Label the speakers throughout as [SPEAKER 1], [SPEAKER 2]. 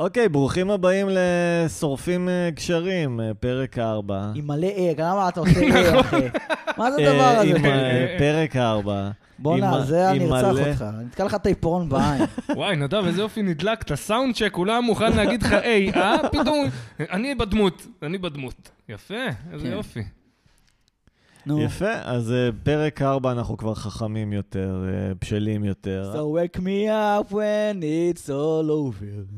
[SPEAKER 1] אוקיי, ברוכים הבאים לשורפים אה, קשרים, אה, פרק 4.
[SPEAKER 2] עם מלא אה, למה אתה עושה אה, אחי? מה זה הדבר הזה?
[SPEAKER 1] נכון. אה, עם
[SPEAKER 2] אחי?
[SPEAKER 1] אה, פרק 4.
[SPEAKER 2] בואנה, זה אני ארצח אותך.
[SPEAKER 1] עם
[SPEAKER 2] אני נתקע לך את העיפרון בעין.
[SPEAKER 3] וואי, נדב, איזה יופי נדלקת, סאונד צ'ק, הוא לא היה מוכן להגיד לך, היי, אה? פתאום, אני בדמות, אני בדמות. יפה, איזה
[SPEAKER 2] כן.
[SPEAKER 3] יופי.
[SPEAKER 2] נו.
[SPEAKER 1] מלא- יפה, אז אה, פרק 4 אנחנו כבר חכמים יותר, אה, בשלים יותר.
[SPEAKER 2] So wake me up when it's all over.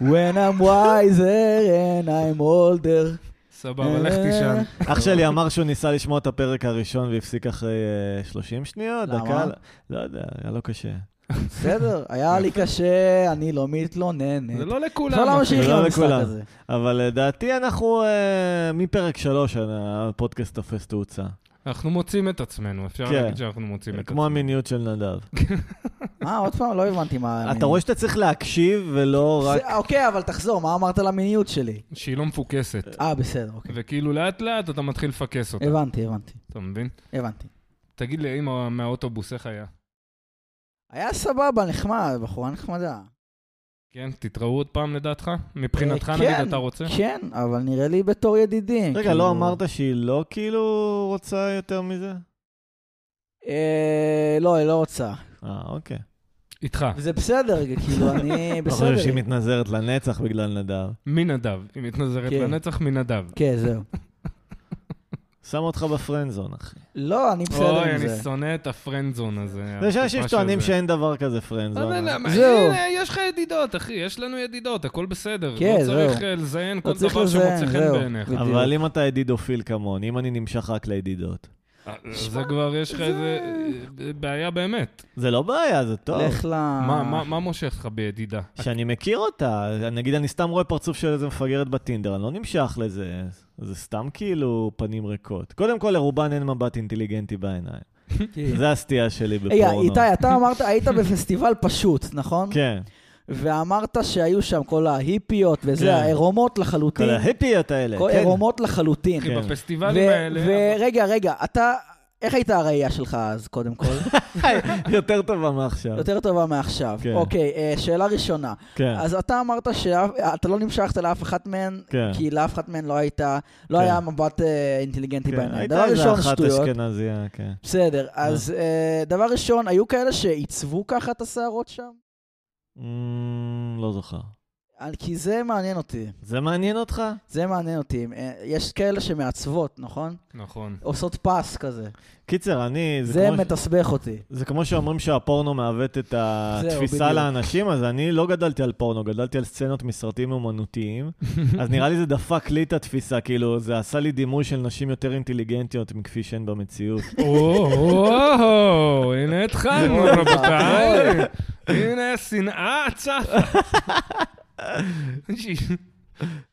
[SPEAKER 2] When I'm wiser and I'm older.
[SPEAKER 3] סבבה, לך
[SPEAKER 2] אה,
[SPEAKER 3] תישן.
[SPEAKER 1] אח שלי אמר שהוא ניסה לשמוע את הפרק הראשון והפסיק אחרי אה, 30 שניות,
[SPEAKER 2] למה?
[SPEAKER 1] דקה. לא יודע, היה לו קשה.
[SPEAKER 2] בסדר, היה לי קשה, אני לא מתלוננת.
[SPEAKER 3] זה לא
[SPEAKER 2] אפשר
[SPEAKER 3] לכולם.
[SPEAKER 2] להמשיך
[SPEAKER 1] זה
[SPEAKER 2] עם
[SPEAKER 1] לא
[SPEAKER 2] המשחק
[SPEAKER 1] לכולם.
[SPEAKER 2] הזה.
[SPEAKER 1] אבל לדעתי אנחנו, אה, מפרק 3 הפודקאסט תופס תאוצה.
[SPEAKER 3] אנחנו מוצאים את עצמנו, אפשר
[SPEAKER 1] כן.
[SPEAKER 3] להגיד שאנחנו מוצאים את
[SPEAKER 1] כמו
[SPEAKER 3] עצמנו.
[SPEAKER 1] המיניות של נדב.
[SPEAKER 2] אה, עוד פעם? לא הבנתי מה...
[SPEAKER 1] אתה רואה שאתה צריך להקשיב ולא רק...
[SPEAKER 2] זה- אוקיי, אבל תחזור, מה אמרת על המיניות שלי?
[SPEAKER 3] שהיא לא מפוקסת.
[SPEAKER 2] אה, בסדר, אוקיי.
[SPEAKER 3] וכאילו לאט-לאט אתה מתחיל לפקס אותה,
[SPEAKER 2] הבנתי, הבנתי,
[SPEAKER 3] אתה מבין?
[SPEAKER 2] הבנתי.
[SPEAKER 3] תגיד לי, אמא מהאוטובוס, איך היה?
[SPEAKER 2] היה סבבה, נחמד, בחורה נחמדה.
[SPEAKER 3] כן, תתראו עוד פעם לדעתך? מבחינתך,
[SPEAKER 2] אה,
[SPEAKER 3] נגיד,
[SPEAKER 2] כן.
[SPEAKER 3] אתה רוצה?
[SPEAKER 2] כן, אבל נראה לי בתור ידידים.
[SPEAKER 1] רגע,
[SPEAKER 2] כאילו.
[SPEAKER 1] לא אמרת שהיא לא כאילו רוצה יותר מזה?
[SPEAKER 2] אה, לא, היא לא רוצה.
[SPEAKER 1] אה, אוקיי.
[SPEAKER 3] איתך.
[SPEAKER 2] וזה בסדר, כאילו, אני
[SPEAKER 1] אתה חושב שהיא
[SPEAKER 2] בסדר.
[SPEAKER 1] מתנזרת לנצח בגלל נדב?
[SPEAKER 3] מנדב. היא מתנזרת
[SPEAKER 2] כן.
[SPEAKER 3] לנצח מנדב.
[SPEAKER 2] כן, זהו.
[SPEAKER 1] שם אותך בפרנזון, אחי.
[SPEAKER 2] לא, אני בסדר
[SPEAKER 3] אוי,
[SPEAKER 2] עם
[SPEAKER 3] אני
[SPEAKER 2] זה.
[SPEAKER 3] שונא את הפרנדזון
[SPEAKER 2] כן,
[SPEAKER 3] הזה.
[SPEAKER 1] זה שאנשים
[SPEAKER 3] התקופה
[SPEAKER 1] שטוענים
[SPEAKER 3] שזה.
[SPEAKER 1] שאין דבר כזה
[SPEAKER 2] לא,
[SPEAKER 1] פרנזון. אה?
[SPEAKER 3] אבל למה?
[SPEAKER 2] זהו.
[SPEAKER 3] לא הנה, יש לך ידידות, אחי, יש לנו ידידות, הכל בסדר.
[SPEAKER 2] כן,
[SPEAKER 3] לא צריך
[SPEAKER 2] זהו.
[SPEAKER 3] אה, לזיין כל
[SPEAKER 2] צריך
[SPEAKER 3] דבר שמוצא
[SPEAKER 2] לזיין,
[SPEAKER 3] חן
[SPEAKER 2] זהו.
[SPEAKER 3] בעיניך.
[SPEAKER 2] בדיוק.
[SPEAKER 1] אבל אם אתה ידידופיל כמוני, אם אני נמשך רק לידידות.
[SPEAKER 3] אה, זה כבר יש לך איזה אה, בעיה באמת.
[SPEAKER 1] זה לא בעיה, זה טוב.
[SPEAKER 2] לך ל...
[SPEAKER 3] מה- מה מה מושך לך בידידה?
[SPEAKER 1] שאני מכיר אותה, נגיד אני סתם רואה פרצוף של איזה מפגרת בטינדר, אני לא נמשך לזה. זה סתם כאילו פנים ריקות. קודם כל, לרובן אין מבט אינטליגנטי בעיניים.
[SPEAKER 2] כן.
[SPEAKER 1] זה הסטייה שלי בפורנו.
[SPEAKER 2] רגע, איתי, אתה אמרת, היית בפסטיבל פשוט, נכון?
[SPEAKER 1] כן.
[SPEAKER 2] ואמרת שהיו שם כל ההיפיות
[SPEAKER 1] כן.
[SPEAKER 2] וזה, העירומות
[SPEAKER 1] כל
[SPEAKER 2] לחלוטין.
[SPEAKER 1] ההיפיות האלה,
[SPEAKER 2] כל
[SPEAKER 1] כן.
[SPEAKER 2] עירומות לחלוטין.
[SPEAKER 3] אחי,
[SPEAKER 1] כן.
[SPEAKER 3] בפסטיבלים
[SPEAKER 2] ו-
[SPEAKER 3] האלה...
[SPEAKER 2] ורגע, רגע, אתה, איך הייתה הראייה שלך אז, קודם כל?
[SPEAKER 1] יותר טובה מעכשיו.
[SPEAKER 2] יותר טובה מעכשיו.
[SPEAKER 1] כן.
[SPEAKER 2] אוקיי, אה, שאלה ראשונה.
[SPEAKER 1] כן.
[SPEAKER 2] אז אתה אמרת שאתה לא נמשכת לאף אחת מהן,
[SPEAKER 1] כן.
[SPEAKER 2] כי לאף אחת מהן לא הייתה, לא
[SPEAKER 1] כן.
[SPEAKER 2] היה מבט אה, אינטליגנטי
[SPEAKER 1] כן,
[SPEAKER 2] בעיניים.
[SPEAKER 1] הייתה
[SPEAKER 2] דבר
[SPEAKER 1] איזה
[SPEAKER 2] ראשון,
[SPEAKER 1] אחת
[SPEAKER 2] שטויות.
[SPEAKER 1] אשכנזייה, כן.
[SPEAKER 2] בסדר, אז אה, דבר ראשון, היו כאלה שעיצבו ככה את השערות שם?
[SPEAKER 1] אמ, לא זוכר.
[SPEAKER 2] אה, כי זה מעניין אותי,
[SPEAKER 1] זה מעניין אותך?
[SPEAKER 2] זה מעניין אותי. אה, יש כאלה שמעצבות, נכון?
[SPEAKER 3] נכון.
[SPEAKER 2] עושות פס כזה.
[SPEAKER 1] קיצר, אני... זה
[SPEAKER 2] זה
[SPEAKER 1] כמו ש-
[SPEAKER 2] מתסבך אותי.
[SPEAKER 1] זה כמו שאומרים שהפורנו מעוות את
[SPEAKER 2] בדיוק.
[SPEAKER 1] התפיסה לאנשים, אז אני לא גדלתי על פורנו, גדלתי על סצנות מסרטים אומנותיים. אז נראה לי זה דפק לי את התפיסה, כאילו, זה עשה לי דימוי של נשים יותר אינטליגנטיות מכפי שהן במציאות.
[SPEAKER 3] או, הנה התחלנו,
[SPEAKER 2] אוי,
[SPEAKER 3] רבותיי. הנה השנאה צפה.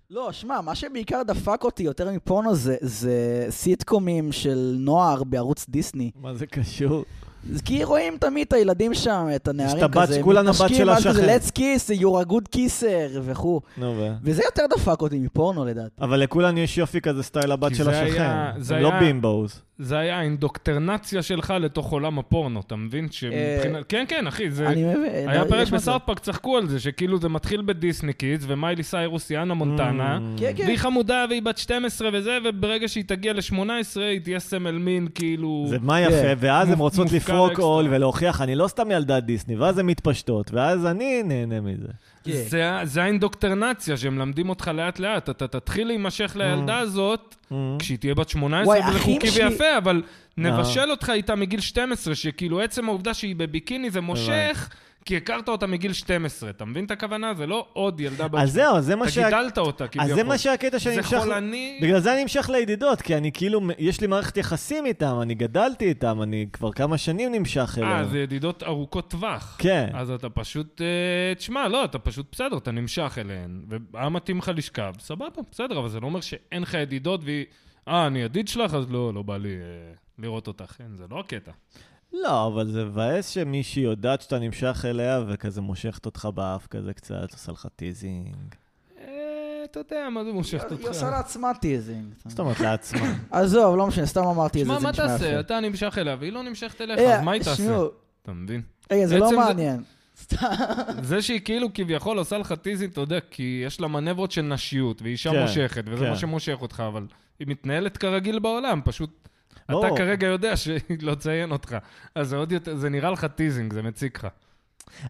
[SPEAKER 2] לא, שמע, מה שבעיקר דפק אותי יותר מפורנו זה, זה סיטקומים של נוער בערוץ דיסני.
[SPEAKER 1] מה זה קשור?
[SPEAKER 2] זה כי רואים תמיד את הילדים שם, את הנערים
[SPEAKER 1] יש את הבת,
[SPEAKER 2] כזה,
[SPEAKER 1] כולן הבת של
[SPEAKER 2] מתנשקים, ואז כזה,
[SPEAKER 1] השכן.
[SPEAKER 2] let's kiss, you're a good kisser וכו'.
[SPEAKER 1] נו, ו...
[SPEAKER 2] וזה יותר דפק אותי מפורנו לדעתי.
[SPEAKER 1] אבל לכולן יש יופי כזה סטייל הבת
[SPEAKER 3] כי
[SPEAKER 1] של
[SPEAKER 3] זה
[SPEAKER 1] השכן.
[SPEAKER 3] היה- זה
[SPEAKER 1] הם לא
[SPEAKER 3] היה-
[SPEAKER 1] בימבוז.
[SPEAKER 3] זה היה האינדוקטרנציה שלך לתוך עולם הפורנו, אתה מבין? שמבחינת... כן, כן, אחי, זה...
[SPEAKER 2] אה, אני מבין.
[SPEAKER 3] היה
[SPEAKER 2] יש
[SPEAKER 3] פרק
[SPEAKER 2] מצב.
[SPEAKER 3] בסארטפארק, צחקו על זה, שכאילו זה מתחיל בדיסני קידס, ומיילי סיירוס היא אנה מונטנה,
[SPEAKER 1] Mm.
[SPEAKER 2] כן, כן.
[SPEAKER 3] והיא חמודה והיא בת 12 וזה, וברגע שהיא תגיע ל-18 היא תהיה סמל מין, כאילו...
[SPEAKER 1] זה מה יפה,
[SPEAKER 2] כן.
[SPEAKER 1] ואז הן
[SPEAKER 3] מופ-
[SPEAKER 1] רוצות
[SPEAKER 3] מופקר
[SPEAKER 1] לפרוק
[SPEAKER 3] אקסטרה.
[SPEAKER 1] עול ולהוכיח, אני לא סתם ילדת דיסני, ואז הן מתפשטות, ואז אני נהנה מזה.
[SPEAKER 2] כן.
[SPEAKER 3] זה ה- זה האינדוקטרנציה שמלמדים אותך לאט-לאט. אתה תתחיל
[SPEAKER 1] Mm.
[SPEAKER 3] להימשך לילדה הזאת כשהיא תהיה בת 18,
[SPEAKER 2] וואי,
[SPEAKER 3] וזה
[SPEAKER 2] אחים
[SPEAKER 3] חוקי
[SPEAKER 2] שלי-
[SPEAKER 3] ויפה, אבל
[SPEAKER 1] אה.
[SPEAKER 3] נבשל אותך איתה מגיל 12, שכאילו עצם העובדה שהיא בביקיני זה מושך, כי הכרת אותה מגיל 12. אתה מבין את הכוונה? זה לא עוד ילדה בת...
[SPEAKER 1] אז זהו, אז זה מה
[SPEAKER 3] אתה
[SPEAKER 1] שה-
[SPEAKER 3] גידלת אותה,
[SPEAKER 1] אז
[SPEAKER 3] כביכול.
[SPEAKER 1] זה מה שהקטע שאני
[SPEAKER 3] זה
[SPEAKER 1] נמשך...
[SPEAKER 3] חולני...
[SPEAKER 1] בגלל זה אני נמשך לידידות, כי אני כאילו, יש לי מערכת יחסים איתם, אני גדלתי איתם, אני כבר כמה שנים נמשך
[SPEAKER 3] אה,
[SPEAKER 1] אליהם.
[SPEAKER 3] זה ידידות ארוכות טווח.
[SPEAKER 1] כן.
[SPEAKER 3] אז אתה פשוט, אה, תשמע, לא, אתה פשוט בסדר, אתה נמשך אליהן, והיה מתאים לך לשכב, סבבה, בסדר, אבל זה לא אומר שאין לך ידידות והיא, אה, אני ידיד שלך, אז לא, לא בא לי אה, לראות אותך, אין, זה לא הקטע.
[SPEAKER 1] לא, אבל זה מבאס שמישהי יודעת שאתה נמשך אליה, וכזה מושכת אותך באף כזה קצת, עושה לך טיזינג.
[SPEAKER 3] אה, אתה יודע, מה זה מושך אותך?
[SPEAKER 2] היא עושה לעצמה טיזינג.
[SPEAKER 1] זאת אומרת, לעצמה.
[SPEAKER 2] עזוב, לא משנה, סתם אמרתי את זה,
[SPEAKER 3] תשמע,
[SPEAKER 2] זה
[SPEAKER 3] מה
[SPEAKER 2] נשמע יפה.
[SPEAKER 3] תעשה? אתה נמשך אליה, והיא לא נמשכת אליך,
[SPEAKER 2] אה,
[SPEAKER 3] אז מה היא תעשה?
[SPEAKER 2] שמעו,
[SPEAKER 3] אתה מבין?
[SPEAKER 2] רגע, זה
[SPEAKER 3] בעצם
[SPEAKER 2] לא
[SPEAKER 3] זה-
[SPEAKER 2] מעניין. סתם.
[SPEAKER 3] זה שהיא כאילו כביכול עושה לך טיזים, אתה יודע, כי יש לה מנברות של נשיות, והיא אישה
[SPEAKER 1] כן,
[SPEAKER 3] מושכת, וזה
[SPEAKER 1] כן.
[SPEAKER 3] מה שמושך אותך, אבל היא מתנהלת כרגיל בעולם, פשוט... אתה
[SPEAKER 1] ברור.
[SPEAKER 3] כרגע יודע שהיא לא תציין אותך, אז זה עוד יותר, זה נראה לך טיזינג, זה מציק לך.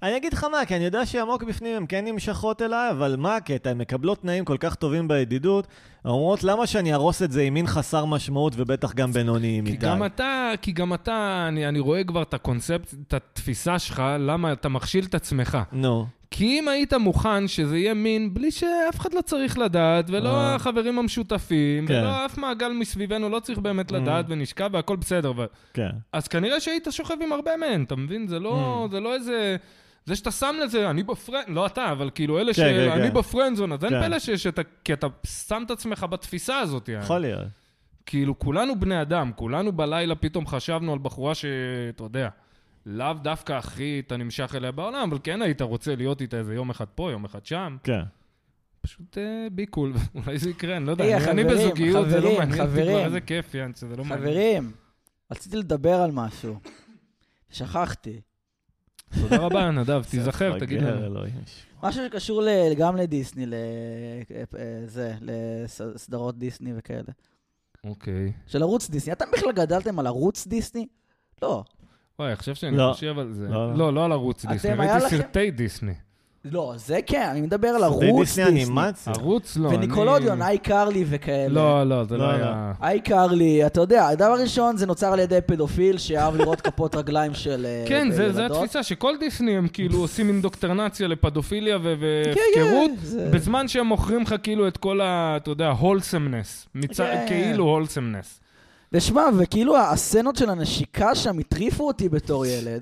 [SPEAKER 1] אני אגיד לך מה, כי אני יודע שעמוק בפנים הן כן נמשכות אליי, אבל מה הקטע? הן מקבלות תנאים כל כך טובים בידידות, אומרות למה שאני ארוס את זה עם מין חסר משמעות ובטח גם בינוניים
[SPEAKER 3] כי
[SPEAKER 1] איתי.
[SPEAKER 3] גם אתה, כי גם אתה, אני, אני רואה כבר את הקונספט, את התפיסה שלך, למה אתה מכשיל את עצמך.
[SPEAKER 1] נו,
[SPEAKER 3] כי אם היית מוכן שזה יהיה מין בלי שאף אחד לא צריך לדעת, ולא
[SPEAKER 1] אה.
[SPEAKER 3] החברים המשותפים,
[SPEAKER 1] כן.
[SPEAKER 3] ולא אף מעגל מסביבנו לא צריך באמת
[SPEAKER 1] Mm.
[SPEAKER 3] לדעת, ונשכב והכל בסדר. ו-
[SPEAKER 1] כן.
[SPEAKER 3] אז כנראה שהיית שוכב עם הרבה מהן, אתה מבין? זה לא, זה לא איזה... זה שאתה שם לזה, אני בפרנד, לא אתה, אבל כאילו אלה ש...
[SPEAKER 1] כן,
[SPEAKER 3] אני
[SPEAKER 1] כן.
[SPEAKER 3] בפרנד זון, אז אין
[SPEAKER 1] כן.
[SPEAKER 3] פלא שיש את ה... כי אתה שם את עצמך בתפיסה הזאת. יעני.
[SPEAKER 1] יכול להיות.
[SPEAKER 3] כאילו, כולנו בני אדם, כולנו בלילה פתאום חשבנו על בחורה שאתה יודע, לאו דווקא הכי אתה נמשך אליה בעולם, אבל כן היית רוצה להיות איתה איזה יום אחד פה, יום אחד שם.
[SPEAKER 1] כן.
[SPEAKER 3] פשוט אה, בי קול, אולי זה יקרה, אני לא יודע.
[SPEAKER 2] היי,
[SPEAKER 3] אני- אני
[SPEAKER 2] חברים,
[SPEAKER 3] בזוגיות, זה לא
[SPEAKER 2] חברים,
[SPEAKER 3] מעניין אותי
[SPEAKER 2] חברים.
[SPEAKER 3] כבר, איזה כיף, יאן, שזה לא מעניין.
[SPEAKER 2] חברים, רציתי לדבר על משהו. שכחתי.
[SPEAKER 3] תודה רבה, נדב, תיזכר,
[SPEAKER 1] ספגר,
[SPEAKER 3] תגיד לנו.
[SPEAKER 1] אלוהים.
[SPEAKER 2] משהו שקשור ל- אה, גם לדיסני, לזה, לסדרות דיסני וכאלה.
[SPEAKER 3] אוקיי.
[SPEAKER 2] של ערוץ דיסני. אתם בכלל גדלתם על ערוץ דיסני? לא.
[SPEAKER 3] וואי, עכשיו שאני
[SPEAKER 1] לא.
[SPEAKER 3] חושב על זה.
[SPEAKER 1] לא.
[SPEAKER 3] לא, לא על ערוץ
[SPEAKER 2] אתם,
[SPEAKER 3] דיסני,
[SPEAKER 2] היה
[SPEAKER 3] ראיתי
[SPEAKER 2] לכם-
[SPEAKER 3] סרטי דיסני.
[SPEAKER 2] לא, זה כן, אני מדבר על
[SPEAKER 1] סרטי
[SPEAKER 2] ערוץ
[SPEAKER 1] דיסני
[SPEAKER 2] דיסני.
[SPEAKER 1] אנימציה.
[SPEAKER 3] ערוץ לא, אני...
[SPEAKER 2] וניקולודיון, אה, איי קרלי וכאלה.
[SPEAKER 3] לא, לא, זה לא
[SPEAKER 1] לא,
[SPEAKER 3] היה...
[SPEAKER 2] איי קרלי, אתה יודע, הדבר הראשון זה נוצר על ידי פדופיל שאהב לראות כפות רגליים של אה,
[SPEAKER 1] לא.
[SPEAKER 3] כן, זה, זה
[SPEAKER 2] ילדות.
[SPEAKER 3] התפיסה שכל דיסני הם כאילו עושים אינדוקטרנציה לפדופיליה ו-
[SPEAKER 2] כן,
[SPEAKER 3] והפקרות,
[SPEAKER 2] כן, זה-
[SPEAKER 3] בזמן שהם מוכרים לך כאילו את כל ה... אתה יודע, הולסמנס. מצ...
[SPEAKER 2] כן.
[SPEAKER 3] כאילו הולסמנס.
[SPEAKER 2] ושמע, וכאילו הסצנות של הנשיקה שם הטריפו אותי בתור ילד,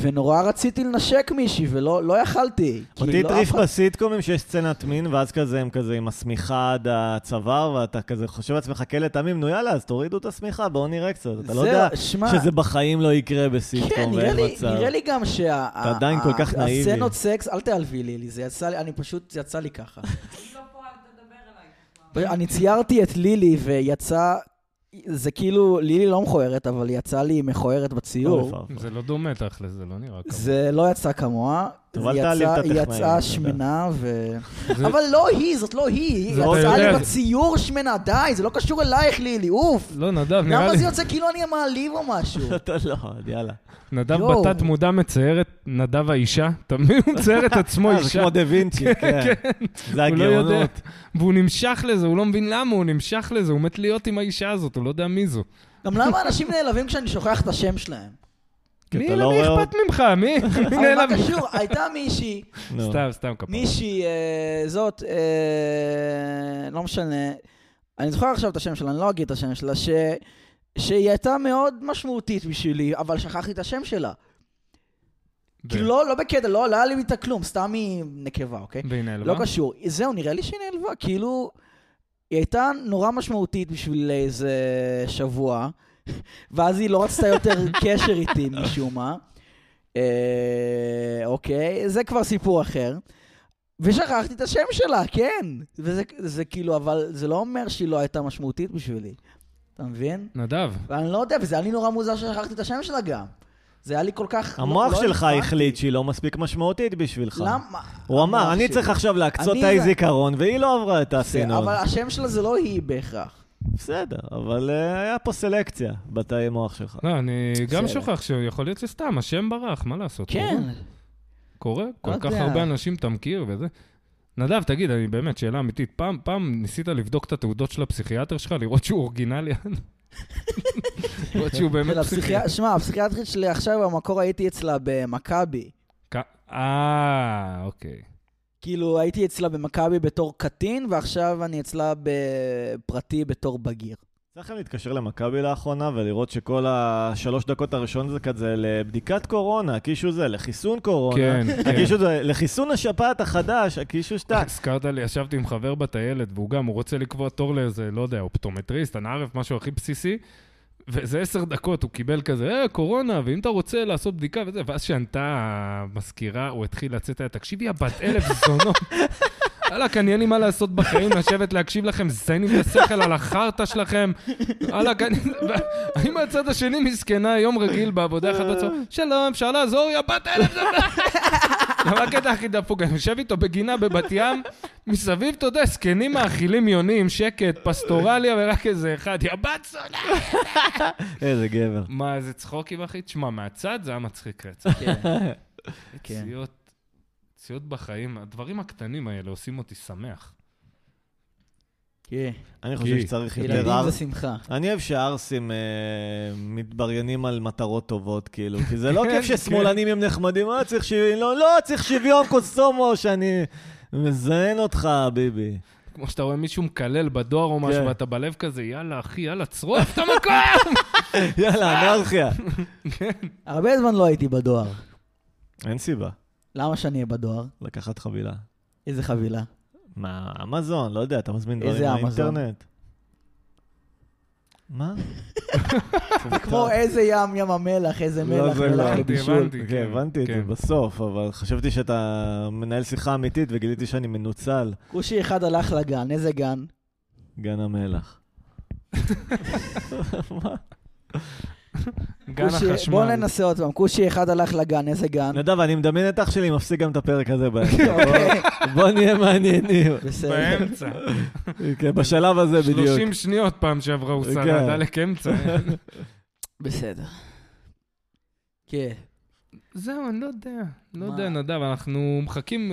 [SPEAKER 2] ונורא רציתי לנשק מישהי, ולא לא יכלתי. כי
[SPEAKER 1] אותי
[SPEAKER 2] לא
[SPEAKER 1] הטריף
[SPEAKER 2] אף אחד-
[SPEAKER 1] בסיטקומים שיש סצנת מין, ואז כזה הם כזה עם השמיכה עד הצוואר, ואתה כזה חושב לעצמך כאלה תמים, נו יאללה, אז תורידו את השמיכה, בואו נראה קצת. אתה לא
[SPEAKER 2] זהו,
[SPEAKER 1] יודע
[SPEAKER 2] שמע.
[SPEAKER 1] שזה בחיים לא יקרה
[SPEAKER 2] כן,
[SPEAKER 1] בסיטקום,
[SPEAKER 2] נראה
[SPEAKER 1] ואין
[SPEAKER 2] לי,
[SPEAKER 1] מצב.
[SPEAKER 2] נראה לי גם שה...
[SPEAKER 1] אתה עדיין כל כך נאיבי.
[SPEAKER 2] הסצנות סקס, אל תעלבי לי, לי, זה יצא לי, אני פשוט, זה יצא לי ככה. אני ציירתי את לילי ויצא, זה כאילו, לילי לא מכוערת, אבל יצא לי מכוערת
[SPEAKER 1] אוי,
[SPEAKER 2] בציור.
[SPEAKER 1] פרפר.
[SPEAKER 3] זה לא דומה תכל'ס, זה לא נראה ככה.
[SPEAKER 2] זה לא יצא כמוה,
[SPEAKER 1] טוב,
[SPEAKER 2] זה
[SPEAKER 1] אל
[SPEAKER 2] יצא-
[SPEAKER 1] תעליב את
[SPEAKER 2] היא
[SPEAKER 1] הטכנאים, אתה
[SPEAKER 2] יצאה
[SPEAKER 1] יודע.
[SPEAKER 2] שמנה ו...
[SPEAKER 3] זה-
[SPEAKER 2] אבל לא היא, זאת לא היא, היא
[SPEAKER 3] זה אתה
[SPEAKER 2] יצאה
[SPEAKER 3] יודע,
[SPEAKER 2] לי
[SPEAKER 3] זה-
[SPEAKER 2] בציור שמנה, די, זה לא קשור אלייך לילי, אוף.
[SPEAKER 3] לא, נדב, נראה
[SPEAKER 2] למה
[SPEAKER 3] לי...
[SPEAKER 2] זה יוצא כאילו אני המעליב או משהו?
[SPEAKER 1] אתה לא, יאללה.
[SPEAKER 3] נדב
[SPEAKER 2] יואו.
[SPEAKER 3] בתת מודע מצייר את נדב האישה, תמיד הוא מצייר את עצמו
[SPEAKER 1] אה, זה
[SPEAKER 3] אישה,
[SPEAKER 1] כמו דה וינצ'י, כן. זה
[SPEAKER 3] הוא לא יודע,
[SPEAKER 1] הגאונות.
[SPEAKER 3] והוא נמשך לזה, הוא לא מבין למה הוא נמשך לזה, הוא מת להיות עם האישה הזאת, הוא לא יודע מי זו.
[SPEAKER 2] גם למה אנשים נעלבים כשאני שוכח את השם שלהם?
[SPEAKER 1] כי
[SPEAKER 3] מי
[SPEAKER 1] אתה לא
[SPEAKER 3] למי
[SPEAKER 1] רואה
[SPEAKER 3] אכפת ממך? מי? מי
[SPEAKER 2] אבל
[SPEAKER 3] נעלב?
[SPEAKER 2] מה קשור? הייתה מישהי,
[SPEAKER 1] נו.
[SPEAKER 3] סתם, סתם כפר.
[SPEAKER 2] מישהי, אה, זאת, אה, לא משנה, אני זוכר עכשיו את השם שלה, אני לא אגיד את השם שלה, ש... שהיא הייתה מאוד משמעותית בשבילי, אבל שכחתי את השם שלה.
[SPEAKER 3] כן.
[SPEAKER 2] כאילו, לא, לא בקטע, לא, לא היה לי איתה כלום, סתם היא נקבה, אוקיי?
[SPEAKER 3] והיא נעלבה?
[SPEAKER 2] לא קשור. זהו, נראה לי שהיא נעלבה, כאילו... היא הייתה נורא משמעותית בשביל איזה שבוע, ואז היא לא רצתה יותר קשר איתי משום מה. אה, אוקיי, זה כבר סיפור אחר. ושכחתי את השם שלה, כן. וזה זה כאילו, אבל זה לא אומר שהיא לא הייתה משמעותית בשבילי. אתה מבין?
[SPEAKER 3] נדב,
[SPEAKER 2] ואני לא יודע, וזה היה לי נורא מוזר ששכחתי את השם שלה גם. זה היה לי כל כך...
[SPEAKER 1] המוח
[SPEAKER 2] לא- לא
[SPEAKER 1] שלך
[SPEAKER 2] הבנתי.
[SPEAKER 1] החליט שהיא לא מספיק משמעותית בשבילך.
[SPEAKER 2] למה?
[SPEAKER 1] הוא אמר,
[SPEAKER 2] המוח
[SPEAKER 1] אני
[SPEAKER 2] שלי.
[SPEAKER 1] צריך עכשיו להקצות
[SPEAKER 2] אני
[SPEAKER 1] תאי
[SPEAKER 2] זה-
[SPEAKER 1] זיכרון, והיא לא עברה את
[SPEAKER 2] בסדר,
[SPEAKER 1] הסינון.
[SPEAKER 2] כן, אבל השם שלה זה לא היא בהכרח.
[SPEAKER 1] בסדר, אבל אה, היה פה סלקציה בתאי מוח שלך.
[SPEAKER 3] לא, אני גם
[SPEAKER 2] בסדר.
[SPEAKER 3] שוכח שיכול להיות שסתם, השם ברח, מה לעשות?
[SPEAKER 2] כן.
[SPEAKER 3] קורה. קורה, כל
[SPEAKER 2] לא
[SPEAKER 3] כך
[SPEAKER 2] יודע.
[SPEAKER 3] הרבה אנשים אתה מכיר וזה. נדב, תגיד, אני באמת, שאלה אמיתית, פעם, פעם ניסית לבדוק את התעודות של הפסיכיאטר שלך, לראות שהוא אורגינלי? לראות שהוא באמת
[SPEAKER 2] של
[SPEAKER 3] פסיכיאטר?
[SPEAKER 2] הפסיכיאטר, שמע, הפסיכיאטרית שלי עכשיו, במקור הייתי אצלה במכבי.
[SPEAKER 3] כ- אה, אוקיי.
[SPEAKER 2] כאילו, הייתי אצלה במכבי בתור קטין, ועכשיו אני אצלה בפרטי בתור בגיר.
[SPEAKER 1] צריך גם להתקשר למכבי לאחרונה ולראות שכל השלוש דקות הראשון זה כזה לבדיקת קורונה, הקישו זה לחיסון קורונה,
[SPEAKER 3] כן, כן.
[SPEAKER 1] הקישו זה לחיסון השפעת החדש, הקישו שתיים.
[SPEAKER 3] הזכרת לי, ישבתי עם חבר בטיילת, והוא גם, הוא רוצה לקבוע תור לאיזה, לא יודע, אופטומטריסט, אנערף, משהו הכי בסיסי, וזה עשר דקות, הוא קיבל כזה, אה, קורונה, ואם אתה רוצה לעשות בדיקה וזה, ואז שענתה המזכירה, הוא התחיל לצאת, היה, תקשיבי, הבת אלף זונות. וואלכ, אין לי מה לעשות בחיים, לשבת להקשיב לכם, זיינים את השכל על החרטא שלכם. וואלכ, אני... אני מהצד השני מסכנה, יום רגיל בעבודה אחת בצהריים, שלום, אפשר לעזור, יא בת אלף למה הקטע הכי דפוק? אני יושב איתו בגינה בבת ים, מסביב, אתה יודע, זקנים מאכילים יונים, שקט, פסטורליה, ורק איזה אחד, יא בת זונה.
[SPEAKER 1] איזה גבר.
[SPEAKER 3] מה, איזה צחוקים, אחי? תשמע, מהצד זה היה מצחיק רצח.
[SPEAKER 2] כן, כן.
[SPEAKER 3] צייות, צייות בחיים, הדברים הקטנים האלה עושים אותי שמח.
[SPEAKER 2] כן.
[SPEAKER 1] אני חושב
[SPEAKER 3] כי-
[SPEAKER 1] שצריך יותר
[SPEAKER 2] ילדים
[SPEAKER 1] אר...
[SPEAKER 2] זה שמחה.
[SPEAKER 1] אני אוהב שהערסים אה, מתבריינים על מטרות טובות, כאילו, כי זה לא
[SPEAKER 3] כן,
[SPEAKER 1] כיף
[SPEAKER 3] כן.
[SPEAKER 1] ששמאלנים הם נחמדים, אה, צריך שוויון, לא, לא, צריך שוויון קוסומו, שאני מזיין אותך, ביבי.
[SPEAKER 3] כמו שאתה רואה מישהו מקלל בדואר או משהו,
[SPEAKER 1] כן.
[SPEAKER 3] ואתה בלב כזה, יאללה, אחי, יאללה, צרוף את המקום!
[SPEAKER 1] יאללה, אנרכיה.
[SPEAKER 2] הרבה זמן לא הייתי בדואר.
[SPEAKER 1] אין סיבה
[SPEAKER 2] למה שאני אהיה בדואר?
[SPEAKER 1] לקחת חבילה.
[SPEAKER 2] איזה חבילה.
[SPEAKER 1] מה, אמזון, לא יודע, אתה מזמין דברים
[SPEAKER 2] איזה אמזון?
[SPEAKER 1] מהאינטרנט. מה?
[SPEAKER 2] כמו איזה ים, ים המלח, איזה
[SPEAKER 1] לא,
[SPEAKER 2] מלח,
[SPEAKER 1] זה
[SPEAKER 2] מלח
[SPEAKER 1] לא.
[SPEAKER 2] לבישול.
[SPEAKER 3] הבנתי,
[SPEAKER 1] כן,
[SPEAKER 3] כן,
[SPEAKER 1] הבנתי את זה
[SPEAKER 3] כן.
[SPEAKER 1] בסוף, אבל חשבתי שאתה מנהל שיחה אמיתית וגיליתי שאני מנוצל,
[SPEAKER 2] כושי אחד הלך לגן, איזה גן?
[SPEAKER 1] גן המלח.
[SPEAKER 3] גן
[SPEAKER 2] כושי-
[SPEAKER 3] החשמל.
[SPEAKER 2] בוא ננסה עוד פעם. כושי אחד הלך לגן, איזה גן?
[SPEAKER 1] נדב, אני מדמיין את אח שלי, מפסיק גם את הפרק הזה באמצע.
[SPEAKER 2] אוקיי,
[SPEAKER 1] בוא- בוא נהיה מעניינים.
[SPEAKER 2] בסדר.
[SPEAKER 3] באמצע.
[SPEAKER 1] כן, בשלב הזה בדיוק.
[SPEAKER 3] 30 שניות פעם שעברה הוא
[SPEAKER 1] כן.
[SPEAKER 3] סלד, עלק אמצע.
[SPEAKER 2] בסדר. כן.
[SPEAKER 3] זהו, אני לא יודע.
[SPEAKER 2] מה?
[SPEAKER 3] לא יודע, נדב, אנחנו מחכים...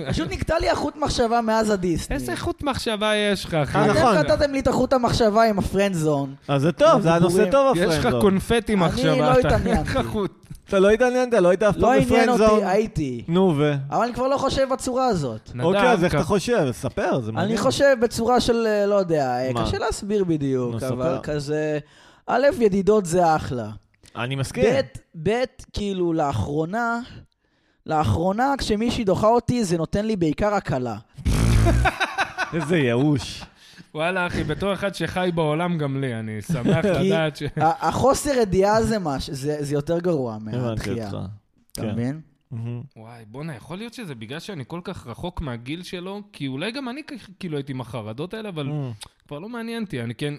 [SPEAKER 2] פשוט נקטע לי החוט מחשבה מאז הדיסני.
[SPEAKER 3] איזה חוט מחשבה יש לך, אחי?
[SPEAKER 1] אה, נכון.
[SPEAKER 2] אתם נתתם לי את החוט המחשבה עם הפרנד זון.
[SPEAKER 1] אז זה טוב, זה היה נושא
[SPEAKER 2] דיבורים.
[SPEAKER 1] טוב,
[SPEAKER 3] יש לך
[SPEAKER 1] הפרנדזון.
[SPEAKER 3] קונפטי
[SPEAKER 2] אני
[SPEAKER 3] מחשבה.
[SPEAKER 2] לא
[SPEAKER 3] אתה-
[SPEAKER 2] התעניינתי.
[SPEAKER 3] אין לך חוט.
[SPEAKER 1] אתה לא התעניינת, לא היית אף
[SPEAKER 2] לא
[SPEAKER 1] פעם
[SPEAKER 2] עניין
[SPEAKER 1] בפרנדזון.
[SPEAKER 2] אותי, הייתי.
[SPEAKER 1] נו ו...
[SPEAKER 2] אבל אני כבר לא חושב בצורה הזאת.
[SPEAKER 1] אוקיי, אז
[SPEAKER 3] נדב,
[SPEAKER 1] איך אתה חושב? ספר, זה מעניין.
[SPEAKER 2] אני חושב בצורה של, אה, לא יודע, אה,
[SPEAKER 1] מה?
[SPEAKER 2] קשה להסביר
[SPEAKER 1] נו,
[SPEAKER 2] בדיוק,
[SPEAKER 1] ספר.
[SPEAKER 2] אבל כזה... א', ידידות זה אחלה.
[SPEAKER 1] אני מסכים.
[SPEAKER 2] ב', ב', כאילו, לאחרונה, לאחרונה, כשמישהי דוחה אותי, זה נותן לי בעיקר הקלה.
[SPEAKER 1] איזה ייאוש.
[SPEAKER 3] וואלה, אחי, בתור אחד שחי בעולם גם לי, אני שמח
[SPEAKER 2] כי-
[SPEAKER 3] לדעת ש...
[SPEAKER 2] ה- החוסר ידיעה זה מה, ש- זה זה יותר גרוע
[SPEAKER 1] כן. הבנתי
[SPEAKER 2] מהדחייה.
[SPEAKER 1] אותך.
[SPEAKER 2] אתה
[SPEAKER 1] כן.
[SPEAKER 2] מבין?
[SPEAKER 1] מהמם.
[SPEAKER 3] וואי, בואנה, יכול להיות שזה בגלל שאני כל כך רחוק מהגיל שלו? כי אולי גם אני כ- כאילו הייתי עם החרדות האלה, אבל
[SPEAKER 1] מהמם.
[SPEAKER 3] כבר לא מעניין אותי. אני כן...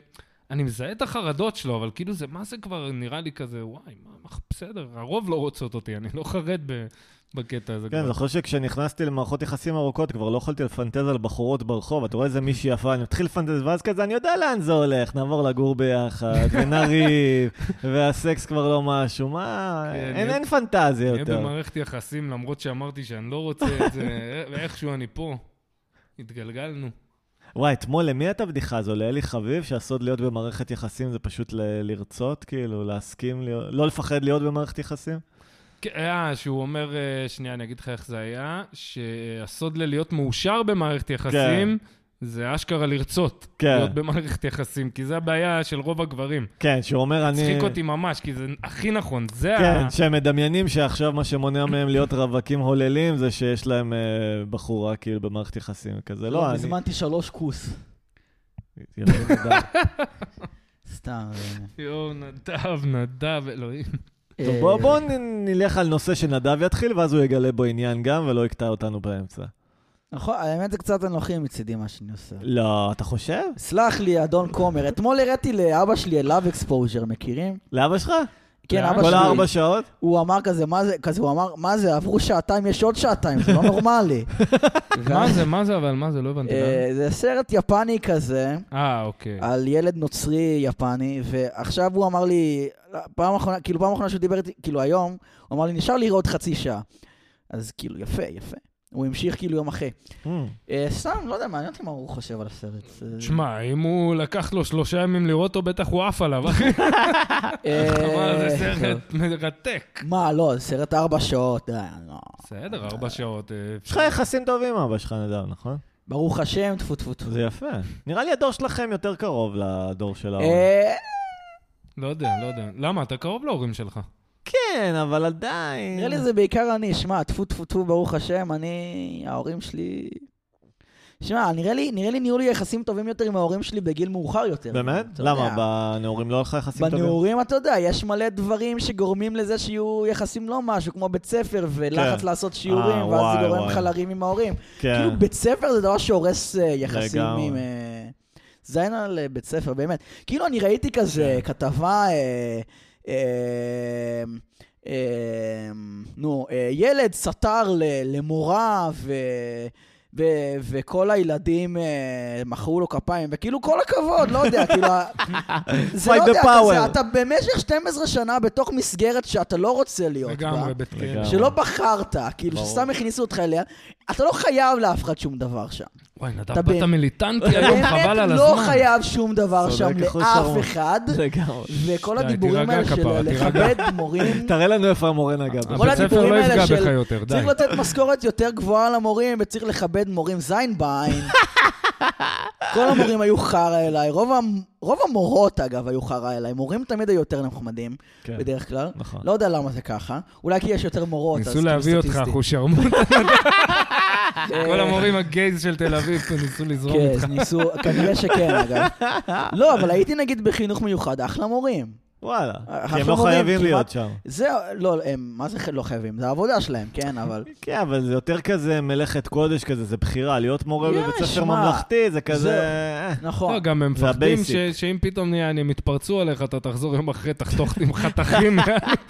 [SPEAKER 3] אני מזהה את החרדות שלו, אבל כאילו זה, מה זה כבר נראה לי כזה, וואי, מה, מה- בסדר, הרוב לא רוצות אותי, אני לא חרד ב- בקטע הזה.
[SPEAKER 1] כן,
[SPEAKER 3] כבר.
[SPEAKER 1] זוכר שכשנכנסתי למערכות יחסים ארוכות, כבר לא יכולתי לפנטז על בחורות ברחוב, אתה רואה איזה מישהי יפה, אני מתחיל לפנטז, ואז כזה, אני יודע לאן זה הולך, נעבור לגור ביחד, ונריב, והסקס כבר לא משהו, מה,
[SPEAKER 3] כן,
[SPEAKER 1] אין-
[SPEAKER 3] נהיה-
[SPEAKER 1] אין פנטזיה
[SPEAKER 3] נהיה
[SPEAKER 1] יותר.
[SPEAKER 3] במערכת יחסים, למרות שאמרתי שאני לא רוצה את זה, ואיכשהו אני פה. התגלגלנו.
[SPEAKER 1] וואי, אתמול, למי הייתה הבדיחה הזו? לאלי חביב, שהסוד להיות במערכת יחסים זה פשוט ל- לרצות, כאילו, להסכים, להיות- לא לפחד להיות במערכת יחסים?
[SPEAKER 3] כן, היה, שהוא אומר, אה, שנייה, אני אגיד לך איך זה היה, שהסוד ללהיות מאושר במערכת יחסים, זה אשכרה לרצות
[SPEAKER 1] כן.
[SPEAKER 3] להיות במערכת יחסים, כי זה הבעיה של רוב הגברים.
[SPEAKER 1] כן, שהוא אומר, אני...
[SPEAKER 3] הצחיק אותי ממש, כי זה הכי נכון, זה
[SPEAKER 1] כן,
[SPEAKER 3] ה...
[SPEAKER 1] שהם מדמיינים שעכשיו מה שמונע מהם להיות רווקים הוללים זה שיש להם אה, בחורה כאילו במערכת יחסים כזה. לא, אני...
[SPEAKER 2] הזמנתי שלוש כוס.
[SPEAKER 1] יפה,
[SPEAKER 2] אה.
[SPEAKER 1] נהדר.
[SPEAKER 2] סתם. אה,
[SPEAKER 3] יואו, נדב, נדב, אלוהים.
[SPEAKER 1] טוב,
[SPEAKER 2] אה,
[SPEAKER 1] בואו בוא נ- נלך על נושא שנדב יתחיל, ואז הוא יגלה בו עניין גם, ולא יקטע אותנו באמצע.
[SPEAKER 2] נכון, האמת זה קצת אנוכי מצידי מה שאני עושה.
[SPEAKER 1] לא, אתה חושב?
[SPEAKER 2] סלח לי, אדון כומר, אתמול הראתי לאבא שלי את לאב אקספוז'ר, מכירים?
[SPEAKER 1] לאבא שלך?
[SPEAKER 2] כן,
[SPEAKER 3] לאן?
[SPEAKER 2] אבא
[SPEAKER 1] כל הארבע
[SPEAKER 2] שלי,
[SPEAKER 1] שעות?
[SPEAKER 2] הוא אמר כזה, מה זה, כזה, הוא אמר, מה זה, עברו שעתיים, יש עוד שעתיים, זה לא נורמלי.
[SPEAKER 1] כן.
[SPEAKER 3] מה זה, מה זה, אבל מה זה, לא הבנתי.
[SPEAKER 2] אה, זה סרט יפני כזה,
[SPEAKER 3] אה, אוקיי.
[SPEAKER 2] על ילד נוצרי יפני, ועכשיו הוא אמר לי, פעם אחרונה, כאילו פעם אחרונה שהוא דיבר איתי, כאילו היום, הוא אמר לי, נשאר לי עוד חצי שעה. אז כאילו, יפה, יפה. הוא המשיך כאילו יום אחרי.
[SPEAKER 1] Mm,
[SPEAKER 2] אה, סתם, לא יודע, מעניין אותי מה הוא חושב על הסרט. אה,
[SPEAKER 3] תשמע, אם הוא לקח לו שלושה ימים לראות אותו, בטח הוא עף עליו, אחי. אמר,
[SPEAKER 2] אה,
[SPEAKER 3] זה סרט מרתק.
[SPEAKER 2] מה, לא, זה סרט ארבע שעות, אה, לא.
[SPEAKER 3] בסדר, ארבע שעות. אה,
[SPEAKER 1] יש לך יחסים טובים עם אבא שלך, נדב, נכון?
[SPEAKER 2] ברוך השם, טפו טפו טפו.
[SPEAKER 1] זה יפה. נראה לי הדור שלכם יותר קרוב לדור של ההורים.
[SPEAKER 2] אה,
[SPEAKER 3] לא יודע, לא יודע. למה? אתה קרוב להורים שלך.
[SPEAKER 1] כן, אבל עדיין.
[SPEAKER 2] נראה לי זה בעיקר אני, שמע, טפו טפו טפו, ברוך השם, אני, ההורים שלי... שמע, נראה לי, נראה לי נהיו לי יחסים טובים יותר עם ההורים שלי בגיל מאוחר יותר.
[SPEAKER 1] באמת?
[SPEAKER 2] אתה יודע.
[SPEAKER 1] למה? בנעורים לא היה לך יחסים טובים?
[SPEAKER 2] בנעורים, אתה יודע, יש מלא דברים שגורמים לזה שיהיו יחסים לא משהו, כמו בית ספר, ולחץ
[SPEAKER 1] כן.
[SPEAKER 2] לעשות שיעורים,
[SPEAKER 1] אה,
[SPEAKER 2] ואז
[SPEAKER 1] וואי,
[SPEAKER 2] זה גורם
[SPEAKER 1] וואי.
[SPEAKER 2] לך לריב עם ההורים.
[SPEAKER 1] כן.
[SPEAKER 2] כאילו, בית ספר זה דבר שהורס אה, יחסים
[SPEAKER 1] לגמרי.
[SPEAKER 2] עם... אה, זין על אה, בית ספר, באמת. כאילו, אני ראיתי כזה
[SPEAKER 1] כן.
[SPEAKER 2] כתבה, אה, אה, אה, נו, אה, ילד סטר ל- למורה, ו... ו- וכל הילדים אה, מחאו לו כפיים, וכאילו כל הכבוד, לא יודע, כאילו, ה- זה לא
[SPEAKER 1] Fight the
[SPEAKER 2] יודע, אתה- זה-
[SPEAKER 1] power.
[SPEAKER 2] אתה במשך 12 שנה בתוך מסגרת שאתה לא רוצה להיות בה,
[SPEAKER 3] לגמרי, בית כלא.
[SPEAKER 1] לגמרי.
[SPEAKER 2] שלא בחרת, כאילו,
[SPEAKER 1] ברור.
[SPEAKER 2] שסתם הכניסו אותך אליה, אתה לא חייב לאף אחד שום דבר שם.
[SPEAKER 3] וואי, נדב,
[SPEAKER 2] אתה
[SPEAKER 3] באת
[SPEAKER 2] באמת-
[SPEAKER 3] מיליטנטי היום, חבל
[SPEAKER 2] באמת
[SPEAKER 3] על
[SPEAKER 2] לא
[SPEAKER 3] הזמן.
[SPEAKER 2] חייב שום דבר
[SPEAKER 1] צודק
[SPEAKER 2] שם
[SPEAKER 1] אחוז
[SPEAKER 2] לאף
[SPEAKER 1] שרון.
[SPEAKER 2] אחד,
[SPEAKER 1] לגמרי.
[SPEAKER 2] וכל
[SPEAKER 3] די,
[SPEAKER 2] הדיבורים
[SPEAKER 3] תירגע
[SPEAKER 2] האלה של
[SPEAKER 3] כפרה,
[SPEAKER 2] לכבד מורים,
[SPEAKER 1] תראה לנו איפה המורה נגע. בו.
[SPEAKER 2] כל
[SPEAKER 3] הבית ספר
[SPEAKER 2] הדיבורים
[SPEAKER 3] לא
[SPEAKER 2] האלה
[SPEAKER 3] יפגע
[SPEAKER 2] של-
[SPEAKER 3] בך יותר, די.
[SPEAKER 2] צריך לתת משכורת יותר גבוהה למורים, וצריך לכבד מורים זין בעין. כל המורים היו חרא אליי, רוב המ- רוב המורות אגב היו חרא אליי, מורים תמיד היו יותר נחמדים,
[SPEAKER 1] כן,
[SPEAKER 2] בדרך כלל.
[SPEAKER 1] נכון.
[SPEAKER 2] לא יודע למה זה ככה, אולי כי יש יותר מורות, אז
[SPEAKER 3] ניסו
[SPEAKER 2] כאילו
[SPEAKER 3] להביא אותך,
[SPEAKER 2] סטטיסטית. כן.
[SPEAKER 3] אחושרמוט.
[SPEAKER 2] אה,
[SPEAKER 3] כל המורים הגייז של תל אביב פה ניסו לזרום
[SPEAKER 2] כן,
[SPEAKER 3] איתך.
[SPEAKER 2] אז ניסו, כנראה שכן אגב. לא, אבל הייתי נגיד בחינוך מיוחד, אחלה מורים.
[SPEAKER 1] וואלה. כי הם
[SPEAKER 2] אנחנו
[SPEAKER 1] לא
[SPEAKER 2] מורים
[SPEAKER 1] חייבים להיות
[SPEAKER 2] אה, כמעט-
[SPEAKER 1] שם.
[SPEAKER 2] זה, לא, הם, מה זה ח- לא חייבים? זה העבודה שלהם, כן, אבל...
[SPEAKER 1] כן, אבל זה יותר כזה מלאכת קודש כזה, זה בחירה. להיות מורה
[SPEAKER 2] יש,
[SPEAKER 1] בבית ספר
[SPEAKER 2] מה?
[SPEAKER 1] ממלכתי, זה כזה...
[SPEAKER 2] זה-
[SPEAKER 1] אה,
[SPEAKER 2] נכון.
[SPEAKER 3] לא, גם הם
[SPEAKER 1] זה
[SPEAKER 3] מפחדים ש-
[SPEAKER 1] הבייסיק.
[SPEAKER 3] שאם פתאום נהיה, הם יתפרצו עליך, אתה תחזור יום אחרי, תחתוך עם חתכים.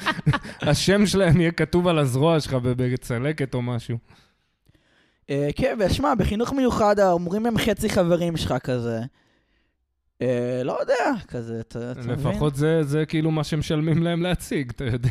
[SPEAKER 3] השם שלהם יהיה כתוב על הזרוע שלך בצלקת או משהו.
[SPEAKER 2] אה, כן, ושמע, בחינוך מיוחד המורים הם חצי חברים שלך כזה. אה, לא יודע, כזה, אתה אתה מבין?
[SPEAKER 3] לפחות זה- זה כאילו מה שמשלמים להם להציג, אתה יודע.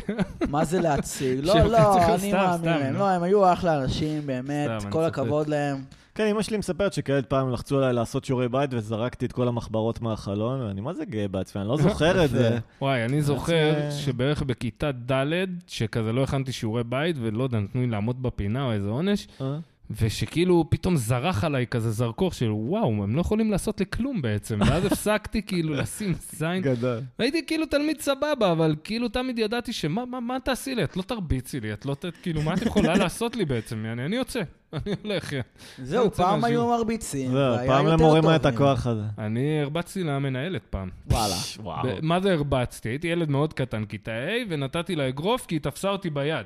[SPEAKER 2] מה זה להציג? לא,
[SPEAKER 3] שהם חצי
[SPEAKER 2] לא,
[SPEAKER 3] חבר-
[SPEAKER 2] אני
[SPEAKER 3] סתם,
[SPEAKER 2] מאמין
[SPEAKER 3] סתם,
[SPEAKER 2] להם.
[SPEAKER 3] נו.
[SPEAKER 2] לא, הם היו אחלה אנשים, באמת,
[SPEAKER 3] סתם, אני
[SPEAKER 2] כל
[SPEAKER 3] צוחק.
[SPEAKER 2] הכבוד להם.
[SPEAKER 1] כן, אמא שלי מספרת שכילד פעם לחצו עליי לעשות שיעורי בית וזרקתי את כל המחברות מהחלון, ואני מה זה גאה בעצמי, אני לא זוכר את זה.
[SPEAKER 3] וואי, אני זוכר
[SPEAKER 1] זה-
[SPEAKER 3] שבערך בכיתה ד', שכזה לא הכנתי שיעורי בית, ולא יודע, נתנו לי לעמוד בפינה או איזה עונש,
[SPEAKER 1] אה?
[SPEAKER 3] ושכאילו פתאום זרח עליי כזה זרקור של וואו, הם לא יכולים לעשות לי כלום בעצם. ואז הפסקתי כאילו לשים זין.
[SPEAKER 1] גדול.
[SPEAKER 3] הייתי כאילו תלמיד סבבה, אבל כאילו תמיד ידעתי שמה מה, מה תעשי לי? את לא תרביצי לי, את לא ת... כאילו, מה את יכולה לעשות לי בעצם? אני, אני יוצא, אני הולך.
[SPEAKER 2] זהו,
[SPEAKER 3] יוצא
[SPEAKER 2] פעם
[SPEAKER 3] מהשיעור.
[SPEAKER 2] היו מרביצים,
[SPEAKER 1] זהו,
[SPEAKER 2] והיה
[SPEAKER 1] לא, פעם
[SPEAKER 2] יותר
[SPEAKER 1] למורים היה את
[SPEAKER 2] טובים.
[SPEAKER 1] הכוח הזה. אה,
[SPEAKER 3] אני הרבצתי למנהלת פעם.
[SPEAKER 2] וואלה.
[SPEAKER 1] וואו.
[SPEAKER 3] ב- מה זה הרבצתי? הייתי ילד מאוד קטן, כיתה ה', ונתתי לה אגרוף כי היא תפסה אותי ביד.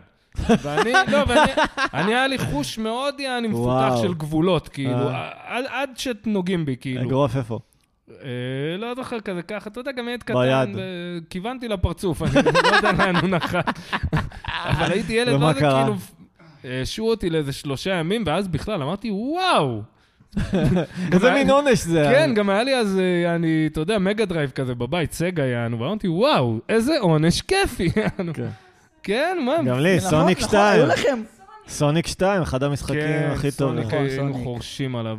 [SPEAKER 3] ואני, לא, ואני, אני היה לי חוש מאוד יעני מפותח
[SPEAKER 1] וואו.
[SPEAKER 3] של גבולות, כאילו,
[SPEAKER 1] אה.
[SPEAKER 3] עד, עד שנוגעים בי, כאילו.
[SPEAKER 1] אגרוף איפה?
[SPEAKER 3] אה, לא זוכר כזה ככה, אתה יודע, גם ילד קטן,
[SPEAKER 1] ביד.
[SPEAKER 3] ו- כיוונתי לפרצוף, אני לא יודע לאן הוא נחת. אבל הייתי ילד,
[SPEAKER 1] ומה
[SPEAKER 3] מה זה
[SPEAKER 1] קרה?
[SPEAKER 3] כאילו, השעו אותי לאיזה שלושה ימים, ואז בכלל אמרתי, וואו.
[SPEAKER 1] איזה מין עונש זה.
[SPEAKER 3] כן, גם היה לי אז, אה, אני, אתה יודע, מגה דרייב כזה בבית, סגה יענו, ואמרתי, וואו, איזה עונש כיפי יענו.
[SPEAKER 1] כן.
[SPEAKER 3] כן, מה?
[SPEAKER 1] גם לי,
[SPEAKER 2] נכון,
[SPEAKER 1] סוניק
[SPEAKER 2] נכון,
[SPEAKER 1] 2.
[SPEAKER 2] היו לכם.
[SPEAKER 1] סוניק 2, אחד המשחקים
[SPEAKER 3] כן,
[SPEAKER 1] הכי טובים.
[SPEAKER 3] סוניק,
[SPEAKER 2] נכון,
[SPEAKER 3] היינו
[SPEAKER 2] סוניק.
[SPEAKER 3] חורשים עליו.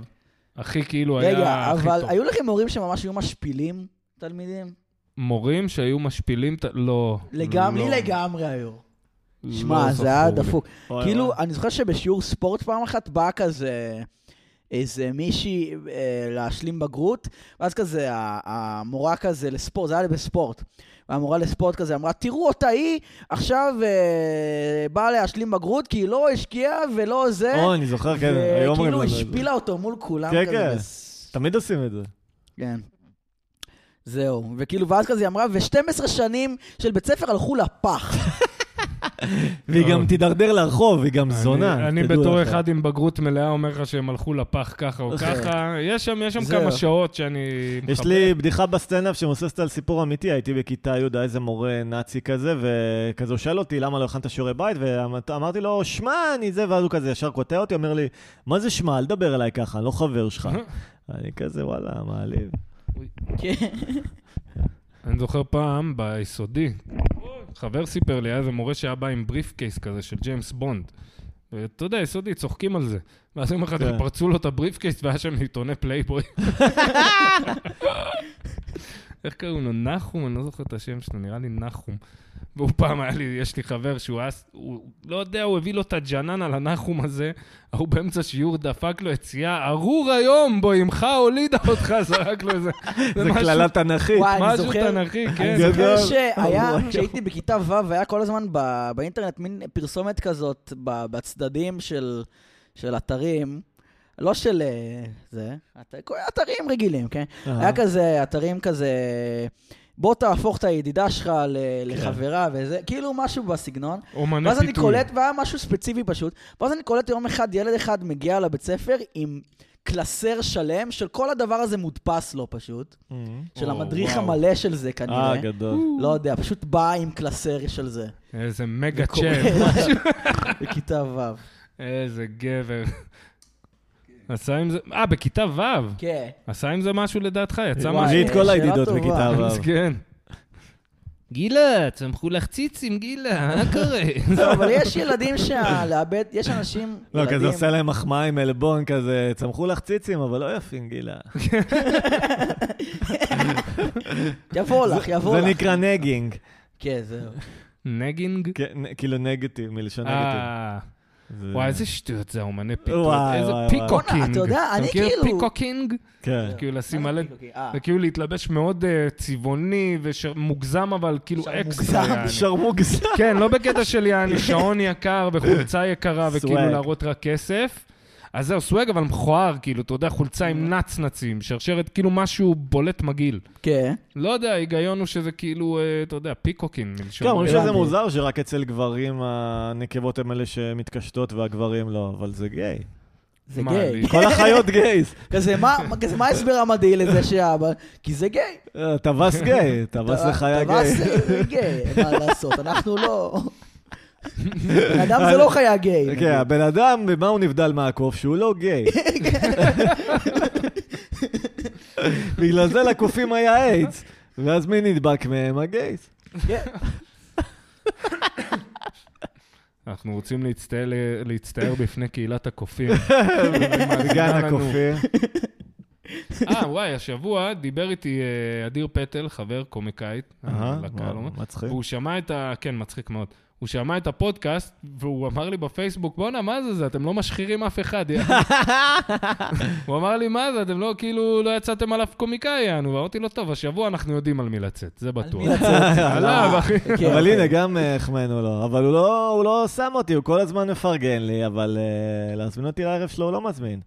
[SPEAKER 3] הכי כאילו
[SPEAKER 2] רגע,
[SPEAKER 3] היה הכי
[SPEAKER 2] אבל
[SPEAKER 3] טוב.
[SPEAKER 2] היו לכם מורים שממש היו משפילים תלמידים?
[SPEAKER 3] מורים שהיו משפילים, את ה- לא.
[SPEAKER 2] לגמרי, לי
[SPEAKER 3] לא,
[SPEAKER 2] לגמרי היו.
[SPEAKER 3] לא
[SPEAKER 2] שמע,
[SPEAKER 3] זכור
[SPEAKER 2] זה היה
[SPEAKER 3] לי.
[SPEAKER 2] דפוק.
[SPEAKER 1] וואי,
[SPEAKER 2] כאילו,
[SPEAKER 1] וואי.
[SPEAKER 2] אני זוכר שבשיעור ספורט פעם אחת באה כזה איזה מישהי אה, להשלים בגרות, ואז כזה ה- המורה כזה לספורט, זה היה בספורט. והמורה לספורט כזה אמרה, תראו אותה היא עכשיו אה, באה להשלים בגרות כי היא לא השקיעה ולא אה? זה. כאילו
[SPEAKER 1] או, אני זוכר, כן, היו אומרים
[SPEAKER 2] וכאילו
[SPEAKER 1] לנו את זה.
[SPEAKER 2] השפילה אותו מול כולם
[SPEAKER 1] כן,
[SPEAKER 2] כזה.
[SPEAKER 1] כן.
[SPEAKER 2] בס-
[SPEAKER 1] תמיד עושים את זה.
[SPEAKER 3] לא.
[SPEAKER 2] כן. זהו, וכאילו, ואז כזה היא אמרה, ו-12 שנים של בית ספר הלכו לפח.
[SPEAKER 1] והיא גם תידרדר לרחוב, היא גם
[SPEAKER 3] אני-
[SPEAKER 1] זונה.
[SPEAKER 3] אני
[SPEAKER 1] תדעו
[SPEAKER 3] בתור
[SPEAKER 1] לכם.
[SPEAKER 3] אחד עם בגרות מלאה אומר לך שהם הלכו לפח ככה או
[SPEAKER 1] אוקיי.
[SPEAKER 3] ככה. יש שם יש שם
[SPEAKER 2] זהו.
[SPEAKER 3] כמה שעות שאני...
[SPEAKER 1] יש
[SPEAKER 3] מחבר.
[SPEAKER 1] לי בדיחה בסטנדאפ שמבוססת על סיפור אמיתי, הייתי בכיתה י' איזה מורה נאצי כזה, וכזה הוא שאל אותי למה לא הכנת שיעורי בית, ואמרתי לו, שמע, אני זה, ואז הוא כזה ישר קוטע אותי, אומר לי, מה זה שמע, אל תדבר אליי ככה, אני לא חבר שלך. אני כזה, וואלה, מעליב.
[SPEAKER 2] כן.
[SPEAKER 3] אני זוכר פעם ביסודי, חבר סיפר לי, היה איזה מורה שהיה בא עם בריף קייס כזה של ג'יימס בונד. ואתה יודע, יסודי, צוחקים על זה. ואז יום אחד
[SPEAKER 1] כן.
[SPEAKER 3] הם פרצו לו את הבריף קייס והיה שם עיתוני פלייבוי. איך קראו לו? נחום? אני לא זוכר את השם שלו, נראה לי נחום. והוא פעם היה לי, יש לי חבר שהוא היה, הוא לא יודע, הוא הביא לו את הג'נן על הנחום הזה, ההוא באמצע שיעור דפק לו יציאה, ארור היום, בו אמך הולידה אותך, זרק לו איזה...
[SPEAKER 1] זה
[SPEAKER 3] משהו-
[SPEAKER 1] קללה תנכית.
[SPEAKER 2] וואי, אני
[SPEAKER 3] משהו
[SPEAKER 2] זוכר-
[SPEAKER 3] תנכי, כן.
[SPEAKER 2] אני זוכר
[SPEAKER 1] גדול.
[SPEAKER 2] שהיה,
[SPEAKER 1] אוי.
[SPEAKER 2] כשהייתי בכיתה ו', היה כל הזמן ב- באינטרנט מין פרסומת כזאת ב- בצדדים של, של אתרים. לא של אה, זה, את- אתרים רגילים, כן?
[SPEAKER 1] אהה.
[SPEAKER 2] היה כזה, אתרים כזה, בוא תהפוך את הידידה שלך ל- לחברה וזה, כאילו משהו בסגנון.
[SPEAKER 3] אומני
[SPEAKER 2] ואז אני
[SPEAKER 3] פיתוי.
[SPEAKER 2] קולט, והיה משהו ספציפי פשוט, ואז אני קולט יום אחד, ילד אחד מגיע לבית ספר עם קלסר שלם, של כל הדבר הזה מודפס לו פשוט,
[SPEAKER 1] אה.
[SPEAKER 2] של
[SPEAKER 3] או,
[SPEAKER 2] המדריך
[SPEAKER 3] וואו.
[SPEAKER 2] המלא של זה כנראה.
[SPEAKER 1] אה, גדול.
[SPEAKER 2] לא יודע, פשוט בא עם קלסר של זה.
[SPEAKER 3] איזה מגה
[SPEAKER 2] וקורא
[SPEAKER 3] צ'אפ.
[SPEAKER 2] בכיתה ו'.
[SPEAKER 3] איזה גבר. עשה עם זה... אה, בכיתה ו'.
[SPEAKER 2] כן.
[SPEAKER 3] עשה עם זה משהו לדעתך? יצא
[SPEAKER 2] וואי,
[SPEAKER 1] הביא
[SPEAKER 3] משהו?
[SPEAKER 1] את כל
[SPEAKER 2] שאלה
[SPEAKER 1] הידידות
[SPEAKER 2] טובה.
[SPEAKER 1] בכיתה ו'.
[SPEAKER 3] אז כן. גילה, צמחו לך ציצים, גילה, מה קורה?
[SPEAKER 2] לא, אבל יש ילדים שהלאבד, יש אנשים,
[SPEAKER 1] לא, כזה
[SPEAKER 2] ילדים,
[SPEAKER 1] עושה להם מחמאה עם עלבון כזה, צמחו לך ציצים, אבל לא יפים, גילה.
[SPEAKER 2] יבוא לך,
[SPEAKER 1] זה
[SPEAKER 2] יבוא לך.
[SPEAKER 1] נקרא נגינג.
[SPEAKER 2] כן, זהו.
[SPEAKER 3] נגינג?
[SPEAKER 1] כן, נ- כאילו נגטיב, מלשון נגטיב.
[SPEAKER 3] אה,
[SPEAKER 1] זה-
[SPEAKER 3] וואי, איזה שטויות זה, אומני פיתות.
[SPEAKER 1] וואי,
[SPEAKER 3] איזה
[SPEAKER 1] וואי, וואי.
[SPEAKER 3] פיקוקינג.
[SPEAKER 2] בואנה, אתה יודע, אני כאילו-
[SPEAKER 3] מכיר פיקוקינג?
[SPEAKER 1] כן.
[SPEAKER 3] כאילו לשים מלא...
[SPEAKER 2] אה,
[SPEAKER 3] זה כאילו להתלבש מאוד אה, צבעוני ומוגזם, אבל כאילו
[SPEAKER 2] שם
[SPEAKER 3] אקסטרה.
[SPEAKER 2] מוגזם,
[SPEAKER 3] יעני.
[SPEAKER 1] שרמוגזם.
[SPEAKER 3] כן, לא בקטע של יעני שעון יקר וחולצה יקרה וכאילו
[SPEAKER 1] סוואג.
[SPEAKER 3] להראות רק כסף. אז זהו, סוואג אבל מכוער, כאילו, אתה יודע, חולצה עם נצנצים, שרשרת, כאילו משהו בולט מגעיל.
[SPEAKER 1] אוקיי.
[SPEAKER 2] כן.
[SPEAKER 3] לא יודע, ההיגיון הוא שזה כאילו, אה, אתה יודע, פיקוקין מלשון.
[SPEAKER 1] כן, אומרים שזה
[SPEAKER 2] הבנתי.
[SPEAKER 1] מוזר שרק אצל גברים הנקבות הם אלה שמתקשטות והגברים לא, אבל זה גיי.
[SPEAKER 2] זה
[SPEAKER 3] מה,
[SPEAKER 2] גיי.
[SPEAKER 3] לי?
[SPEAKER 1] כל החיות גייז.
[SPEAKER 2] כזה, מה- מה- כזה, מה ההסבר המדעי לזה שהאבא... כי זה גיי.
[SPEAKER 1] אה, טווס גיי, טווס
[SPEAKER 2] טוב,
[SPEAKER 1] לחיה
[SPEAKER 2] טוב, אז
[SPEAKER 1] גיי.
[SPEAKER 2] לא זה גיי, מה לעשות, אנחנו לא... בן אדם זה לא חיה גיי. נגיד.
[SPEAKER 1] כן, הבן אדם, במה הוא נבדל מהקוף? שהוא לא גיי.
[SPEAKER 2] כן.
[SPEAKER 1] בגלל זה לקופים היה איידס. ואז מי נדבק מהם? הגייס.
[SPEAKER 2] כן.
[SPEAKER 1] אה,
[SPEAKER 3] אנחנו רוצים להצטער, להצטער בפני קהילת הקופים.
[SPEAKER 1] גן הקופים.
[SPEAKER 3] אה, וואי, השבוע דיבר איתי אה, אדיר פטל, חבר קומיקאית, אה,
[SPEAKER 1] אהה,
[SPEAKER 3] לקהל,
[SPEAKER 2] לא
[SPEAKER 3] אומר,
[SPEAKER 1] מצחיק.
[SPEAKER 3] והוא שמע את ה... כן, מצחיק מאוד. הוא שמע את הפודקאסט, והוא אמר לי בפייסבוק, בואנה, מה זה זה? אתם לא משחירים אף אחד. יא." הוא אמר לי, מה זה? אתם לא, כאילו, לא יצאתם על אף קומיקאי, יענו. ואמרתי לו, טוב, השבוע אנחנו יודעים על מי לצאת, זה בטוח.
[SPEAKER 2] מי לצאת?
[SPEAKER 3] עליו, אחי.
[SPEAKER 2] כן,
[SPEAKER 1] אבל
[SPEAKER 2] אוקיי.
[SPEAKER 1] הנה, גם אה, החמאנו לו. אבל הוא לא- הוא לא שם אותי, הוא כל הזמן מפרגן לי, אבל אה, להזמין אותי לערב שלו הוא לא מזמין.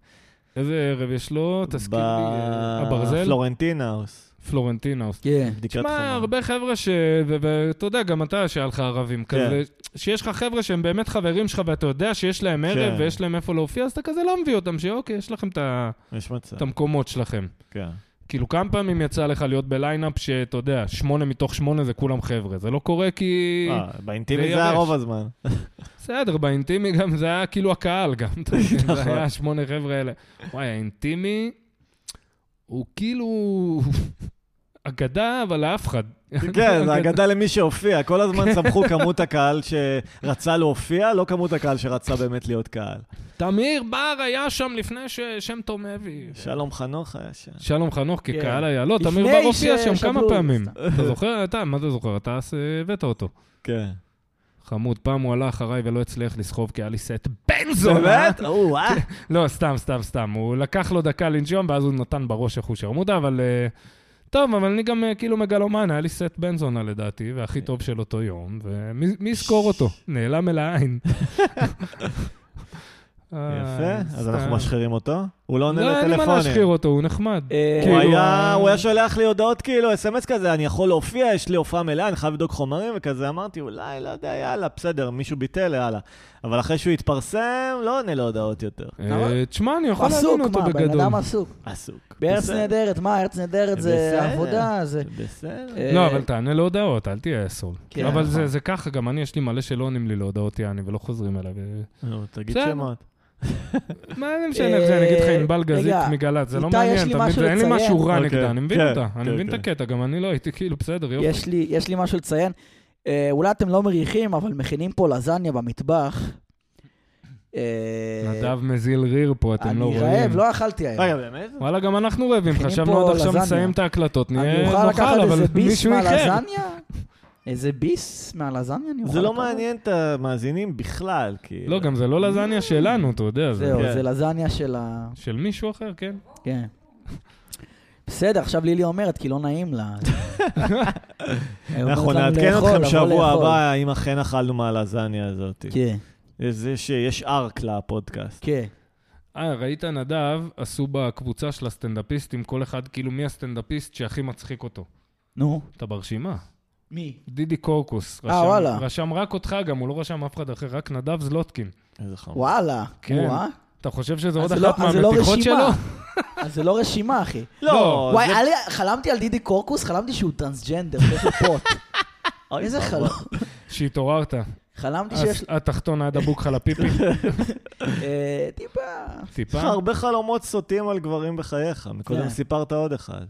[SPEAKER 3] איזה ערב יש לו? לא, תזכיר לי. אה, הברזל?
[SPEAKER 1] בפלורנטין האוס.
[SPEAKER 3] פלורנטינה.
[SPEAKER 2] כן.
[SPEAKER 1] בדיקת
[SPEAKER 3] תשמע,
[SPEAKER 1] חומר.
[SPEAKER 3] הרבה חבר'ה ש... ו- ואתה יודע, גם אתה, שהיה לך ערבים
[SPEAKER 2] כן.
[SPEAKER 3] כזה, שיש לך חבר'ה שהם באמת חברים שלך, ואתה יודע שיש להם ערב
[SPEAKER 1] כן.
[SPEAKER 3] ויש להם איפה להופיע, אז אתה כזה לא מביא אותם, שאוקיי, יש לכם את ה-
[SPEAKER 1] יש מצב,
[SPEAKER 3] את המקומות שלכם.
[SPEAKER 1] כן.
[SPEAKER 3] כאילו, כמה פעמים יצא לך להיות בליינאפ שאתה יודע, שמונה מתוך שמונה זה כולם חבר'ה. זה לא קורה כי...
[SPEAKER 1] אה, באינטימי
[SPEAKER 3] זה
[SPEAKER 1] זה היה
[SPEAKER 3] יבש.
[SPEAKER 1] רוב הזמן.
[SPEAKER 3] בסדר, באינטימי גם זה היה כאילו הקהל גם. אתה מבין? זה
[SPEAKER 1] נכון.
[SPEAKER 3] היה שמונה חבר'ה האלה. וואי, האינטימי הוא כאילו... אגדה, אבל לאף אחד.
[SPEAKER 1] כן, זה אגדה למי שהופיע. כל
[SPEAKER 3] כן.
[SPEAKER 1] הזמן סמכו כמות הקהל שרצה להופיע, לא כמות הקהל שרצה באמת להיות קהל.
[SPEAKER 3] כן. תמיר בר היה שם לפני ששם טוב הביא.
[SPEAKER 1] שלום חנוך אה, היה שם.
[SPEAKER 3] שלום חנוך
[SPEAKER 2] כן.
[SPEAKER 3] כקהל היה. לא, תמיר
[SPEAKER 2] לפני
[SPEAKER 3] בר הופיע
[SPEAKER 2] ש-
[SPEAKER 3] שם כמה
[SPEAKER 2] שבלו,
[SPEAKER 3] פעמים.
[SPEAKER 2] סתם.
[SPEAKER 3] אתה זוכר? אתה, מה אתה זוכר? אתה אז, אה, הבאת אותו.
[SPEAKER 1] כן.
[SPEAKER 3] חמוד, פעם הוא עלה אחריי ולא הצליח לסחוב כי היה לי סט בן זונה.
[SPEAKER 1] באמת? או, אה?
[SPEAKER 3] לא, סתם, סתם, סתם. הוא לקח לו דקה לנשום, ואז הוא נתן בראש איך הוא שרמוטה, אבל... אה, טוב, אבל אני גם אה, כאילו מגלומן, היה לי סט בנזונה לדעתי, והכי טוב של אותו יום, ומי מי יזכור אותו? נעלם אל העין.
[SPEAKER 1] יפה, אז אנחנו משחירים אותו. הוא לא עונה
[SPEAKER 3] אה, לא, אין לי מה להשחיר
[SPEAKER 1] לטלפונים.
[SPEAKER 3] אותו, הוא נחמד.
[SPEAKER 2] אה,
[SPEAKER 1] הוא
[SPEAKER 3] כאילו,
[SPEAKER 1] היה-
[SPEAKER 3] ה-
[SPEAKER 1] הוא היה שולח לי הודעות כאילו, אס.אם.אס כזה, אני יכול להופיע, יש לי הופעה מלאה, אני חייב לבדוק חומרים, וכזה אמרתי, אולי, לא יודע, יאללה, בסדר, מישהו ביטל, יאללה. אבל אחרי שהוא התפרסם, לא עונה להודעות יותר.
[SPEAKER 3] אה, תשמע, אני יכול
[SPEAKER 2] עסוק,
[SPEAKER 3] להבין אותו
[SPEAKER 2] מה, בן
[SPEAKER 3] בגדול.
[SPEAKER 2] אדם עסוק.
[SPEAKER 1] עסוק.
[SPEAKER 2] בארץ
[SPEAKER 1] בסדר.
[SPEAKER 2] נהדרת, מה, ארץ נהדרת
[SPEAKER 1] בסדר.
[SPEAKER 2] זה עבודה, זה...
[SPEAKER 1] בסדר.
[SPEAKER 2] אה,
[SPEAKER 3] לא, אבל תענה להודעות, אל תהיה אסול.
[SPEAKER 2] כן,
[SPEAKER 3] אבל זה-
[SPEAKER 1] נכון.
[SPEAKER 3] זה ככה, גם אני, יש לי מלא שלא עונים לי להודעות יעני, ולא חוזרים אה, אליי. ו-
[SPEAKER 1] נו, תגיד
[SPEAKER 3] בסדר.
[SPEAKER 1] שמות.
[SPEAKER 3] מה זה משנה איך זה, אני אגיד לך ענבל גזית
[SPEAKER 2] אה, רגע,
[SPEAKER 3] מגל"צ, זה לא
[SPEAKER 2] איתי,
[SPEAKER 3] מעניין,
[SPEAKER 2] יש לי
[SPEAKER 3] אתה מבין?
[SPEAKER 2] משהו
[SPEAKER 3] זה- אין לי
[SPEAKER 2] לציין.
[SPEAKER 3] משהו רע
[SPEAKER 1] אוקיי,
[SPEAKER 3] נגדה, אני מבין
[SPEAKER 1] כן,
[SPEAKER 3] אותה, אני
[SPEAKER 1] כן,
[SPEAKER 3] מבין את
[SPEAKER 1] כן.
[SPEAKER 3] הקטע, גם אני לא הייתי כאילו, בסדר, יופי.
[SPEAKER 2] יש לי, יש לי משהו לציין. אה, אולי אתם לא מריחים, אבל מכינים פה לזניה במטבח. אה,
[SPEAKER 3] נדב מזיל ריר פה, אתם לא
[SPEAKER 2] אני
[SPEAKER 3] רואים.
[SPEAKER 2] רעב, לא אכלתי
[SPEAKER 3] אה.
[SPEAKER 1] רגע,
[SPEAKER 2] היום.
[SPEAKER 1] באמת?
[SPEAKER 3] וואלה, גם אנחנו רעבים,
[SPEAKER 2] מכינים
[SPEAKER 3] חשבנו
[SPEAKER 2] פה
[SPEAKER 3] עוד עכשיו
[SPEAKER 2] לזניה.
[SPEAKER 3] נסיים את ההקלטות,
[SPEAKER 2] אני
[SPEAKER 3] נהיה
[SPEAKER 2] אוכל
[SPEAKER 3] נאכל,
[SPEAKER 2] לקחת
[SPEAKER 3] אבל
[SPEAKER 2] איזה ביס
[SPEAKER 3] מישהו איחר.
[SPEAKER 2] מהלזניה? איזה ביס מהלזניה אני אוכל
[SPEAKER 1] זה לא
[SPEAKER 2] לקחת?
[SPEAKER 1] מעניין את המאזינים בכלל, כאילו. כי...
[SPEAKER 3] לא, גם זה לא לזניה שלנו, אתה יודע, זה
[SPEAKER 2] זהו,
[SPEAKER 1] כן.
[SPEAKER 2] זה לזניה של ה...
[SPEAKER 3] של מישהו אחר, כן.
[SPEAKER 2] כן. בסדר, עכשיו לילי אומרת, כי לא נעים לה.
[SPEAKER 1] אנחנו נכון, נעדכן אתכם שבוע הבא אם אכן אכלנו מהלזניה הזאת.
[SPEAKER 2] לא כן,
[SPEAKER 1] זה שיש ארק לפודקאסט.
[SPEAKER 2] כן.
[SPEAKER 3] אה, ראית נדב, עשו בקבוצה של הסטנדאפיסטים, כל אחד, כאילו, מי הסטנדאפיסט שהכי מצחיק אותו?
[SPEAKER 2] נו.
[SPEAKER 3] אתה ברשימה.
[SPEAKER 2] מי?
[SPEAKER 3] דידי קורקוס.
[SPEAKER 2] אה,
[SPEAKER 3] רשם-
[SPEAKER 2] וואלה.
[SPEAKER 3] רשם רק אותך גם, הוא לא רשם אף אחד אחר, רק נדב זלוטקין.
[SPEAKER 1] איזה חמור.
[SPEAKER 2] וואלה.
[SPEAKER 3] כן.
[SPEAKER 2] וואה.
[SPEAKER 3] אתה חושב שזה עוד
[SPEAKER 2] אז זה לא-
[SPEAKER 3] אחת
[SPEAKER 2] אז זה לא
[SPEAKER 3] מהמתיחות שלו?
[SPEAKER 2] רשימה. אז זה לא רשימה, אחי.
[SPEAKER 1] לא,
[SPEAKER 2] וואי,
[SPEAKER 1] זה-
[SPEAKER 2] היה לי- חלמתי על דידי קורקוס, חלמתי שהוא טרנסג'נדר, שיש לו פוט.
[SPEAKER 1] אוי,
[SPEAKER 2] איזה
[SPEAKER 1] ואבוי.
[SPEAKER 2] חלום.
[SPEAKER 3] שהתעוררת.
[SPEAKER 2] חלמתי שיש
[SPEAKER 3] הס- התחתון עד הבוק לך לפיפי.
[SPEAKER 2] אה, טיפה...
[SPEAKER 1] יש
[SPEAKER 3] טיפה.
[SPEAKER 1] לך הרבה חלומות סוטים על גברים בחייך, מקודם
[SPEAKER 2] כן.
[SPEAKER 1] סיפרת עוד אחד.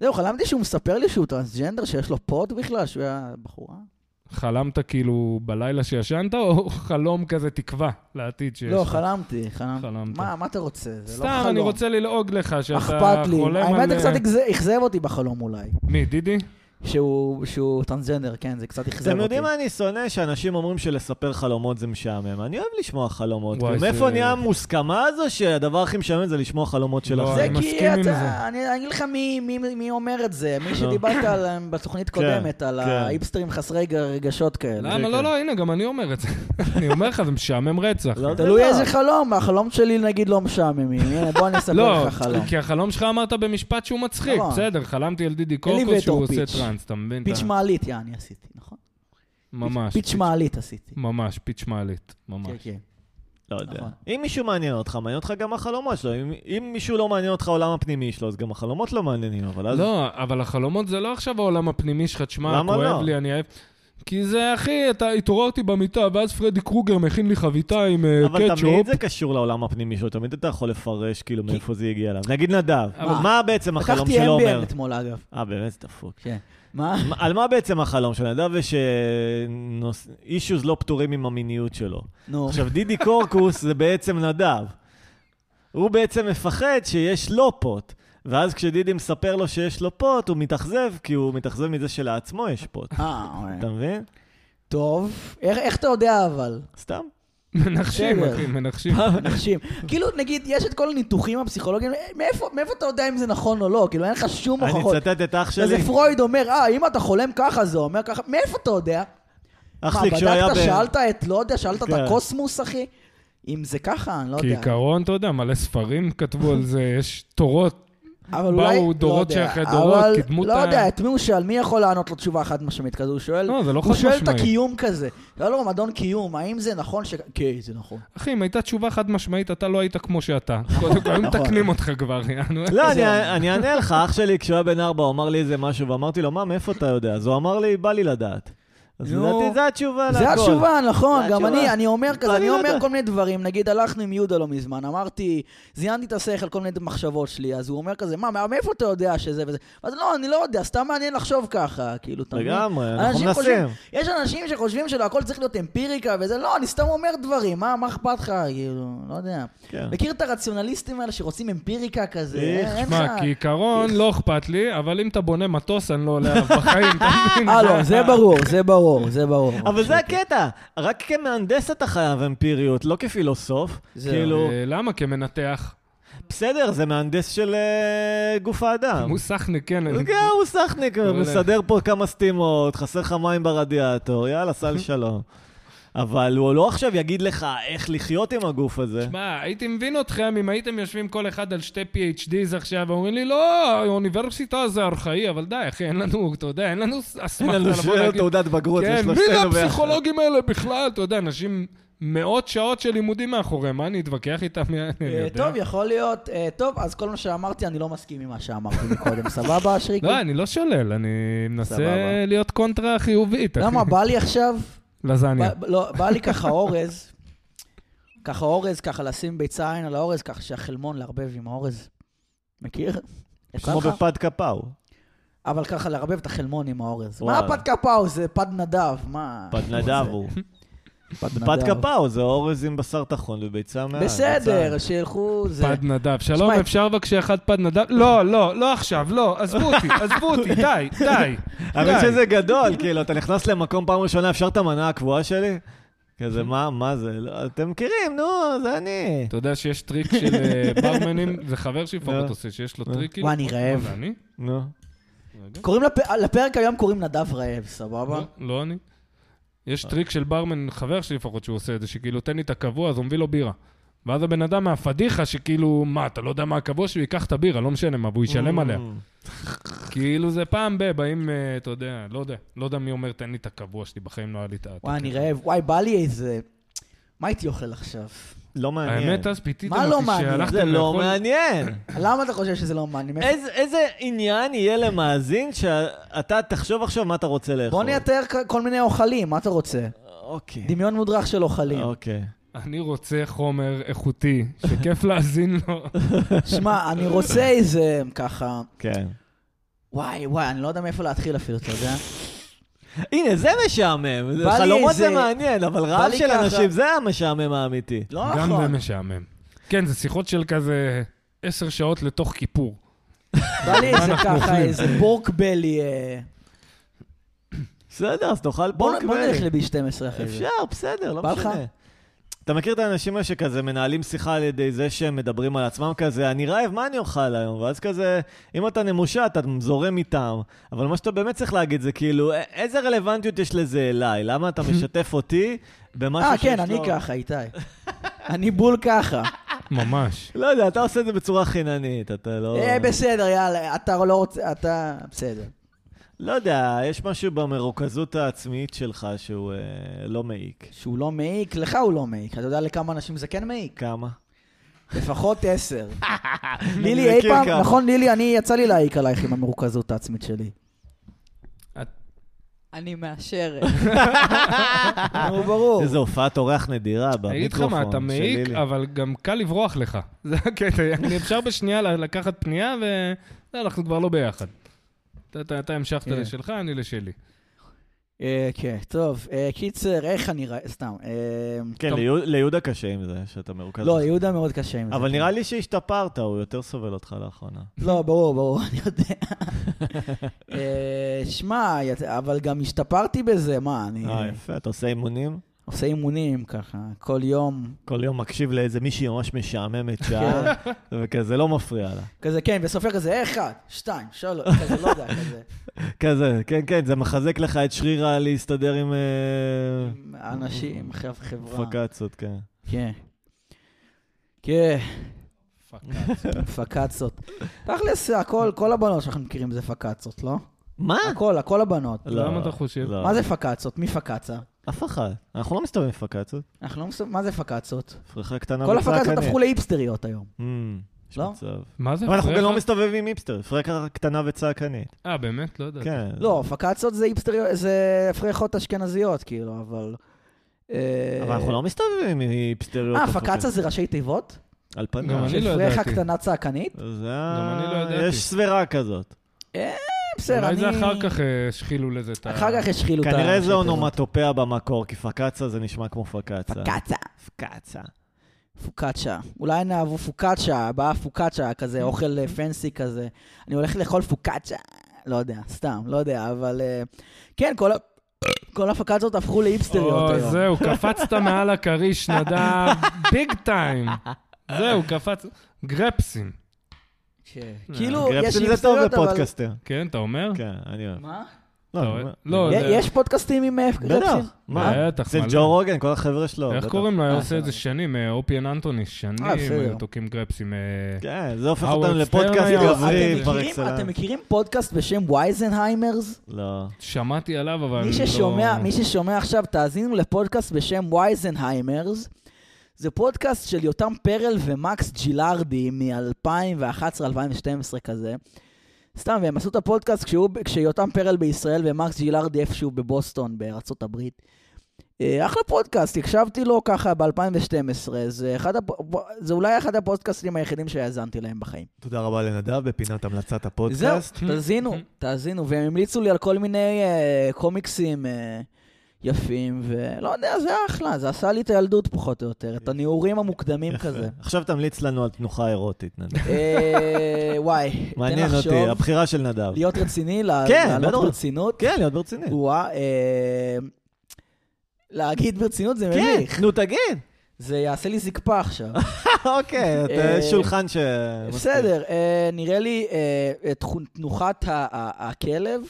[SPEAKER 2] זהו, חלמתי שהוא מספר לי שהוא טרנסג'נדר, שיש לו פוד בכלל, שהוא היה בחורה.
[SPEAKER 3] חלמת כאילו בלילה שישנת, או חלום כזה תקווה לעתיד שיש?
[SPEAKER 2] לא,
[SPEAKER 3] לך?
[SPEAKER 2] חלמתי, חלמתי.
[SPEAKER 3] חלמת.
[SPEAKER 2] מה, מה אתה רוצה? זה לא חלום.
[SPEAKER 3] סתם, אני רוצה ללעוג לך, שאתה
[SPEAKER 2] אכפת לי.
[SPEAKER 3] חולם על...
[SPEAKER 2] האמת, זה קצת
[SPEAKER 3] אה,
[SPEAKER 2] אכז- אכזב אותי בחלום אולי.
[SPEAKER 3] מי, דידי?
[SPEAKER 2] שהוא שהוא טרנסג'נדר, כן, זה קצת אכזב אותי.
[SPEAKER 1] אתם יודעים מה אני שונא? שאנשים אומרים שלספר חלומות זה משעמם. אני אוהב לשמוע חלומות.
[SPEAKER 3] וואי,
[SPEAKER 1] כאילו,
[SPEAKER 3] זה-
[SPEAKER 1] מאיפה נהיה המוסכמה הזו שהדבר הכי משעמם זה לשמוע חלומות של
[SPEAKER 3] לא,
[SPEAKER 1] אחרים?
[SPEAKER 2] זה
[SPEAKER 3] אני
[SPEAKER 2] כי
[SPEAKER 3] מסכים עם
[SPEAKER 2] אתה,
[SPEAKER 3] זה. לא.
[SPEAKER 2] אני אגיד לך מי, מי, מי אומר את זה, מי
[SPEAKER 1] נו.
[SPEAKER 2] שדיברת עליהם בתוכנית
[SPEAKER 1] כן,
[SPEAKER 2] קודמת, על
[SPEAKER 1] כן.
[SPEAKER 2] ההיפסטרים חסרי ג- רגשות כאלה.
[SPEAKER 3] למה? לא, לא, הנה, גם אני אומר את זה. אני אומר לך, זה משעמם רצח.
[SPEAKER 1] לא, זה
[SPEAKER 2] תלוי
[SPEAKER 1] לא.
[SPEAKER 2] איזה חלום, החלום שלי נגיד לא משעממים, הנה בוא אני אספר
[SPEAKER 3] לא,
[SPEAKER 2] לך חלום.
[SPEAKER 3] כי החלום שלך אמרת במשפט שהוא מצחיק.
[SPEAKER 2] נכון.
[SPEAKER 3] בסדר, חלמתי על דידי
[SPEAKER 2] אליבטור
[SPEAKER 3] קורקוס שהוא עושה
[SPEAKER 2] פיץ'.
[SPEAKER 3] טראנס, אתה מבין?
[SPEAKER 2] פיץ'
[SPEAKER 3] אתה-
[SPEAKER 2] מעלית, יעני עשיתי, נכון?
[SPEAKER 3] ממש.
[SPEAKER 2] פיץ' מעלית עשיתי.
[SPEAKER 3] ממש, פיץ' מעלית.
[SPEAKER 2] כן,
[SPEAKER 3] ממש.
[SPEAKER 2] כן.
[SPEAKER 1] לא יודע.
[SPEAKER 2] נכון.
[SPEAKER 1] אם מישהו מעניין אותך, מעניין אותך גם החלומות שלו. אם- אם מישהו לא מעניין אותך העולם הפנימי שלו, אז גם החלומות לא מעניינים, אבל אז...
[SPEAKER 3] לא, אבל החלומות זה לא עכשיו העולם הפנימי שלך, תשמע,
[SPEAKER 1] למה
[SPEAKER 3] כואב
[SPEAKER 1] לא?
[SPEAKER 3] לי, אני אהב... כי זה, אחי, אתה התעוררתי במיטה, ואז פרדי קרוגר מכין לי חביתה עם אה,
[SPEAKER 1] אבל תמיד
[SPEAKER 3] קטשופ.
[SPEAKER 1] זה קשור לעולם הפנימי שלו, תמיד אתה יכול לפרש כאילו מאיפה זה הגיע אליו. נגיד נדב,
[SPEAKER 2] אבל-
[SPEAKER 1] מה בעצם החלום
[SPEAKER 2] לקחתי
[SPEAKER 1] שלו אומר?
[SPEAKER 2] MBN אתמול אגב.
[SPEAKER 1] אה, באמת, זה דפוק.
[SPEAKER 2] כן. מה?
[SPEAKER 1] מה- על מה בעצם החלום של נדב? יש אישוז לא פתורים עם המיניות שלו.
[SPEAKER 2] נו.
[SPEAKER 1] עכשיו, דידי קורקוס זה בעצם נדב. הוא בעצם מפחד שיש לו פוט. ואז כשדידי מספר לו שיש לו פוט, הוא מתאכזב, כי הוא מתאכזב מזה שלעצמו יש פוט.
[SPEAKER 2] אה,
[SPEAKER 1] אתה
[SPEAKER 2] אוקיי.
[SPEAKER 1] מבין?
[SPEAKER 2] טוב, איך איך אתה יודע אבל?
[SPEAKER 1] סתם.
[SPEAKER 3] מנחשים,
[SPEAKER 2] בסדר.
[SPEAKER 3] אחי, מנחשים.
[SPEAKER 2] נשים. כאילו, נגיד, יש את כל הניתוחים הפסיכולוגיים, אה, מאיפה מאיפה אתה יודע אם זה נכון או לא? כאילו, אין לך שום
[SPEAKER 1] אני
[SPEAKER 2] הוכחות.
[SPEAKER 1] אצטט את אח
[SPEAKER 2] אז
[SPEAKER 1] שלי.
[SPEAKER 2] פרויד אומר, אה, אם אתה חולם ככה, זה אומר ככה, מאיפה אתה יודע?
[SPEAKER 1] אח
[SPEAKER 2] מה,
[SPEAKER 1] שלי כשהוא היה...
[SPEAKER 2] בדקת,
[SPEAKER 1] בן-
[SPEAKER 2] שאלת את, לא יודע, שאלת את
[SPEAKER 1] כן.
[SPEAKER 2] הקוסמוס, אחי? אם זה ככה, אני לא יודע.
[SPEAKER 3] כעיקרון, אתה יודע, מלא ספרים כתבו על זה, יש תורות.
[SPEAKER 2] אבל אולי,
[SPEAKER 3] באו
[SPEAKER 2] לא
[SPEAKER 3] דורות
[SPEAKER 2] יודע,
[SPEAKER 3] שאחרי דורות,
[SPEAKER 2] אבל
[SPEAKER 3] קידמו
[SPEAKER 2] לא
[SPEAKER 3] את ה-
[SPEAKER 2] יודע, את מי הוא שאל? מי יכול לענות לו תשובה חד משמעית כזו? הוא שואל,
[SPEAKER 3] לא, זה לא חד
[SPEAKER 2] הוא שואל את
[SPEAKER 3] משמעית.
[SPEAKER 2] הקיום כזה. שאל לו מדון קיום, האם זה נכון ש... כן, זה נכון.
[SPEAKER 3] אחי, אם הייתה תשובה חד משמעית, אתה לא היית כמו שאתה. קודם כל, היו
[SPEAKER 2] נכון.
[SPEAKER 3] מתקנים אותך כבר, יענו.
[SPEAKER 1] לא, אני-
[SPEAKER 2] זה-
[SPEAKER 1] אני אענה לך, אח שלי כשהוא היה בן ארבע, הוא אמר לי איזה משהו, ואמרתי לו, מה, מאיפה אתה יודע? אז הוא אמר לי, בא לי לדעת. אז
[SPEAKER 2] נו.
[SPEAKER 1] לדעתי, זו התשובה להכל.
[SPEAKER 2] זה התשובה, נכון,
[SPEAKER 1] לא, זה
[SPEAKER 2] גם
[SPEAKER 1] התשובה.
[SPEAKER 2] אני, אני אומר כזה,
[SPEAKER 1] אני
[SPEAKER 2] אני
[SPEAKER 1] לא
[SPEAKER 2] אומר
[SPEAKER 1] יודע.
[SPEAKER 2] כל מיני דברים, נגיד הלכנו עם יהודה לא מזמן, אמרתי, זיינתי את השכל, כל מיני מחשבות שלי, אז הוא אומר כזה, מה, מה- מאיפה אתה יודע שזה וזה? אז לא, אני לא יודע, סתם מעניין לחשוב ככה, כאילו, אתה מבין?
[SPEAKER 1] לגמרי, אנחנו
[SPEAKER 2] אנשים
[SPEAKER 1] מנסים.
[SPEAKER 2] חושבים- יש אנשים שחושבים שלהכל צריך להיות אמפיריקה וזה, לא, אני סתם אומר דברים, מה מה אכפת לך, כאילו, לא יודע.
[SPEAKER 1] כן.
[SPEAKER 2] מכיר את הרציונליסטים האלה שרוצים אמפיריקה כזה?
[SPEAKER 1] איך,
[SPEAKER 2] אין- אין
[SPEAKER 3] תשמע,
[SPEAKER 2] לך-
[SPEAKER 3] כעיקרון, לא אכפת לי, אבל אם אתה בונה מטוס, אני לא עולה עליו בחיים, אתה מבין?
[SPEAKER 2] אה, לא, זה ברור, זה ברור, זה ברור.
[SPEAKER 1] אבל זה
[SPEAKER 3] אוקיי.
[SPEAKER 1] הקטע, רק כמהנדס אתה חייב אמפיריות, לא כפילוסוף.
[SPEAKER 2] זהו.
[SPEAKER 1] כאילו,
[SPEAKER 3] אה, למה? כמנתח.
[SPEAKER 1] בסדר, זה מהנדס של אה, גוף האדם.
[SPEAKER 3] מוסכניק, כן. אני-
[SPEAKER 1] כן, הוא סחניק,
[SPEAKER 3] מעולה.
[SPEAKER 1] מסדר פה כמה סתימות, חסר לך מים ברדיאטור, יאללה, סל שלום. אבל הוא לא עכשיו יגיד לך איך לחיות עם הגוף הזה.
[SPEAKER 3] שמע, הייתי מבין אתכם אם הייתם יושבים כל אחד על שתי PhDs עכשיו, ואומרים לי, לא, האוניברסיטה זה ארכאי, אבל די, אחי, אין לנו, אתה יודע, אין לנו
[SPEAKER 1] אין
[SPEAKER 3] אסמכתה
[SPEAKER 1] לנו
[SPEAKER 3] לבוא
[SPEAKER 1] שום
[SPEAKER 3] להגיד.
[SPEAKER 1] תעודת בגרות,
[SPEAKER 3] כן,
[SPEAKER 1] יש לו
[SPEAKER 3] מי זה
[SPEAKER 1] שתינו ביחד.
[SPEAKER 3] הפסיכולוגים האלה בכלל? אתה יודע, אנשים, מאות שעות של לימודים מאחוריהם, מה אני אתווכח איתם? מי- אני
[SPEAKER 2] אה,
[SPEAKER 3] יודע.
[SPEAKER 2] טוב, יכול להיות. אה, טוב, אז כל מה שאמרתי, אני לא מסכים עם מה שאמרתי מקודם. סבבה, אשריקי?
[SPEAKER 3] לא, אני לא שולל, אני
[SPEAKER 2] סבבה.
[SPEAKER 3] מנסה להיות קונטרה חיובית. אחי.
[SPEAKER 2] למה, בא לי עכשיו?
[SPEAKER 3] לזניה.
[SPEAKER 2] בא- לא, בא לי ככה אורז. ככה אורז, ככה לשים ביצה על האורז, ככה שהחלמון לערבב עם האורז. מכיר? יצא
[SPEAKER 1] כמו
[SPEAKER 2] לך?
[SPEAKER 1] בפד קפאו.
[SPEAKER 2] אבל ככה לערבב את החלמון עם האורז. מה
[SPEAKER 1] וואלה.
[SPEAKER 2] הפד קפאו? זה פד נדב, מה?
[SPEAKER 1] פד נדב הוא.
[SPEAKER 2] פד
[SPEAKER 1] פד קפאו זה אורז עם בשר טחון וביצה מעל.
[SPEAKER 2] בסדר, שילכו... זה-
[SPEAKER 3] פד נדב. שלום,
[SPEAKER 2] שמע,
[SPEAKER 3] אפשר בבקשה אחד פד נדב? לא, לא, לא עכשיו, לא, עזבו אותי, עזבו אותי, די, די.
[SPEAKER 1] האמת
[SPEAKER 3] די.
[SPEAKER 1] שזה גדול, כאילו, אתה נכנס למקום פעם ראשונה, אפשר את המנה הקבועה שלי? כזה, מה, מה זה? לא, אתם מכירים, נו, זה אני.
[SPEAKER 3] אתה יודע שיש טריק של אה, ברמנים, זה חבר שלי לפחות
[SPEAKER 1] אה.
[SPEAKER 3] עושה, שיש לו
[SPEAKER 1] אה.
[SPEAKER 3] טריקים.
[SPEAKER 2] וואי, אני רעב.
[SPEAKER 3] לא, אני?
[SPEAKER 1] נו.
[SPEAKER 3] רגע.
[SPEAKER 2] קוראים לפ- לפרק היום קוראים נדב רעב, סבבה?
[SPEAKER 3] לא, לא אני.
[SPEAKER 1] אה.
[SPEAKER 3] יש טריק של ברמן, חבר שלי לפחות, שהוא עושה את זה, שכאילו, תן לי את הקבוע, אז הוא מביא לו בירה. ואז הבן אדם מהפדיחה שכאילו, מה, אתה לא יודע מה הקבוע שלי, ייקח את הבירה, לא משנה מה, והוא ישלם
[SPEAKER 1] Mm, אה.
[SPEAKER 3] עליה. כאילו זה פעם ב, באים, אה, אתה יודע, לא יודע, לא יודע מי אומר, תן לי את הקבוע שלי, בחיים לא היה לי את ה...
[SPEAKER 2] וואי, אני
[SPEAKER 1] אוקיי.
[SPEAKER 2] רעב. וואי, בא לי איזה... מה הייתי אוכל עכשיו?
[SPEAKER 1] לא מעניין.
[SPEAKER 3] האמת, אז פיתיתם
[SPEAKER 2] מה לא
[SPEAKER 3] אותי
[SPEAKER 2] מעניין?
[SPEAKER 3] שהלכתם
[SPEAKER 1] זה לא
[SPEAKER 3] לאכול-
[SPEAKER 1] מעניין.
[SPEAKER 2] למה אתה חושב שזה לא מעניין?
[SPEAKER 1] איזה איזה עניין יהיה למאזין שאתה תחשוב עכשיו מה אתה רוצה לאכול?
[SPEAKER 2] בוא נייתר כ- כל מיני אוכלים, מה אתה רוצה?
[SPEAKER 1] אוקיי.
[SPEAKER 2] דמיון מודרך של אוכלים.
[SPEAKER 1] אוקיי.
[SPEAKER 3] אני רוצה חומר איכותי, שכיף להאזין לו.
[SPEAKER 1] אוקיי.
[SPEAKER 2] שמע, אני רוצה איזה ככה...
[SPEAKER 1] כן.
[SPEAKER 2] וואי, וואי, אני לא יודע מאיפה להתחיל אפילו, אתה יודע?
[SPEAKER 1] הנה, זה משעמם.
[SPEAKER 2] בא לי
[SPEAKER 1] חלומות זה
[SPEAKER 2] איזה-
[SPEAKER 1] מעניין, אבל רעב
[SPEAKER 2] לי
[SPEAKER 1] של
[SPEAKER 2] ככה-
[SPEAKER 1] אנשים, זה המשעמם האמיתי.
[SPEAKER 2] לא
[SPEAKER 3] גם זה
[SPEAKER 2] נכון.
[SPEAKER 3] משעמם. כן, זה שיחות של כזה עשר שעות לתוך כיפור.
[SPEAKER 2] בא לי איזה
[SPEAKER 3] אנחנו
[SPEAKER 2] ככה,
[SPEAKER 3] אוכלים?
[SPEAKER 2] איזה פורקבלי. אה,
[SPEAKER 1] בסדר, אז תאכל
[SPEAKER 2] בוא
[SPEAKER 1] פורק
[SPEAKER 2] בוא
[SPEAKER 1] בלי.
[SPEAKER 2] נלך ל-B12 אחרי זה.
[SPEAKER 1] אפשר, בסדר, לא
[SPEAKER 2] בא לך?
[SPEAKER 1] משנה. אתה מכיר את האנשים האלה שכזה מנהלים שיחה על ידי זה שהם מדברים על עצמם כזה, אני רעב, מה אני אוכל היום? ואז כזה, אם אתה נמושה, אתה זורם איתם. אבל מה שאתה באמת צריך להגיד זה כאילו, "א- איזה רלוונטיות יש לזה אליי? למה אתה משתף אותי במשהו
[SPEAKER 2] אה,
[SPEAKER 1] שיש לו...
[SPEAKER 2] כן, אני ככה, איתי. אני בול ככה.
[SPEAKER 3] ממש.
[SPEAKER 1] לא יודע, אתה עושה את זה בצורה חיננית, אתה לא...
[SPEAKER 2] אה, בסדר, יאללה, אתה לא רוצה, אתה... בסדר.
[SPEAKER 1] לא יודע, יש משהו במרוכזות העצמית שלך שהוא אה, לא מעיק.
[SPEAKER 2] שהוא לא מעיק, לך הוא לא מעיק. אתה יודע לכמה אנשים זה כן מעיק?
[SPEAKER 1] כמה?
[SPEAKER 2] לפחות עשר.
[SPEAKER 1] אני
[SPEAKER 2] לילי אי
[SPEAKER 1] מכיר
[SPEAKER 2] פעם,
[SPEAKER 1] כמה.
[SPEAKER 2] נכון לילי, אני יצא לי להעיק עלייך עם המרוכזות העצמית שלי.
[SPEAKER 4] אני מאשרת.
[SPEAKER 2] נו, ברור.
[SPEAKER 1] איזו הופעת אורח נדירה במיקרופון של לילי.
[SPEAKER 3] אני אגיד לך מה, אתה מעיק, אבל גם קל לברוח לך. זה הקטע, יעני, אפשר בשנייה ל- לקחת פנייה, ו... לא, אנחנו כבר לא ביחד. אתה- אתה אתה המשכת
[SPEAKER 2] כן.
[SPEAKER 3] לשלך, אני לשלי.
[SPEAKER 2] אה, כן, טוב. אה, קיצר, איך אני רואה, סתם. אה,
[SPEAKER 1] כן,
[SPEAKER 3] טוב.
[SPEAKER 1] ליהוד- ליהודה קשה עם זה, שאתה מרוכז.
[SPEAKER 2] לא, יהודה מאוד קשה עם זה.
[SPEAKER 1] אבל
[SPEAKER 2] כן.
[SPEAKER 1] נראה לי שהשתפרת, הוא יותר סובל אותך לאחרונה.
[SPEAKER 2] לא, ברור, ברור, אני יודע. אה, שמע, ית- אבל גם השתפרתי בזה, מה, אני
[SPEAKER 1] אה, יפה, אתה עושה אימונים?
[SPEAKER 2] עושה אימונים ככה, כל יום. כן.
[SPEAKER 1] כל יום מקשיב לאיזה מישהי ממש משעממת שעה, וכזה לא מפריע לה.
[SPEAKER 2] כזה, כן, וסופר כזה, אחד, שתיים, שלוש, כזה, לא יודע, כזה.
[SPEAKER 1] כזה, כן, כן, זה מחזק לך את שרירה להסתדר עם אה,
[SPEAKER 2] אנשים, חב- חברה.
[SPEAKER 1] פקצות, כן.
[SPEAKER 2] כן. כן,
[SPEAKER 3] פאק.
[SPEAKER 2] פקצות. תכלס, הכל, כל הבנות שאנחנו מכירים זה פקצות, לא?
[SPEAKER 1] מה?
[SPEAKER 2] הכל, הכל הבנות.
[SPEAKER 1] לא,
[SPEAKER 3] למה אתה חושב?
[SPEAKER 1] לא.
[SPEAKER 2] מה זה פקצות? מי פקצה?
[SPEAKER 1] אף אחד. אנחנו לא מסתובבים עם פקצות.
[SPEAKER 2] אנחנו לא מסתובבים, מה זה פקצות?
[SPEAKER 1] פריחה קטנה
[SPEAKER 2] כל
[SPEAKER 1] בצעקנית.
[SPEAKER 2] הפקצות הפכו לאיפסטריות היום.
[SPEAKER 1] Mm, יש
[SPEAKER 2] לא?
[SPEAKER 1] מצב.
[SPEAKER 3] מה זה?
[SPEAKER 1] אבל אנחנו גם
[SPEAKER 3] פרחה?
[SPEAKER 1] לא מסתובבים עם היפסטר, פרקה קטנה וצעקנית.
[SPEAKER 3] אה, באמת? לא יודע.
[SPEAKER 1] כן.
[SPEAKER 2] לא, פקצות זה היפסטריות, זה פרחות אשכנזיות, כאילו, אבל... אה,
[SPEAKER 1] אבל אנחנו לא מסתובבים עם היפסטריות.
[SPEAKER 2] אה, פקצה זה ראשי תיבות?
[SPEAKER 1] על
[SPEAKER 3] גם
[SPEAKER 1] פניו.
[SPEAKER 3] אני
[SPEAKER 2] של
[SPEAKER 3] לא
[SPEAKER 2] פרחה
[SPEAKER 3] ידעתי.
[SPEAKER 2] קטנה צעקנית?
[SPEAKER 1] זה...
[SPEAKER 3] גם אני לא ידעתי.
[SPEAKER 1] יש סברה כזאת.
[SPEAKER 2] בסדר,
[SPEAKER 3] אולי
[SPEAKER 2] אני...
[SPEAKER 3] זה אחר כך אה, השחילו לזה את ה...
[SPEAKER 2] אחר כך השחילו לא את ה...
[SPEAKER 1] כנראה זה אונומטופיה במקור, כי פקצה זה נשמע כמו פקצה.
[SPEAKER 2] פקצה.
[SPEAKER 1] פקצה.
[SPEAKER 2] פוקאצ'ה. אולי הנה אהבו פוקאצ'ה, באה פוקאצ'ה,
[SPEAKER 3] Mm.
[SPEAKER 2] כזה אוכל אה, פנסי כזה. אני הולך לאכול פוקאצ'ה. לא יודע, סתם, לא יודע, אבל... אה, כן, כל ה- כל הפקצות הפכו לאיפסטריות
[SPEAKER 3] או,
[SPEAKER 2] היום.
[SPEAKER 3] זהו, קפצת מעל הכריש, נדב, ביג טיים. זהו, קפץ... גרפסים.
[SPEAKER 2] כן.
[SPEAKER 3] אה,
[SPEAKER 2] כאילו, יש
[SPEAKER 1] גרפסים זה טוב
[SPEAKER 2] היפסטריות, אבל... אה.
[SPEAKER 1] בפודקאסטים.
[SPEAKER 3] כן, אתה אומר?
[SPEAKER 1] כן, אני אוהב.
[SPEAKER 2] מה?
[SPEAKER 1] לא,
[SPEAKER 3] אתה
[SPEAKER 1] אני
[SPEAKER 3] אוהב?
[SPEAKER 1] אומר-
[SPEAKER 3] לא,
[SPEAKER 1] אני-
[SPEAKER 3] זה-
[SPEAKER 2] יש פודקאסטים עם אה, גרפסים?
[SPEAKER 1] בטח. מה?
[SPEAKER 3] בטח,
[SPEAKER 1] אצל
[SPEAKER 3] מלא.
[SPEAKER 1] ג'ו רוגן, כל החבר'ה שלו.
[SPEAKER 3] איך
[SPEAKER 1] בטח.
[SPEAKER 3] קוראים לו? היה עושה את
[SPEAKER 2] סבבה.
[SPEAKER 3] זה שנים, אה, אופיאן אנטוני, שנים
[SPEAKER 2] אה, בסדר.
[SPEAKER 3] היו תוקעים גרפסים. אה,
[SPEAKER 1] כן, זה הופך
[SPEAKER 3] Howard
[SPEAKER 1] אותנו
[SPEAKER 3] Stern
[SPEAKER 1] לפודקאסט
[SPEAKER 3] היה
[SPEAKER 2] כאילו, אתם
[SPEAKER 1] גברי פר
[SPEAKER 2] מכירים- אתם
[SPEAKER 1] אקסלנס.
[SPEAKER 2] מכירים פודקאסט בשם וייזנהיימרס?
[SPEAKER 1] לא.
[SPEAKER 3] שמעתי עליו, אבל
[SPEAKER 2] מי
[SPEAKER 3] לא...
[SPEAKER 2] ששומע, מי ששומע עכשיו, תאזינו לפודקאסט בשם וייזנהיימרס. זה פודקאסט של יותם פרל ומקס ג'ילארדי מ-2011-2012 כזה. סתם, והם עשו את הפודקאסט כשהוא, כשיותם פרל בישראל ומקס ג'ילארדי איפשהו בבוסטון, בארצות הברית. אה, אחלה פודקאסט, הקשבתי לו ככה ב-2012, זה, אחד הפ... זה אולי אחד הפודקאסטים היחידים שהאזנתי להם בחיים.
[SPEAKER 1] תודה רבה לנדב בפינת המלצת
[SPEAKER 2] זהו,
[SPEAKER 1] הפודקאסט.
[SPEAKER 2] תאזינו, תאזינו, והם המליצו לי על כל מיני אה, קומיקסים אה, יפים, ולא יודע, זה אחלה, זה עשה לי את הילדות פחות או יותר, את הניעורים המוקדמים כזה.
[SPEAKER 1] עכשיו תמליץ לנו על תנוחה אירוטית, נדב.
[SPEAKER 2] אה, וואי, תן
[SPEAKER 1] מעניין
[SPEAKER 2] לחשוב,
[SPEAKER 1] אותי, הבחירה של נדב.
[SPEAKER 2] להיות רציני, לה-
[SPEAKER 1] כן,
[SPEAKER 2] לעלות
[SPEAKER 1] בטח.
[SPEAKER 2] ברצינות,
[SPEAKER 1] כן, להיות ברציני.
[SPEAKER 2] וואה, אה, להגיד ברצינות זה
[SPEAKER 1] כן,
[SPEAKER 2] מביך,
[SPEAKER 1] נו תגיד.
[SPEAKER 2] זה יעשה לי זקפה עכשיו.
[SPEAKER 1] אוקיי,
[SPEAKER 2] אה,
[SPEAKER 1] אתה שולחן ש...
[SPEAKER 2] בסדר, אה, נראה לי אה, את תכו- תנוחת ה- ה- הכלב,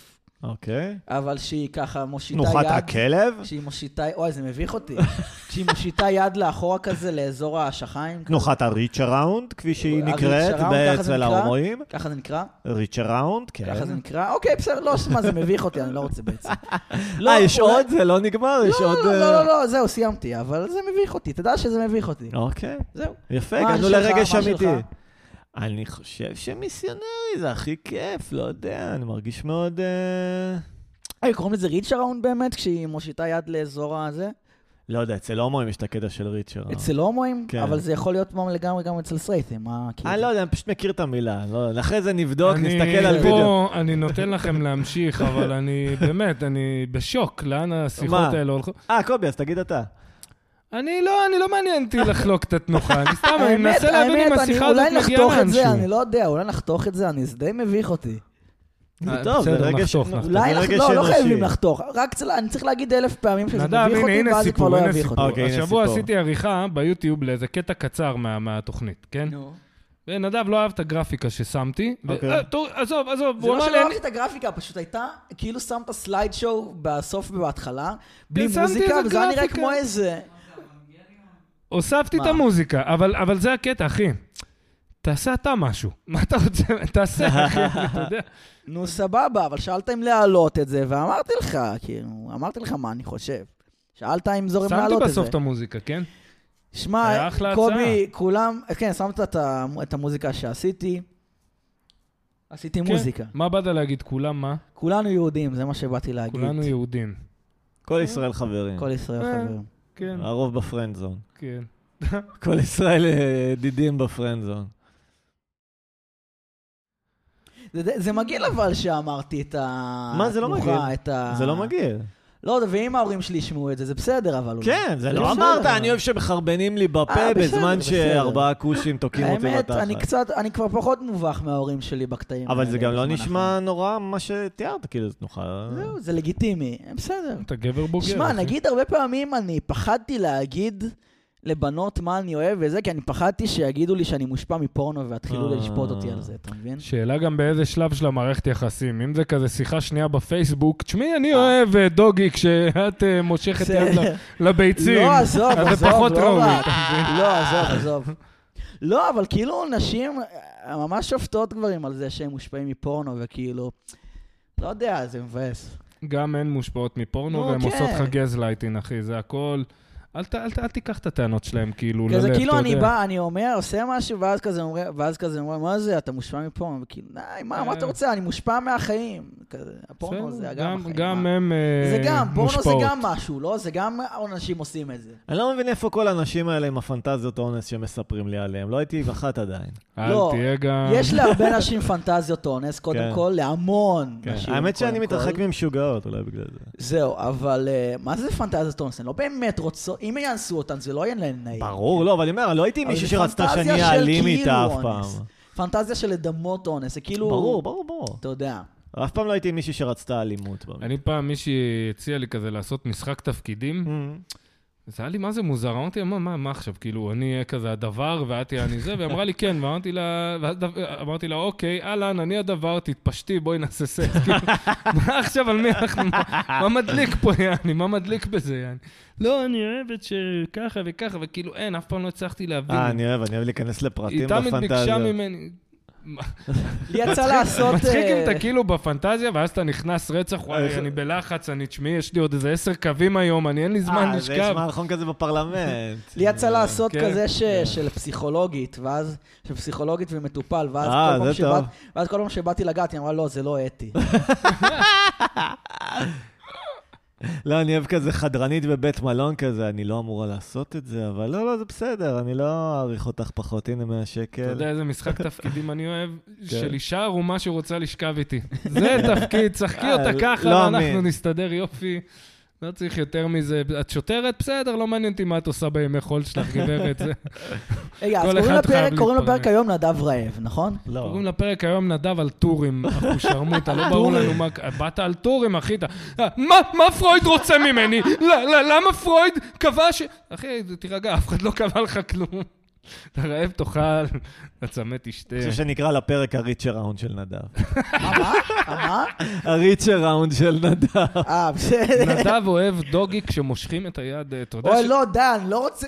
[SPEAKER 1] אוקיי.
[SPEAKER 2] אבל שהיא ככה מושיטה יד.
[SPEAKER 1] תנוחת הכלב?
[SPEAKER 2] שהיא מושיטה, אוי, זה מביך אותי. שהיא מושיטה יד לאחורה כזה, לאזור השחיים.
[SPEAKER 1] תנוחת הריץ' אראונד, כפי שהיא
[SPEAKER 2] הריץ'
[SPEAKER 1] נקראת
[SPEAKER 2] אראונד, ככה זה
[SPEAKER 1] אצל
[SPEAKER 2] נקרא?
[SPEAKER 1] ההומואים.
[SPEAKER 2] ככה זה נקרא?
[SPEAKER 1] ריץ' אראונד, כן.
[SPEAKER 2] ככה זה נקרא? אוקיי, בסדר, לא, שמע, זה מביך אותי, אני לא רוצה בעצם. לא,
[SPEAKER 1] אה, יש
[SPEAKER 2] אולי-
[SPEAKER 1] עוד? זה לא נגמר? יש
[SPEAKER 2] לא,
[SPEAKER 1] עוד...
[SPEAKER 2] לא,
[SPEAKER 1] אה,
[SPEAKER 2] לא, לא, לא, זהו, סיימתי, אבל זה מביך אותי, תדע שזה מביך אותי.
[SPEAKER 1] אוקיי.
[SPEAKER 2] זהו.
[SPEAKER 1] יפה,
[SPEAKER 2] מה
[SPEAKER 1] הגענו
[SPEAKER 2] שלך?
[SPEAKER 1] לרגש
[SPEAKER 2] מה
[SPEAKER 1] אמיתי.
[SPEAKER 2] שלך?
[SPEAKER 1] אני חושב שמיסיונרי זה הכי כיף, לא יודע, אני מרגיש מאוד... אה,
[SPEAKER 2] היי, קוראים לזה ריץ' אראונד באמת, כשהיא מושיטה יד לאזור הזה?
[SPEAKER 1] לא יודע, אצל הומואים יש את הקטע של ריץ' אראונד.
[SPEAKER 2] אצל הומואים?
[SPEAKER 1] כן.
[SPEAKER 2] אבל זה יכול להיות מום לגמרי גם אצל סרייטים, מה כאילו?
[SPEAKER 1] אני לא יודע, אני פשוט מכיר את המילה. לא- אחרי זה נבדוק,
[SPEAKER 3] אני-
[SPEAKER 1] נסתכל על
[SPEAKER 3] פה
[SPEAKER 1] וידאו.
[SPEAKER 3] אני נותן לכם להמשיך, אבל אני באמת, אני בשוק, לאן השיחות
[SPEAKER 1] מה?
[SPEAKER 3] האלה הולכות.
[SPEAKER 1] אה, קובי, אז תגיד אתה.
[SPEAKER 3] אני לא, אני לא מעניין אותי לחלוק את התנוחה, אני סתם, אני
[SPEAKER 2] האמת,
[SPEAKER 3] מנסה להבין
[SPEAKER 2] האמת,
[SPEAKER 3] אם
[SPEAKER 2] אני-
[SPEAKER 3] השיחה הזאת
[SPEAKER 2] אולי
[SPEAKER 3] מגיעה
[SPEAKER 2] נחתוך את זה, אני
[SPEAKER 3] לאנשהו.
[SPEAKER 2] לא יודע, אולי נחתוך את זה, אני, זה די מביך אותי.
[SPEAKER 1] זה
[SPEAKER 3] אה,
[SPEAKER 1] טוב, זה
[SPEAKER 3] בסדר,
[SPEAKER 1] רגש...
[SPEAKER 3] נחתוך, נחתוך.
[SPEAKER 2] אולי,
[SPEAKER 1] זה
[SPEAKER 2] נח-
[SPEAKER 1] רגש
[SPEAKER 2] לא, לא
[SPEAKER 1] אנושי.
[SPEAKER 2] חייבים לחתוך, רק צריך- אני צריך להגיד אלף פעמים שזה
[SPEAKER 3] נדב,
[SPEAKER 2] מביך
[SPEAKER 3] הנה,
[SPEAKER 2] אותי,
[SPEAKER 3] הנה
[SPEAKER 2] ואז זה כבר לא
[SPEAKER 3] סיפור, הנה
[SPEAKER 2] יביך אותי.
[SPEAKER 3] סיפור.
[SPEAKER 1] אוקיי, הנה
[SPEAKER 3] השבוע
[SPEAKER 1] סיפור.
[SPEAKER 3] עשיתי עריכה ביוטיוב לאיזה קטע קצר מה- מהתוכנית, כן?
[SPEAKER 2] נו.
[SPEAKER 3] ונדב לא אהב את הגרפיקה ששמתי. ו-
[SPEAKER 1] אוקיי.
[SPEAKER 3] אה, טוב, עזוב, עזוב,
[SPEAKER 2] זה
[SPEAKER 3] הוא
[SPEAKER 2] לא
[SPEAKER 3] אמר
[SPEAKER 2] שלא
[SPEAKER 3] לי...
[SPEAKER 2] אהבתי את הגרפיקה, פשוט הייתה, כאילו שמת סלייד שואו בסוף ובהתחלה, בלי
[SPEAKER 3] כן, שמתי
[SPEAKER 2] מוזיקה,
[SPEAKER 3] איזה
[SPEAKER 2] וזה היה נראה
[SPEAKER 3] גרפיקה.
[SPEAKER 2] כמו איזה...
[SPEAKER 3] הוספתי את
[SPEAKER 2] מה?
[SPEAKER 3] המוזיקה, אבל, אבל זה הקטע, אחי. תעשה אתה משהו. מה אתה רוצה? תעשה, אחי, אתה יודע.
[SPEAKER 2] נו, סבבה, אבל שאלת אם להעלות את זה, ואמרתי לך, כאילו, אמרתי לך מה אני חושב. שאלת אם זורם
[SPEAKER 3] שמתי
[SPEAKER 2] להעלות את זה.
[SPEAKER 3] בסוף את המוזיקה, כן? היה
[SPEAKER 2] שמע,
[SPEAKER 3] אחלה
[SPEAKER 2] קובי, כולם, כן, שמת את ה- את המוזיקה שעשיתי. עשיתי מוזיקה.
[SPEAKER 3] כן. מה באת להגיד? כולם מה?
[SPEAKER 2] כולנו יהודים, זה מה שבאתי להגיד.
[SPEAKER 3] כולנו יהודים.
[SPEAKER 1] כל ישראל חברים.
[SPEAKER 2] כל ישראל
[SPEAKER 3] אה.
[SPEAKER 2] חברים.
[SPEAKER 3] כן,
[SPEAKER 1] הרוב בפרנד זון.
[SPEAKER 3] כן.
[SPEAKER 1] כל ישראל אה, ידידים בפרנד זון.
[SPEAKER 2] זה- זה- זה מגעיל אבל שאמרתי את ה...
[SPEAKER 1] מה, זה לא
[SPEAKER 2] התנוחה,
[SPEAKER 1] מגעיל.
[SPEAKER 2] את ה...
[SPEAKER 1] זה לא מגעיל.
[SPEAKER 2] לא, ואם ההורים שלי ישמעו את זה, זה בסדר, אבל... אולי.
[SPEAKER 1] כן, זה לא
[SPEAKER 2] בסדר,
[SPEAKER 1] אמרת,
[SPEAKER 2] אבל-
[SPEAKER 1] אני אוהב שמחרבנים לי בפה
[SPEAKER 2] אה, בסדר,
[SPEAKER 1] בזמן
[SPEAKER 2] בסדר.
[SPEAKER 1] שארבעה כושים תוקעים אותי
[SPEAKER 2] האמת, אני
[SPEAKER 1] בתחת.
[SPEAKER 2] קצת, אני כבר פחות מובך מההורים שלי בקטעים האלה.
[SPEAKER 1] אבל זה גם לא
[SPEAKER 2] בזמן
[SPEAKER 1] נשמע נורא מה שתיארת, כאילו, זה תנוחה...
[SPEAKER 2] האחרון. זהו, זה לגיטימי, בסדר.
[SPEAKER 3] אתה גבר בוגר.
[SPEAKER 2] שמע,
[SPEAKER 3] אחי.
[SPEAKER 2] נגיד הרבה פעמים אני פחדתי להגיד לבנות מה אני אוהב וזה, כי אני פחדתי שיגידו לי שאני מושפע מפורנו ויתחילו
[SPEAKER 1] אה.
[SPEAKER 2] לשפוט אותי על זה, אתה מבין?
[SPEAKER 3] שאלה גם באיזה שלב של המערכת יחסים. אם זה כזה שיחה שנייה בפייסבוק, תשמעי, אני אוהב אה, דוגי כשאת אה, מושכת יד
[SPEAKER 2] בסדר.
[SPEAKER 3] ל- לביצים.
[SPEAKER 2] לא, עזוב,
[SPEAKER 3] אז זה
[SPEAKER 2] עזוב,
[SPEAKER 3] פחות
[SPEAKER 2] לא
[SPEAKER 3] ראוי,
[SPEAKER 2] רק.
[SPEAKER 3] אתה מבין?
[SPEAKER 2] לא, עזוב, עזוב. לא, אבל כאילו נשים אה, ממש שופטות גברים על זה שהם מושפעים מפורנו, וכאילו, לא יודע, זה מבאס.
[SPEAKER 3] גם הן מושפעות מפורנו,
[SPEAKER 2] נו,
[SPEAKER 3] והן
[SPEAKER 2] כן.
[SPEAKER 3] עושות לך גזלייטין, אחי, זה הכל. אל ת- אל ת- אל תיקח את הטענות שלהם כאילו ללב, אתה
[SPEAKER 2] כזה
[SPEAKER 3] יודע.
[SPEAKER 2] כאילו אני בא, אני אומר, עושה משהו, ואז כזה אומרים, ואז כזה אומרים, מה זה, אתה מושפע מפורנו? וכאילו, די, מה, מה אתה רוצה? אני מושפע מהחיים. כזה, הפורנו
[SPEAKER 3] אה. בסדר,
[SPEAKER 2] זה גם החיים.
[SPEAKER 3] גם
[SPEAKER 2] מה?
[SPEAKER 3] הם אה,
[SPEAKER 2] זה גם, פורנו זה
[SPEAKER 3] מושפעות.
[SPEAKER 2] גם משהו, לא? זה גם אנשים עושים את זה.
[SPEAKER 1] אני לא מבין איפה כל האנשים האלה עם הפנטזיות האונס שמספרים לי עליהם. לא הייתי עם אחת עדיין.
[SPEAKER 3] אל
[SPEAKER 2] לא,
[SPEAKER 3] תהיה גם...
[SPEAKER 2] יש להרבה נשים פנטזיות אונס, קודם
[SPEAKER 1] כן.
[SPEAKER 2] כל, להמון
[SPEAKER 1] כן.
[SPEAKER 2] נשים.
[SPEAKER 1] האמת שאני
[SPEAKER 2] קודם כל.
[SPEAKER 1] מתרחק ממשוגעות, אולי בגלל זה.
[SPEAKER 2] זהו, אבל אה, מה זה פנטזיות אונס? הן לא באמת רוצות, אם יאנסו אותן, זה לא יהיה להן נעים.
[SPEAKER 1] ברור, לא, אבל אני אומר, לא הייתי עם
[SPEAKER 2] אבל
[SPEAKER 1] מישהי
[SPEAKER 2] זה
[SPEAKER 1] שרצתה
[SPEAKER 2] פנטזיה
[SPEAKER 1] שאני אהיה
[SPEAKER 2] של
[SPEAKER 1] אלים
[SPEAKER 2] כאילו
[SPEAKER 1] איתה אף
[SPEAKER 2] אונס.
[SPEAKER 1] פעם.
[SPEAKER 2] פנטזיה של לדמות אונס, זה כאילו...
[SPEAKER 1] ברור, ברור, ברור.
[SPEAKER 2] אתה יודע.
[SPEAKER 1] אף פעם לא הייתי עם מישהי שרצתה אלימות. במקרה.
[SPEAKER 3] אני פעם מישהי הציעה לי כזה לעשות משחק תפקידים,
[SPEAKER 1] אמ,
[SPEAKER 3] זה היה לי מה זה מוזר, אמרתי לה, מה, מה, מה עכשיו, כאילו, אני אהיה כזה הדבר ואת תהיה אני זה, והיא אמרה לי כן, ואמרתי לה, ואז דו- אמרתי לה, אוקיי, אהלן, אני הדבר, תתפשטי, בואי נעשה סקס, כאילו, מה עכשיו, על מי אנחנו, מה- מה מדליק פה, יעני, מה מדליק בזה, יעני? לא, אני אוהבת שככה וככה, וכאילו, אין, אף פעם לא הצלחתי להבין.
[SPEAKER 1] אה, אני אוהב, אני אוהב להיכנס לפרטים
[SPEAKER 3] היא תמיד ביקשה
[SPEAKER 1] בפנטזיה.
[SPEAKER 3] ממני, מה-
[SPEAKER 2] לי יצא לעשות...
[SPEAKER 3] מצחיק אם
[SPEAKER 2] אה,
[SPEAKER 3] אתה כאילו בפנטזיה, ואז אתה נכנס רצח,
[SPEAKER 1] איך-
[SPEAKER 3] וואי, אני בלחץ, אני, תשמעי, יש לי עוד איזה עשר קווים היום, אני, אין לי זמן
[SPEAKER 1] אה, זה יש
[SPEAKER 3] לשכב.
[SPEAKER 1] מערכון כזה בפרלמנט. אה,
[SPEAKER 2] לי יצא לעשות
[SPEAKER 3] כן,
[SPEAKER 2] כזה ש- של פסיכולוגית, ואז, של פסיכולוגית ומטופל, ואז
[SPEAKER 1] אה,
[SPEAKER 2] כל פעם
[SPEAKER 1] זה טוב.
[SPEAKER 2] שבאת- ואז כל פעם שבאתי לגעת, היא אמרה, לא, זה לא אתי.
[SPEAKER 1] לא, אני אוהב כזה חדרנית בבית מלון כזה, אני לא אמורה לעשות את זה, אבל לא, לא, זה בסדר, אני לא אעריך אותך פחות, הנה 100
[SPEAKER 3] אתה
[SPEAKER 1] שקל.
[SPEAKER 3] יודע איזה משחק תפקידים אני אוהב?
[SPEAKER 1] כן.
[SPEAKER 3] של אישה ערומה שרוצה לשכב איתי. זה תפקיד, שחקי
[SPEAKER 1] אה,
[SPEAKER 3] אותה
[SPEAKER 1] לא
[SPEAKER 3] ככה,
[SPEAKER 1] אמין.
[SPEAKER 3] ואנחנו נסתדר יופי. לא צריך יותר מזה. את שוטרת? בסדר, לא מעניין אותי מה את עושה בימי חול שלך, גברת. זה-
[SPEAKER 2] רגע, אז
[SPEAKER 3] כל
[SPEAKER 2] קוראים
[SPEAKER 3] אחד
[SPEAKER 2] לפרק,
[SPEAKER 3] חייב
[SPEAKER 2] קוראים
[SPEAKER 3] להתפרנס.
[SPEAKER 2] לפרק היום נדב רעב, נכון?
[SPEAKER 1] לא.
[SPEAKER 3] קוראים לפרק היום נדב על טורים, אחושרמוטה, לא ברור לנו מה... באת על טורים, אחי, אתה... אה, מה, מה פרויד רוצה ממני? ל- ל- למה פרויד קבע ש... אחי, תירגע, אף אחד לא קבע לך כלום. אתה רעב, תאכל, אתה צמא, תשתה.
[SPEAKER 1] אני חושב שנקרא לפרק הריצ' אראונד של נדב.
[SPEAKER 2] אה, מה? אה, מה?
[SPEAKER 1] הריצ' אראונד של נדב.
[SPEAKER 2] אה, בסדר.
[SPEAKER 3] נדב אוהב דוגי כשמושכים את היד, אה, אתה יודע
[SPEAKER 2] אוי,
[SPEAKER 3] ש-
[SPEAKER 2] לא, דן, לא רוצה...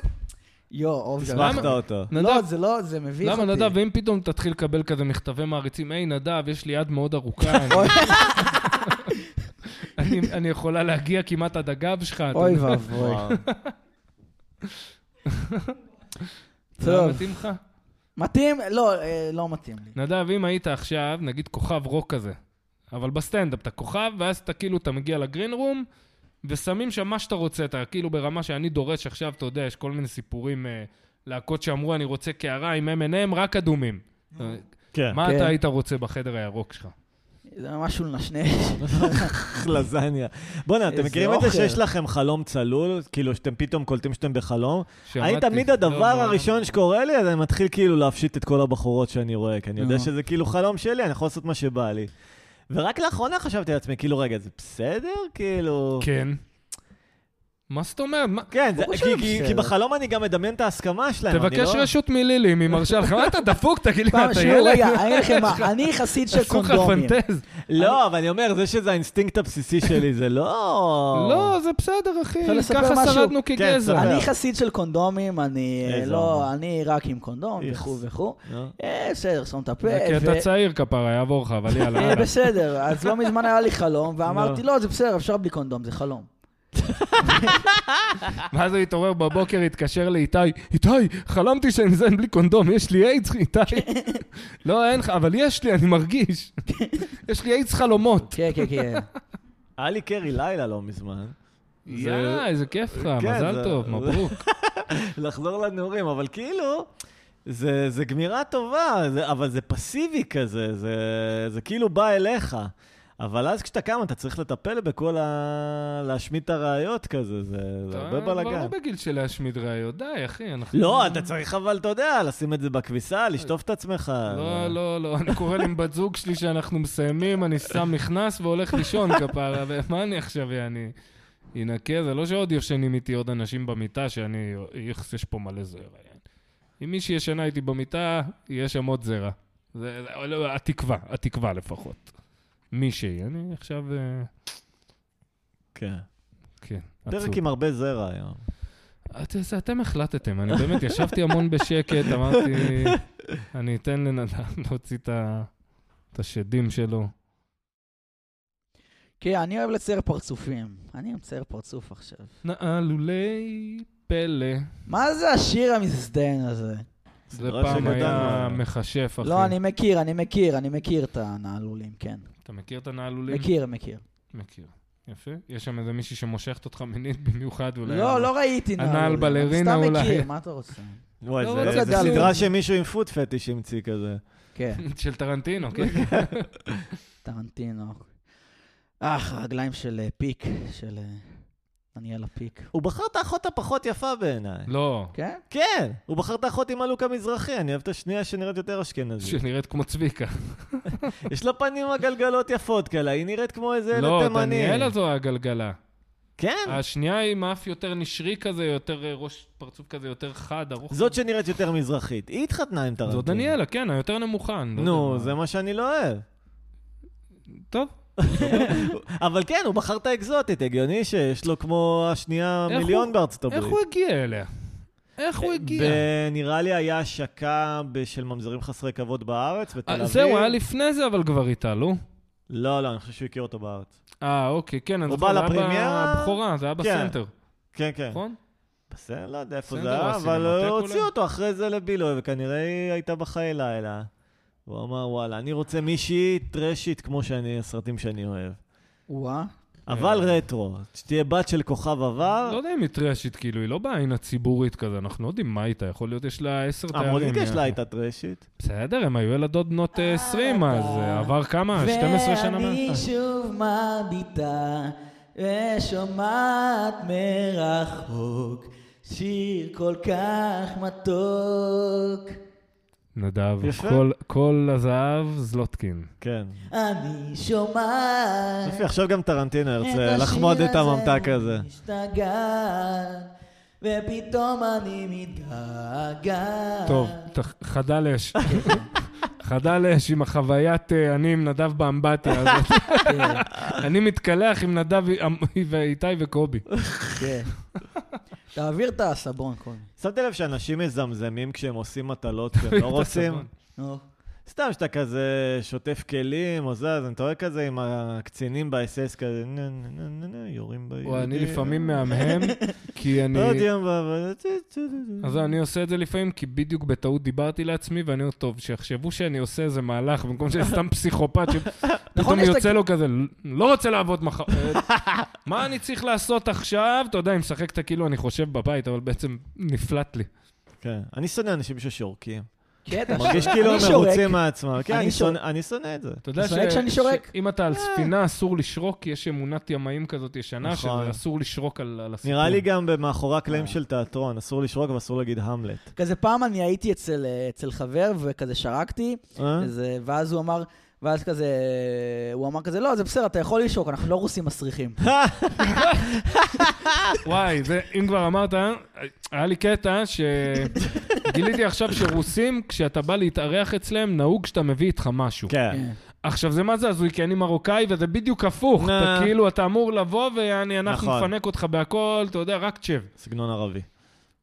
[SPEAKER 2] יואו, אוקיי. אורגר.
[SPEAKER 1] הסמכת אותו.
[SPEAKER 3] נדב-
[SPEAKER 2] לא, זה לא, זה מביך אותי.
[SPEAKER 3] למה נדב, ואם פתאום תתחיל לקבל כזה מכתבי מעריצים, היי נדב, יש לי יד מאוד ארוכה, אני-
[SPEAKER 2] אוי.
[SPEAKER 3] אני- אני יכולה להגיע כמעט עד הגב שלך. אתה
[SPEAKER 2] אוי
[SPEAKER 3] יודע,
[SPEAKER 2] ואבוי.
[SPEAKER 1] וואו.
[SPEAKER 3] זה לא
[SPEAKER 2] טוב.
[SPEAKER 3] מתאים לך?
[SPEAKER 2] מתאים? לא, אה, לא מתאים לי.
[SPEAKER 3] נדב, אם היית עכשיו, נגיד כוכב רוק כזה, אבל בסטנדאפ, אתה כוכב, ואז אתה כאילו, אתה מגיע לגרין רום, ושמים שם מה שאתה רוצה, אתה כאילו ברמה שאני דורש עכשיו, אתה יודע, יש כל מיני סיפורים, אה, להקות שאמרו, אני רוצה קערה עם M&M, רק אדומים. אה,
[SPEAKER 1] כן,
[SPEAKER 3] מה
[SPEAKER 2] כן.
[SPEAKER 3] אתה היית רוצה בחדר הירוק שלך?
[SPEAKER 2] זה משהו לנשנש.
[SPEAKER 1] לזניה. בואנה,
[SPEAKER 2] איזה
[SPEAKER 1] אתם מכירים את זה
[SPEAKER 2] אוכל.
[SPEAKER 1] שיש לכם חלום צלול? כאילו שאתם פתאום קולטים שאתם בחלום? אני
[SPEAKER 3] שמעתי.
[SPEAKER 1] תמיד
[SPEAKER 3] לא,
[SPEAKER 1] הדבר
[SPEAKER 3] לא.
[SPEAKER 1] הראשון שקורה לי, אז אני מתחיל כאילו להפשיט את כל הבחורות שאני רואה, כי אני יודע
[SPEAKER 2] אה.
[SPEAKER 1] שזה כאילו חלום שלי, אני יכול לעשות מה שבא לי. ורק לאחרונה חשבתי לעצמי, כאילו, רגע, זה בסדר? כאילו...
[SPEAKER 3] כן. מה זאת אומרת? מה-
[SPEAKER 1] כן, זה-
[SPEAKER 2] ברור
[SPEAKER 1] כי-
[SPEAKER 2] שזה
[SPEAKER 1] כי-
[SPEAKER 2] בסדר.
[SPEAKER 1] כי בחלום אני גם מדמיין את ההסכמה שלהם, אני
[SPEAKER 3] תבקש
[SPEAKER 1] לא...
[SPEAKER 3] רשות מלילי, אם היא מרשה לך. מה אתה דפוק? תגיד לי,
[SPEAKER 2] פעם
[SPEAKER 3] אתה
[SPEAKER 2] שנייה, רגע,
[SPEAKER 3] ילד?
[SPEAKER 2] אני אגיד לכם מה, אני חסיד של
[SPEAKER 3] עשו לך
[SPEAKER 2] קונדומים.
[SPEAKER 3] פנטז.
[SPEAKER 1] לא, אבל אני אומר, זה שזה האינסטינקט הבסיסי שלי, זה לא...
[SPEAKER 3] לא, זה בסדר, אחי.
[SPEAKER 2] אפשר לספר
[SPEAKER 3] ככה
[SPEAKER 2] משהו?
[SPEAKER 3] שרדנו
[SPEAKER 1] כן,
[SPEAKER 3] כגזע.
[SPEAKER 1] ספר.
[SPEAKER 2] אני חסיד של קונדומים, אני אה,
[SPEAKER 1] איזה
[SPEAKER 2] לא,
[SPEAKER 1] אומר.
[SPEAKER 2] אני רק עם קונדום
[SPEAKER 1] איכס.
[SPEAKER 2] וכו' וכו'.
[SPEAKER 1] נו.
[SPEAKER 2] אה, בסדר, שם את הפה.
[SPEAKER 3] זה כי
[SPEAKER 2] ו-
[SPEAKER 3] אתה צעיר כפרה, יעבור לך, אבל יאללה,
[SPEAKER 2] אה,
[SPEAKER 3] יאללה.
[SPEAKER 2] בסדר, אז לא מזמן היה לי חלום, ואמרתי, לא, זה בסדר, אפשר בלי קונדום, זה חלום.
[SPEAKER 3] ואז הוא התעורר בבוקר, התקשר לאיתי, איתי, חלמתי שאני מזיין בלי קונדום, יש לי איידס, איתי.
[SPEAKER 1] כן.
[SPEAKER 3] לא, אין לך, אבל יש לי, אני מרגיש. יש לי איידס חלומות.
[SPEAKER 2] כן, כן, כן.
[SPEAKER 1] היה לי קרי לילה לא מזמן. זה-
[SPEAKER 3] יאללה, איזה כיף לך,
[SPEAKER 1] כן,
[SPEAKER 3] מזל
[SPEAKER 1] זה-
[SPEAKER 3] טוב,
[SPEAKER 1] זה-
[SPEAKER 3] מברוק.
[SPEAKER 1] לחזור לנעורים, אבל כאילו, זה, זה גמירה טובה, זה, אבל זה פסיבי כזה, זה, זה כאילו בא אליך. אבל אז כשאתה קם, אתה צריך לטפל בכל ה... להשמיט את הראיות כזה, זה, זה הרבה
[SPEAKER 3] אתה כבר
[SPEAKER 1] בלאגן.
[SPEAKER 3] לא בגיל של להשמיד ראיות, די, אחי, אנחנו...
[SPEAKER 1] לא, אתה צריך אבל, אתה יודע, לשים את זה בכביסה, לשטוף את עצמך.
[SPEAKER 3] לא, לא, לא, אני קורא לי עם בת זוג שלי שאנחנו מסיימים, אני שם מכנס והולך לישון כפרה, ומה אני עכשיו, אני אנקה? זה לא שעוד ישנים איתי עוד אנשים במיטה, שאני, איכס, יש פה מלא זרע. אם מישהי ישנה איתי במיטה, יהיה שם עוד זרע. זה, זה- לא, התקווה, התקווה לפחות. מישהי, אני עכשיו, אה,
[SPEAKER 1] כן.
[SPEAKER 3] כן, עצוב.
[SPEAKER 1] פרק עם הרבה זרע היום.
[SPEAKER 3] את- זה- אתם החלטתם, אני באמת ישבתי המון בשקט, אמרתי, אני אתן לנדב להוציא את ה- את השדים שלו.
[SPEAKER 2] כן, אני אוהב לצייר פרצופים. אני מצייר פרצוף עכשיו.
[SPEAKER 3] נעלולי פלא.
[SPEAKER 2] מה זה השיר המזדיין הזה?
[SPEAKER 3] זה
[SPEAKER 1] סדרה
[SPEAKER 3] פעם
[SPEAKER 1] שגדלנו
[SPEAKER 3] היה
[SPEAKER 1] עליה.
[SPEAKER 3] מכשף, אחי.
[SPEAKER 2] לא, אני מכיר, אני מכיר, אני מכיר את הנעלולים, כן.
[SPEAKER 3] אתה מכיר את הנעלולים?
[SPEAKER 2] מכיר, מכיר.
[SPEAKER 3] מכיר. יפה. יש שם איזה מישהי שמושכת אותך מינית במיוחד, אולי.
[SPEAKER 2] לא, לא ראיתי
[SPEAKER 3] הנעל
[SPEAKER 2] נעלולים.
[SPEAKER 3] בלרינה
[SPEAKER 2] סתם
[SPEAKER 3] אולי.
[SPEAKER 2] מכיר, מה אתה רוצה?
[SPEAKER 1] וואי,
[SPEAKER 3] לא,
[SPEAKER 1] זה-
[SPEAKER 3] לא
[SPEAKER 1] זה
[SPEAKER 2] גדלנו.
[SPEAKER 1] סדרה שמישהו עם פוט פטיש המציא כזה.
[SPEAKER 2] כן,
[SPEAKER 3] של טרנטינו, כן.
[SPEAKER 2] טרנטינו. אה, הרגליים של אה, פיק, של אה, דניאלה פיק.
[SPEAKER 1] הוא בחר את האחות הפחות יפה בעיניי.
[SPEAKER 3] לא.
[SPEAKER 2] כן?
[SPEAKER 1] כן, הוא בחר את האחות עם הלוק המזרחי, אני אוהב את השנייה שנראית יותר אשכנזית.
[SPEAKER 3] שנראית כמו צביקה.
[SPEAKER 1] יש לה פנים עגלגלות יפות כאלה, היא נראית כמו איזה ילד
[SPEAKER 3] לא,
[SPEAKER 1] תימני.
[SPEAKER 3] דניאלה זו הגלגלה.
[SPEAKER 1] כן,
[SPEAKER 3] השנייה היא עם אף יותר נשרי כזה, יותר אה, ראש פרצוף כזה, יותר חד, ארוך.
[SPEAKER 1] זאת שנראית יותר מזרחית. היא התחתנה עם טרנטינו.
[SPEAKER 3] זו דניאלה, כן, היותר נמוכה. אני לא
[SPEAKER 1] נו,
[SPEAKER 3] יודע
[SPEAKER 1] זה מה שאני לא אוהב.
[SPEAKER 3] טוב.
[SPEAKER 1] אבל כן, הוא בחר את האקזוטית, הגיוני שיש לו כמו השנייה
[SPEAKER 3] איך
[SPEAKER 1] מיליון
[SPEAKER 3] הוא-
[SPEAKER 1] בארצות הברית. אה,
[SPEAKER 3] איך הוא הגיע אליה? איך הוא הגיע?
[SPEAKER 1] ב- נראה לי היה השקה ב- של ממזרים חסרי כבוד בארץ, בתל
[SPEAKER 3] אה,
[SPEAKER 1] אביב.
[SPEAKER 3] זהו, היה לפני זה, אבל כבר איתה, לא?
[SPEAKER 1] לא, לא, אני חושב שהוא הכיר אותו בארץ.
[SPEAKER 3] אה, אוקיי, כן, אני
[SPEAKER 1] הוא
[SPEAKER 3] זוכר,
[SPEAKER 1] בא
[SPEAKER 3] זה היה
[SPEAKER 1] לפרמיירה?
[SPEAKER 3] בבכורה, זה היה בסנטר,
[SPEAKER 1] כן, כן.
[SPEAKER 3] נכון?
[SPEAKER 1] בסדר, לא יודע איפה
[SPEAKER 3] בסדר,
[SPEAKER 1] זה היה, אבל
[SPEAKER 3] הסינמטק אולי?
[SPEAKER 1] הוציאו אותו אחרי זה לבילוי, וכנראה היא הייתה בחיי לילה. הוא אמר, וואלה, אני רוצה מישהי טרשית כמו שאני, הסרטים שאני אוהב.
[SPEAKER 3] כן.
[SPEAKER 2] וואה.
[SPEAKER 1] אבל רטרו, שתהיה בת של כוכב
[SPEAKER 3] לא
[SPEAKER 1] עבר,
[SPEAKER 3] יודע אם היא טרשית, כאילו, היא לא בעין הציבורית כזה, אנחנו לא יודעים מה הייתה, יכול להיות יש לה עשר
[SPEAKER 1] אה,
[SPEAKER 3] תארים.
[SPEAKER 1] המוזיקה
[SPEAKER 3] יענו.
[SPEAKER 1] שלה הייתה טרשית.
[SPEAKER 3] בסדר, הם היו ילדות בנות אה, 20, אז אה, עבר כמה? 12 שנה
[SPEAKER 2] ואני
[SPEAKER 3] מאז?
[SPEAKER 2] שוב מביטה ושומעת מרחוק שיר כל כך מתוק.
[SPEAKER 3] נדב,
[SPEAKER 1] יפה.
[SPEAKER 3] כל- כל הזהב זלוטקין.
[SPEAKER 1] כן.
[SPEAKER 2] אה. אני שומעת
[SPEAKER 1] יופי, עכשיו גם טרנטינו
[SPEAKER 2] את
[SPEAKER 1] ירצה
[SPEAKER 2] השיר
[SPEAKER 1] לחמוד את
[SPEAKER 2] הזה,
[SPEAKER 1] הממתק הזה.
[SPEAKER 2] משתגעת ופתאום אני מתגעגע.
[SPEAKER 3] טוב, ת- חדל אש. חדל אש עם החוויית אה, אני עם נדב באמבטיה הזאת.
[SPEAKER 2] כן,
[SPEAKER 3] אני מתקלח עם נדב ו- ואיתי וקובי.
[SPEAKER 2] כן. תעביר את הסבון קודם.
[SPEAKER 1] שמת לב שאנשים מזמזמים כשהם עושים מטלות שהם לא רוצים?
[SPEAKER 2] נו.
[SPEAKER 1] סתם שאתה כזה שוטף כלים או זה, אז אני טועה כזה עם הקצינים באס-אס כזה, נה נה נה נה נה, יורים ביהודים.
[SPEAKER 3] וואי, אני לפעמים מהמהם, כי אני...
[SPEAKER 1] לא יודע מה, אבל...
[SPEAKER 3] אז אני עושה את זה לפעמים, כי בדיוק בטעות דיברתי לעצמי, ואני אומר, טוב, שיחשבו שאני עושה איזה מהלך, במקום שאני סתם פסיכופת,
[SPEAKER 2] נכון,
[SPEAKER 3] שפתאום
[SPEAKER 2] יש את
[SPEAKER 3] יוצא לו כזה, לא רוצה לעבוד מחר. אה, מה אני צריך לעשות עכשיו? אתה יודע, אני משחק את הכאילו אני חושב בבית, אבל בעצם נפלט לי.
[SPEAKER 1] כן. אני שונא אנשים ששורקים.
[SPEAKER 2] כן, אתה
[SPEAKER 1] מרגיש כאילו
[SPEAKER 2] אני
[SPEAKER 1] הם
[SPEAKER 2] שורק.
[SPEAKER 1] מרוצים מעצמם. כן,
[SPEAKER 2] אני
[SPEAKER 1] אני
[SPEAKER 2] שורק.
[SPEAKER 1] שונא- אני שונא את זה.
[SPEAKER 3] אתה יודע
[SPEAKER 2] אתה צודק שאני שורק?
[SPEAKER 3] שאם אתה
[SPEAKER 1] אה.
[SPEAKER 3] על ספינה אסור לשרוק, כי יש אמונת ימאים כזאת ישנה,
[SPEAKER 1] נכון.
[SPEAKER 3] שאסור לשרוק על על הסיפור.
[SPEAKER 1] נראה לי גם במאחורי
[SPEAKER 2] אה.
[SPEAKER 1] הקלעים של תיאטרון, אסור לשרוק ואסור להגיד המלט.
[SPEAKER 2] כזה פעם אני הייתי אצל, אה, אצל חבר וכזה שרקתי,
[SPEAKER 1] אה?
[SPEAKER 2] כזה, ואז הוא אמר, ואז כזה, הוא אמר כזה, לא, זה בסדר, אתה יכול לשרוק, אנחנו לא רוסים מסריחים.
[SPEAKER 3] וואי, זה, אם כבר אמרת, אה, היה לי קטע שגיליתי עכשיו שרוסים, כשאתה בא להתארח אצלם, נהוג שאתה מביא איתך משהו.
[SPEAKER 1] כן.
[SPEAKER 3] עכשיו, זה מה זה הזוי, כי אני מרוקאי, וזה בדיוק הפוך.
[SPEAKER 1] נה.
[SPEAKER 3] אתה כאילו, אתה אמור לבוא, ויעני, אנחנו
[SPEAKER 1] נכון.
[SPEAKER 3] נפנק אותך בהכל, אתה יודע, רק צ'ב.
[SPEAKER 1] סגנון ערבי.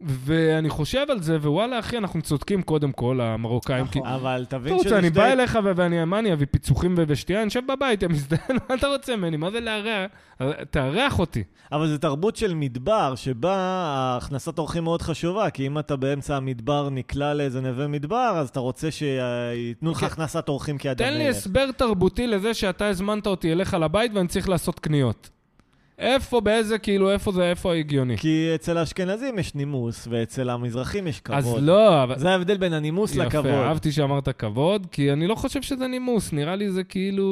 [SPEAKER 3] ואני חושב על זה, ווואלה, אחי, אנחנו צודקים קודם כל, המרוקאים.
[SPEAKER 2] נכון.
[SPEAKER 3] כי...
[SPEAKER 1] אבל תבין
[SPEAKER 3] אתה רוצה, אני
[SPEAKER 1] שתי-
[SPEAKER 3] בא אליך ו- ואני, מה אני אביא פיצוחים ו- ושתייה? אני יושב בבית, הם מזדהן, מה אתה רוצה ממני? מה זה לארח? תארח אותי.
[SPEAKER 1] אבל זו תרבות של מדבר, שבה הכנסת אורחים מאוד חשובה, כי אם אתה באמצע המדבר נקלע לאיזה נווה מדבר, אז אתה רוצה שייתנו לך
[SPEAKER 3] כן.
[SPEAKER 1] הכנסת אורחים כיד
[SPEAKER 3] תן לי
[SPEAKER 1] המלך.
[SPEAKER 3] הסבר תרבותי לזה שאתה הזמנת אותי אליך לבית ואני צריך לעשות קניות. איפה, באיזה, כאילו, איפה זה, איפה ההגיוני?
[SPEAKER 1] כי אצל האשכנזים יש נימוס, ואצל המזרחים יש כבוד.
[SPEAKER 3] אז לא, אבל...
[SPEAKER 1] זה ההבדל בין הנימוס לכבוד.
[SPEAKER 3] יפה, אהבתי שאמרת כבוד, כי אני לא חושב שזה נימוס, נראה לי זה כאילו...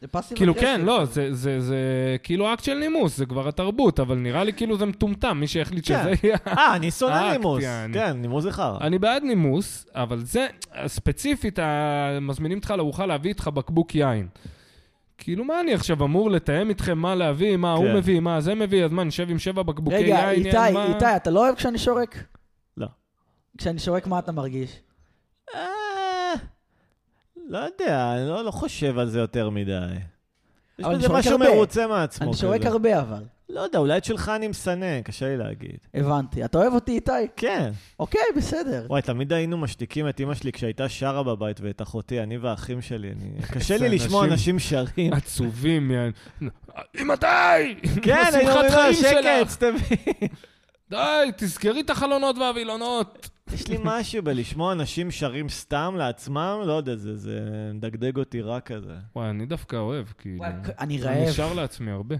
[SPEAKER 2] זה פאסיב
[SPEAKER 3] כאילו,
[SPEAKER 2] אגרסיב.
[SPEAKER 3] כן, לא, זה- זה זה כאילו אקט של נימוס, זה כבר התרבות, אבל נראה לי כאילו זה מטומטם, מי שהחליט
[SPEAKER 1] כן.
[SPEAKER 3] שזה יהיה...
[SPEAKER 1] אה, אני שונא
[SPEAKER 3] אקט,
[SPEAKER 1] נימוס.
[SPEAKER 3] יעני.
[SPEAKER 1] כן, נימוס זה חרא.
[SPEAKER 3] אני בעד נימוס, אבל זה, ספציפית, ה- מזמינים אותך לארוחה להביא איתך בקבוק יין. כאילו, מה אני עכשיו אמור לתאם איתכם מה להביא, מה
[SPEAKER 1] כן.
[SPEAKER 3] הוא מביא, מה זה מביא, אז מה, נשב עם שבע בקבוקי יין?
[SPEAKER 2] רגע,
[SPEAKER 3] יעני,
[SPEAKER 2] איתי,
[SPEAKER 3] מה-
[SPEAKER 2] איתי, אתה לא אוהב כשאני שורק?
[SPEAKER 1] לא.
[SPEAKER 2] כשאני שורק, מה אתה מרגיש?
[SPEAKER 1] אה, לא יודע, אני לא לא חושב על זה יותר מדי. יש
[SPEAKER 2] אבל אני
[SPEAKER 1] בזה
[SPEAKER 2] שורק
[SPEAKER 1] משהו
[SPEAKER 2] הרבה.
[SPEAKER 1] מרוצה מעצמו
[SPEAKER 2] אני
[SPEAKER 1] כזה.
[SPEAKER 2] שורק הרבה, אבל.
[SPEAKER 1] לא יודע, אולי את שלך אני משנא, קשה לי להגיד.
[SPEAKER 2] הבנתי. אתה אוהב אותי, איתי?
[SPEAKER 1] כן.
[SPEAKER 2] אוקיי, בסדר.
[SPEAKER 1] וואי, תמיד היינו משתיקים את אימא שלי כשהייתה שרה בבית ואת אחותי, אני והאחים שלי. אני... קשה לי
[SPEAKER 3] זה
[SPEAKER 1] לשמוע
[SPEAKER 3] אנשים-
[SPEAKER 1] אנשים שרים.
[SPEAKER 3] עצובים, יעני. מתי?
[SPEAKER 1] כן, היינו אומרים לה, שקט,
[SPEAKER 3] שלך.
[SPEAKER 1] סתמי.
[SPEAKER 3] די, תסגרי את החלונות והווילונות.
[SPEAKER 1] יש לי משהו בלשמוע אנשים שרים סתם לעצמם, לא יודע, זה זה מדגדג אותי רע כזה.
[SPEAKER 3] וואי, אני דווקא אוהב, כאילו.
[SPEAKER 2] וואי, אני
[SPEAKER 3] אני
[SPEAKER 2] רעב.
[SPEAKER 3] שר לעצמי הרבה.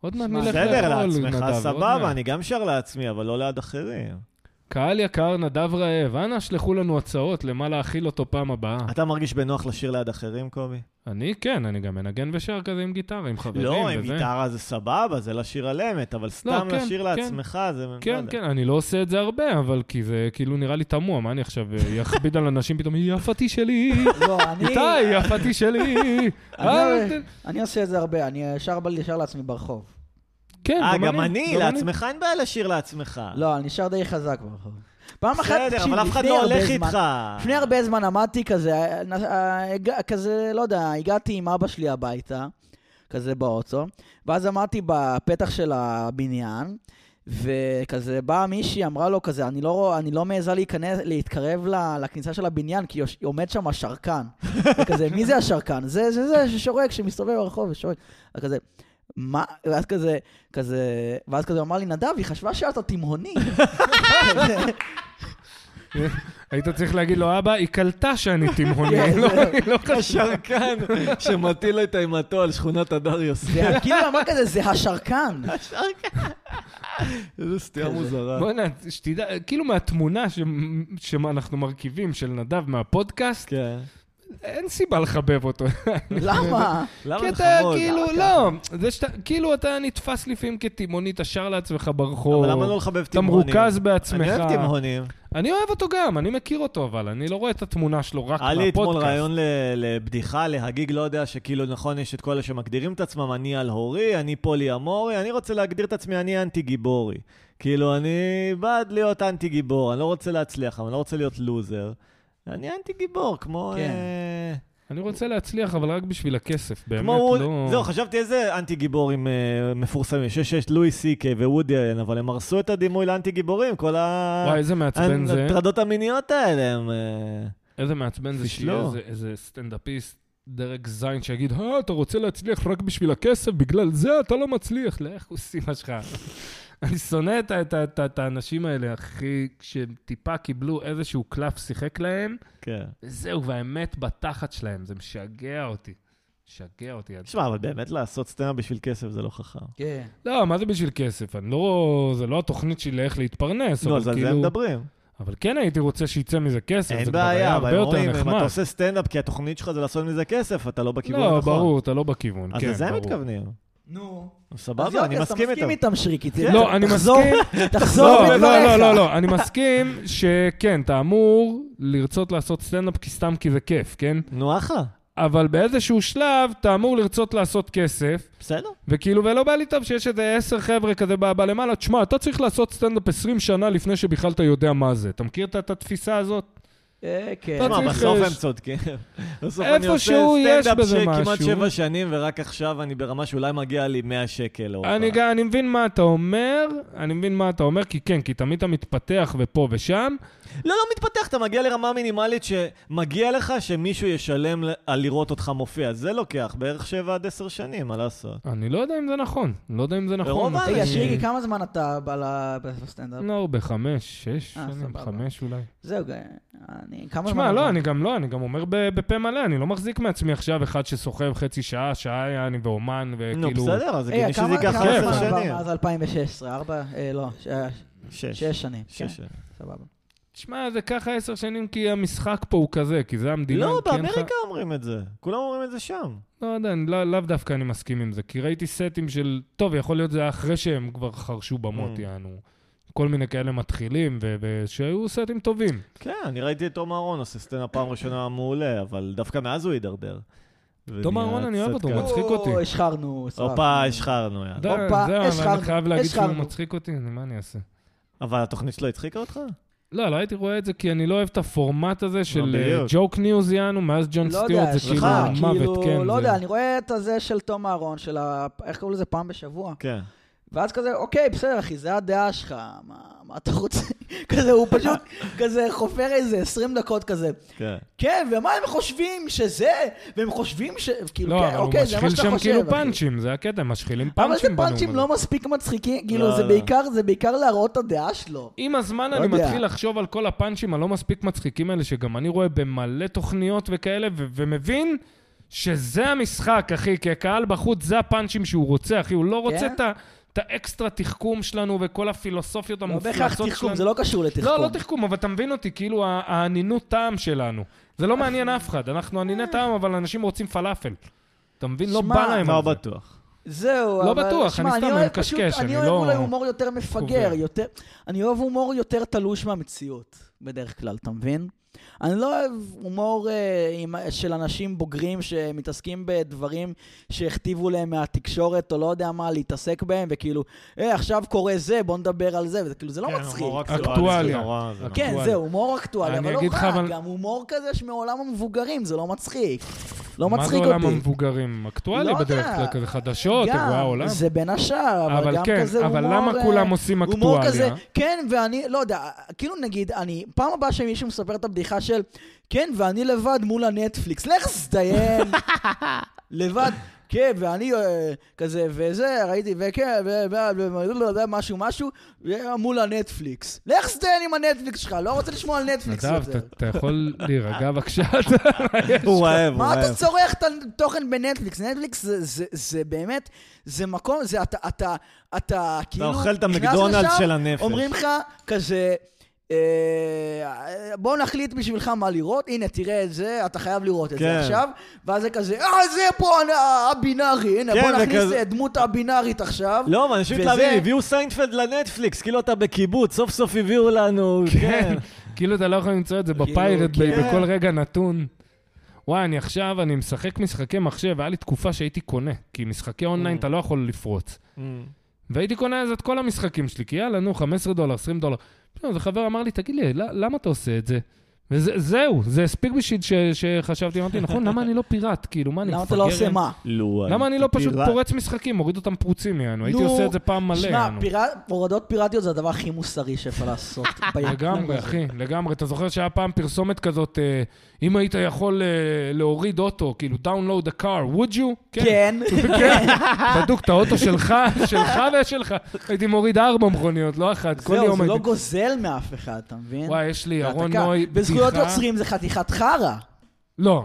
[SPEAKER 3] עוד מעט
[SPEAKER 2] שמע,
[SPEAKER 3] נלך לאכול,
[SPEAKER 1] בסדר, לעצמך
[SPEAKER 3] נדב, עוד מעט.
[SPEAKER 1] סבבה, אני גם שר לעצמי, אבל לא ליד אחרים.
[SPEAKER 3] קהל יקר, נדב רעב, אנא שלחו לנו הצעות למה להאכיל אותו פעם הבאה.
[SPEAKER 1] אתה מרגיש בנוח לשיר ליד אחרים, קובי?
[SPEAKER 3] אני כן, אני גם מנגן ושר כזה עם גיטרה, עם חברים
[SPEAKER 1] לא, עם
[SPEAKER 3] וזה.
[SPEAKER 1] גיטרה זה סבבה, זה לשיר על אמת, אבל סתם
[SPEAKER 3] כן,
[SPEAKER 1] לשיר
[SPEAKER 3] כן.
[SPEAKER 1] לעצמך זה... לא
[SPEAKER 3] כן,
[SPEAKER 1] יודע.
[SPEAKER 3] כן, אני לא עושה את זה הרבה, אבל כי זה כאילו נראה לי תמוה, מה אני עכשיו אה, אכביד על אנשים פתאום, יפתי שלי,
[SPEAKER 2] לא, אני...
[SPEAKER 3] איתי, יפתי שלי.
[SPEAKER 1] לא-
[SPEAKER 2] אני-
[SPEAKER 3] אה, ת-
[SPEAKER 2] אני עושה את זה הרבה, אני שר ב- שר לעצמי ברחוב.
[SPEAKER 3] כן,
[SPEAKER 1] אה, גם אני, לעצמך אין בעיה לשיר לעצמך.
[SPEAKER 2] לא, אני שר די חזק ברחוב. פעם אחת,
[SPEAKER 1] בסדר,
[SPEAKER 2] תקשיב,
[SPEAKER 1] אבל אף אחד
[SPEAKER 2] לפני
[SPEAKER 1] לא
[SPEAKER 2] הרבה
[SPEAKER 1] הולך
[SPEAKER 2] זמן-
[SPEAKER 1] איתך.
[SPEAKER 2] לפני הרבה זמן עמדתי כזה, אה, אה, הגע- כזה, לא יודע, הגעתי עם אבא שלי הביתה, כזה באוטו, ואז עמדתי בפתח של הבניין, וכזה באה מישהי, אמרה לו כזה, אני לא, רוא- אני לא מעיזה להיכנס, להתקרב ל- לכניסה של הבניין, כי יוש, עומד שם השרקן. וכזה, מי זה השרקן? זה זה זה ששורק, שמסתובב ברחוב ושורק. אז כזה, מה? ואז כזה, כזה, ואז כזה הוא אמר לי, נדב, היא חשבה שאתה תימהוני. כזה,
[SPEAKER 3] היית צריך להגיד לו, אבא, היא קלטה שאני תימהוני,
[SPEAKER 2] כן,
[SPEAKER 3] לא-
[SPEAKER 2] זהו.
[SPEAKER 3] היא לא חשבה.
[SPEAKER 1] השרקן שמטיל את אימתו על שכונת הדר יוסף.
[SPEAKER 2] זה כאילו אמר כזה, זה השרקן.
[SPEAKER 1] איזה סטייה מוזרה.
[SPEAKER 3] בוא'נה, שתדע, כאילו מהתמונה ש- שאנחנו מרכיבים של נדב מהפודקאסט,
[SPEAKER 1] כן.
[SPEAKER 3] אין סיבה לחבב אותו.
[SPEAKER 2] למה?
[SPEAKER 1] למה
[SPEAKER 3] כי
[SPEAKER 1] לך
[SPEAKER 3] אתה
[SPEAKER 1] מאוד?
[SPEAKER 3] כאילו, לא, זה שאתה, כאילו אתה נתפס לפעמים כתימונית, אתה לעצמך ברחוב.
[SPEAKER 1] אבל למה לא לחבב
[SPEAKER 3] אתה
[SPEAKER 1] תימהונים?
[SPEAKER 3] מרוכז בעצמך.
[SPEAKER 1] אני אוהב תימהונים.
[SPEAKER 3] אני אוהב אותו גם, אני מכיר אותו, אבל אני לא רואה את התמונה שלו רק
[SPEAKER 1] היה לי אתמול
[SPEAKER 3] מהפודקאסט.
[SPEAKER 1] רעיון ל- לבדיחה, להגיג, לא יודע, שכאילו, נכון, יש את כל אלה שמגדירים את עצמם, אני על הורי, אני פולי אמורי, אני רוצה להגדיר את עצמי, אני אנטי גיבורי. כאילו, אני בעד להיות אנטי גיבור, אני לא רוצה להצליח, אבל אני לא רוצה להיות לוזר. אני אנטי גיבור, כמו...
[SPEAKER 2] כן.
[SPEAKER 1] אה,
[SPEAKER 3] אני רוצה להצליח, אבל רק בשביל הכסף, באמת,
[SPEAKER 1] כמו ווד...
[SPEAKER 3] לא...
[SPEAKER 1] זהו, חשבתי איזה אנטי גיבורים אה, מפורסמים, שיש יש לואי סי קיי וודי אלן, אבל הם הרסו את הדימוי לאנטי גיבורים, כל ה...
[SPEAKER 3] וואי, איזה מעצבן זה.
[SPEAKER 1] ההטרדות המיניות האלה, הם... אה,
[SPEAKER 3] איזה מעצבן זה שיהיה
[SPEAKER 1] פשלו.
[SPEAKER 3] איזה- איזה סטנדאפיסט, דרג זין, שיגיד, אה, אתה רוצה להצליח רק בשביל הכסף, בגלל זה אתה לא מצליח. לך עושים מה שלך. אני שונא את, ה- את, ה- את, ה- את האנשים האלה, אחי, כשהם טיפה קיבלו איזשהו קלף שיחק להם,
[SPEAKER 1] כן.
[SPEAKER 3] זהו, והאמת בתחת שלהם, זה משגע אותי. משגע אותי. עד-
[SPEAKER 1] תשמע, אבל באמת לעשות סצנה בשביל כסף זה לא חכם.
[SPEAKER 2] כן.
[SPEAKER 3] לא, מה זה בשביל כסף? אני לא... זה לא התוכנית שלי לאיך להתפרנס,
[SPEAKER 1] לא,
[SPEAKER 3] אבל
[SPEAKER 1] אז על זה
[SPEAKER 3] כאילו...
[SPEAKER 1] הם מדברים.
[SPEAKER 3] אבל כן הייתי רוצה שיצא מזה כסף,
[SPEAKER 1] אין
[SPEAKER 3] זה כבר היה
[SPEAKER 1] בעיה, אבל
[SPEAKER 3] הרבה
[SPEAKER 1] הם
[SPEAKER 3] יותר
[SPEAKER 1] אומרים, אם
[SPEAKER 3] נחמד.
[SPEAKER 1] אתה עושה סטנדאפ כי התוכנית שלך זה לעשות מזה כסף, אתה לא בכיוון
[SPEAKER 3] לא,
[SPEAKER 1] הנכון.
[SPEAKER 3] ברור, אתה לא בכיוון,
[SPEAKER 1] אז
[SPEAKER 3] כן,
[SPEAKER 1] לזה הם
[SPEAKER 3] ברור.
[SPEAKER 1] מתכוונים.
[SPEAKER 2] נו. אז
[SPEAKER 1] סבבה,
[SPEAKER 2] יופי,
[SPEAKER 1] אני
[SPEAKER 2] אז אתה
[SPEAKER 1] מסכים איתם.
[SPEAKER 2] איתם, שריקי.
[SPEAKER 1] כן.
[SPEAKER 3] לא, אני
[SPEAKER 2] תחזור- תחזור
[SPEAKER 3] לא, לא,
[SPEAKER 2] בדבריך.
[SPEAKER 3] לא, לא, לא, אני מסכים שכן, אתה אמור לרצות לעשות סטנדאפ כי סתם כי זה כיף, כן?
[SPEAKER 1] נו, אחלה,
[SPEAKER 3] אבל באיזשהו שלב אתה אמור לרצות לעשות כסף,
[SPEAKER 1] בסדר.
[SPEAKER 3] וכאילו, ולא בא לי טוב שיש איזה עשר חבר'ה כזה בא- בלמעלה, תשמע, אתה צריך לעשות סטנדאפ 20 שנה לפני שבכלל אתה יודע מה זה. אתה מכיר את- את התפיסה הזאת?
[SPEAKER 2] אה, כן.
[SPEAKER 3] אתה
[SPEAKER 1] תשמע,
[SPEAKER 3] צריך-
[SPEAKER 1] בסוף הם צודקים. בסוף אני עושה
[SPEAKER 3] איפשהו יש
[SPEAKER 1] סטנדאפ
[SPEAKER 3] בזה
[SPEAKER 1] שכמעט
[SPEAKER 3] משהו.
[SPEAKER 1] שבע שנים, ורק עכשיו אני ברמה שאולי מגיע לי 100 שקל. או
[SPEAKER 3] אני,
[SPEAKER 1] פעם.
[SPEAKER 3] גם, אני מבין מה אתה אומר, אני מבין מה אתה אומר, כי כן, כי תמיד אתה מתפתח ופה ושם,
[SPEAKER 1] לא, לא מתפתח, אתה מגיע לרמה מינימלית שמגיע לך שמישהו ישלם ל- על לראות אותך מופיע. זה לוקח בערך שבע עד עשר שנים, מה לעשות?
[SPEAKER 3] אני לא יודע אם זה נכון, לא יודע אם זה נכון.
[SPEAKER 1] ברוב
[SPEAKER 3] אני-
[SPEAKER 2] רגע, שריקי, כמה זמן אתה בא ל- בסטנדאפ?
[SPEAKER 3] לא הרבה, חמש, שש
[SPEAKER 2] אה,
[SPEAKER 3] שנים,
[SPEAKER 2] סבבה.
[SPEAKER 3] חמש אולי.
[SPEAKER 2] זהו, גיא, אני... כמה זמן...
[SPEAKER 3] תשמע,
[SPEAKER 2] עבר?
[SPEAKER 3] לא, אני גם לא, אני גם אומר ב- בפה מלא, אני לא מחזיק מעצמי עכשיו אחד שסוחב חצי שעה, שעה היה אני ואומן, וכאילו...
[SPEAKER 1] נו, בסדר, אז
[SPEAKER 2] אה,
[SPEAKER 1] הגיוני שזה
[SPEAKER 2] כמה-
[SPEAKER 1] ייקח
[SPEAKER 2] כמה
[SPEAKER 1] עשר
[SPEAKER 2] זמן עבר
[SPEAKER 1] שנים.
[SPEAKER 2] מאז 2016, ארבע? אה, לא, ש-
[SPEAKER 1] שש.
[SPEAKER 2] שש שנים. כן,
[SPEAKER 1] שש שנים.
[SPEAKER 2] סבבה.
[SPEAKER 3] תשמע, זה ככה עשר שנים, כי המשחק פה הוא כזה, כי זה המדינה.
[SPEAKER 1] לא,
[SPEAKER 3] כי אין לך-
[SPEAKER 1] באמריקה אומרים את זה. כולם אומרים את זה שם.
[SPEAKER 3] לא יודע, אני לא- לאו דווקא אני מסכים עם זה, כי ראיתי סטים של, טוב, יכול להיות זה היה אחרי שהם כבר חרשו במות,
[SPEAKER 1] Mm.
[SPEAKER 3] יענו. כל מיני כאלה מתחילים, ו- ושהיו סטים טובים.
[SPEAKER 1] כן, אני ראיתי את תום אהרון עושה סצנה פעם ראשונה מעולה, אבל דווקא מאז הוא הידרדר.
[SPEAKER 3] תום
[SPEAKER 1] ונהיה
[SPEAKER 3] אהרון, אני אוהב
[SPEAKER 1] קצת
[SPEAKER 3] אותו,
[SPEAKER 1] כזה.
[SPEAKER 3] הוא כן. מצחיק אותי.
[SPEAKER 2] או, השחרנו, סבבה.
[SPEAKER 1] הופה, השחרנו, יאללה.
[SPEAKER 3] די, זהו,
[SPEAKER 2] הופה,
[SPEAKER 3] אבל
[SPEAKER 2] השחרנו,
[SPEAKER 3] אני חייב להגיד שהוא
[SPEAKER 2] השחרנו.
[SPEAKER 3] מצחיק אותי, אני- מה אני אעשה?
[SPEAKER 1] אבל התוכנית שלו הצחיקה אותך?
[SPEAKER 3] לא, לא הייתי רואה את זה, כי אני לא אוהב את הפורמט הזה של אה,
[SPEAKER 1] בדיוק.
[SPEAKER 3] ג'וק ניוז יענו, מאז ג'ון
[SPEAKER 2] לא יודע,
[SPEAKER 3] סטיוארט זה
[SPEAKER 2] יש
[SPEAKER 3] כאילו
[SPEAKER 1] סליחה,
[SPEAKER 2] לך,
[SPEAKER 3] מוות, כן.
[SPEAKER 2] לא
[SPEAKER 3] זה-
[SPEAKER 2] יודע, אני רואה את הזה של תום אהרון, של ה... איך קראו לזה? פעם בשבוע.
[SPEAKER 1] כן.
[SPEAKER 2] ואז כזה, אוקיי, בסדר, אחי, זה הדעה שלך, מה, מה אתה רוצה? כזה, הוא פשוט כזה חופר איזה 20 דקות כזה.
[SPEAKER 1] כן.
[SPEAKER 2] כן, ומה הם חושבים שזה? והם חושבים ש... כאילו,
[SPEAKER 3] לא,
[SPEAKER 2] כן,
[SPEAKER 3] אבל הוא
[SPEAKER 2] אוקיי, זה מה
[SPEAKER 3] משחיל
[SPEAKER 2] שאתה
[SPEAKER 3] שם
[SPEAKER 2] חושב,
[SPEAKER 3] כאילו
[SPEAKER 2] אחי.
[SPEAKER 3] פאנצ'ים, זה הקטע, הם משחילים
[SPEAKER 2] אבל זה
[SPEAKER 3] פאנצ'ים בנאום
[SPEAKER 2] פאנצ'ים
[SPEAKER 3] הזה.
[SPEAKER 2] לא מספיק מצחיקים, כאילו,
[SPEAKER 1] לא,
[SPEAKER 2] זה
[SPEAKER 1] לא.
[SPEAKER 2] בעיקר, זה בעיקר להראות את הדעה שלו.
[SPEAKER 3] עם הזמן
[SPEAKER 2] לא
[SPEAKER 3] אני
[SPEAKER 2] יודע.
[SPEAKER 3] מתחיל לחשוב על כל הפאנצ'ים הלא מספיק מצחיקים האלה, שגם אני רואה במלא תוכניות וכאלה, ו- ומבין שזה המשחק, אחי, כי הקהל בחוץ זה הפאנצ'ים שהוא רוצה, אחי, הוא לא רוצה
[SPEAKER 2] כן?
[SPEAKER 3] את ה- את האקסטרה תחכום שלנו וכל הפילוסופיות
[SPEAKER 2] לא בהכרח
[SPEAKER 3] המופלצות
[SPEAKER 2] תחכום,
[SPEAKER 3] שלנו.
[SPEAKER 2] זה לא קשור לתחכום.
[SPEAKER 3] לא, לא תחכום, אבל אתה מבין אותי, כאילו ה- האנינות טעם שלנו. זה לא מעניין אף אחד, אנחנו אניני טעם, אבל אנשים רוצים פלאפל. אתה מבין? לא
[SPEAKER 2] שמע,
[SPEAKER 3] בא להם
[SPEAKER 1] לא
[SPEAKER 3] על זה.
[SPEAKER 1] בטוח.
[SPEAKER 2] זהו,
[SPEAKER 3] לא
[SPEAKER 2] אבל...
[SPEAKER 3] בטוח,
[SPEAKER 2] שמע,
[SPEAKER 3] אני סתם
[SPEAKER 2] אוהב-
[SPEAKER 3] מקשקש,
[SPEAKER 2] פשוט-
[SPEAKER 3] אני
[SPEAKER 2] אני
[SPEAKER 3] לא-
[SPEAKER 2] אוהב אולי הומור יותר מפגר,
[SPEAKER 3] קובע.
[SPEAKER 2] יותר... אני אוהב הומור יותר תלוש מהמציאות, בדרך כלל, אתה מבין? אני לא אוהב הומור אה, עם, של אנשים בוגרים שמתעסקים בדברים שהכתיבו להם מהתקשורת, או לא יודע מה, להתעסק בהם, וכאילו, אה, עכשיו קורה זה, בוא נדבר על זה, וזה
[SPEAKER 1] כן,
[SPEAKER 2] כאילו, זה
[SPEAKER 3] כן,
[SPEAKER 2] לא מצחיק.
[SPEAKER 3] אקטואליה.
[SPEAKER 2] כן,
[SPEAKER 3] אקטואלי.
[SPEAKER 2] זהו, הומור אקטואלי,
[SPEAKER 3] אני
[SPEAKER 2] אבל לא
[SPEAKER 3] אגיד לך,
[SPEAKER 2] רע,
[SPEAKER 3] אבל-
[SPEAKER 2] גם הומור כזה שמעולם המבוגרים, זה לא מצחיק. לא
[SPEAKER 3] מה זה
[SPEAKER 2] מצחיק
[SPEAKER 3] עולם
[SPEAKER 2] אותי.
[SPEAKER 3] המבוגרים? אקטואלי
[SPEAKER 2] לא
[SPEAKER 3] בדרך
[SPEAKER 2] יודע.
[SPEAKER 3] כלל, כזה חדשות,
[SPEAKER 2] גם,
[SPEAKER 3] אירועי העולם.
[SPEAKER 2] זה בין השאר, אבל,
[SPEAKER 3] אבל
[SPEAKER 2] גם
[SPEAKER 3] כן,
[SPEAKER 2] כזה
[SPEAKER 3] אבל
[SPEAKER 2] הומור...
[SPEAKER 3] למה
[SPEAKER 2] אה,
[SPEAKER 3] כולם עושים
[SPEAKER 2] הומור
[SPEAKER 3] אקטואליה?
[SPEAKER 2] כזה, כן, ואני, לא יודע, כאילו נגיד, אני, פעם הבאה שמישהו מספר את הבדיחה של, כן, ואני לבד מול הנטפליקס, לך תזדיין, לבד, כן, ואני אה, כזה, וזה, ראיתי, וכן, ו- ו- ו- לא יודע, משהו, משהו, ו- מול הנטפליקס. לך תזדיין עם הנטפליקס שלך, לא רוצה לשמוע על נטפליקס
[SPEAKER 3] נדב,
[SPEAKER 2] יותר.
[SPEAKER 3] אתה- אתה יכול להירגע בבקשה?
[SPEAKER 1] הוא רעב, הוא
[SPEAKER 2] מה
[SPEAKER 1] רעב.
[SPEAKER 2] אתה צורך את התוכן בנטפליקס? נטפליקס זה, זה, זה באמת, זה מקום, זה אתה, אתה, אתה, כאילו,
[SPEAKER 1] אוכל את
[SPEAKER 2] נכנס
[SPEAKER 1] המקדונלדס
[SPEAKER 2] לשם,
[SPEAKER 1] של הנפש.
[SPEAKER 2] אומרים לך, כזה, אה, בוא נחליט בשבילך מה לראות, הנה תראה את זה, אתה חייב לראות את
[SPEAKER 1] כן.
[SPEAKER 2] זה עכשיו, ואז זה כזה, אה זה פה הנ- הבינארי, הנה
[SPEAKER 1] כן,
[SPEAKER 2] בוא
[SPEAKER 1] זה
[SPEAKER 2] נכניס
[SPEAKER 1] כזה-
[SPEAKER 2] את דמות הבינארית עכשיו.
[SPEAKER 1] לא, אבל אנשים
[SPEAKER 2] וזה-
[SPEAKER 1] מתלהבים, הביאו סיינפלד לנטפליקס, כאילו אתה בקיבוץ, סוף סוף הביאו לנו, כן.
[SPEAKER 3] כאילו אתה לא יכול למצוא את זה
[SPEAKER 2] כאילו,
[SPEAKER 3] בפיירט ביי
[SPEAKER 1] כן.
[SPEAKER 3] בכל רגע נתון. וואי, אני עכשיו, אני משחק משחקי מחשב, היה לי תקופה שהייתי קונה, כי משחקי אונליין
[SPEAKER 1] Mm.
[SPEAKER 3] אתה לא יכול לפרוץ.
[SPEAKER 1] כן.
[SPEAKER 3] והייתי קונה אז את כל המשחקים שלי, כי יאללה, נו, 15 דולר, 20 דולר. פתאום איזה חבר אמר לי, תגיד לי, ל- למה אתה עושה את זה? וזהו, זה הספיק בשביל ש- שחשבתי, אמרתי, נכון, למה אני לא פיראט? כאילו, מה, אני
[SPEAKER 2] למה
[SPEAKER 3] מפגר?
[SPEAKER 2] אתה לא עושה מה?
[SPEAKER 1] לו,
[SPEAKER 3] למה אני לא פשוט
[SPEAKER 1] פיראט.
[SPEAKER 3] פורץ משחקים, מוריד אותם פרוצים, יענו? הייתי
[SPEAKER 2] נו,
[SPEAKER 3] עושה את זה פעם מלא,
[SPEAKER 2] שמע,
[SPEAKER 3] יענו.
[SPEAKER 2] פירא- הורדות פיראטיות זה הדבר הכי מוסרי שאפשר לעשות. ביקום
[SPEAKER 3] לגמרי,
[SPEAKER 2] הזה.
[SPEAKER 3] אחי, לגמרי. אתה זוכר שהיה פעם פרסומת כזאת, אה, אם היית יכול אה, להוריד אוטו, כאילו, download a car, would you?
[SPEAKER 2] כן.
[SPEAKER 3] כן. בדוק את האוטו שלך, שלך ושלך. הייתי מוריד ארבע מכוניות, לא אחת. כל
[SPEAKER 2] זהו,
[SPEAKER 3] יום
[SPEAKER 2] זה לא
[SPEAKER 3] הייתי...
[SPEAKER 2] גוזל מאף אחד, אתה מבין?
[SPEAKER 3] וואי, יש לי
[SPEAKER 2] כן? זה
[SPEAKER 3] ירון
[SPEAKER 2] העתקה.
[SPEAKER 3] נוי,
[SPEAKER 2] בזכויות
[SPEAKER 3] בדיחה.
[SPEAKER 2] יוצרים זה חתיכת חרא.
[SPEAKER 3] לא,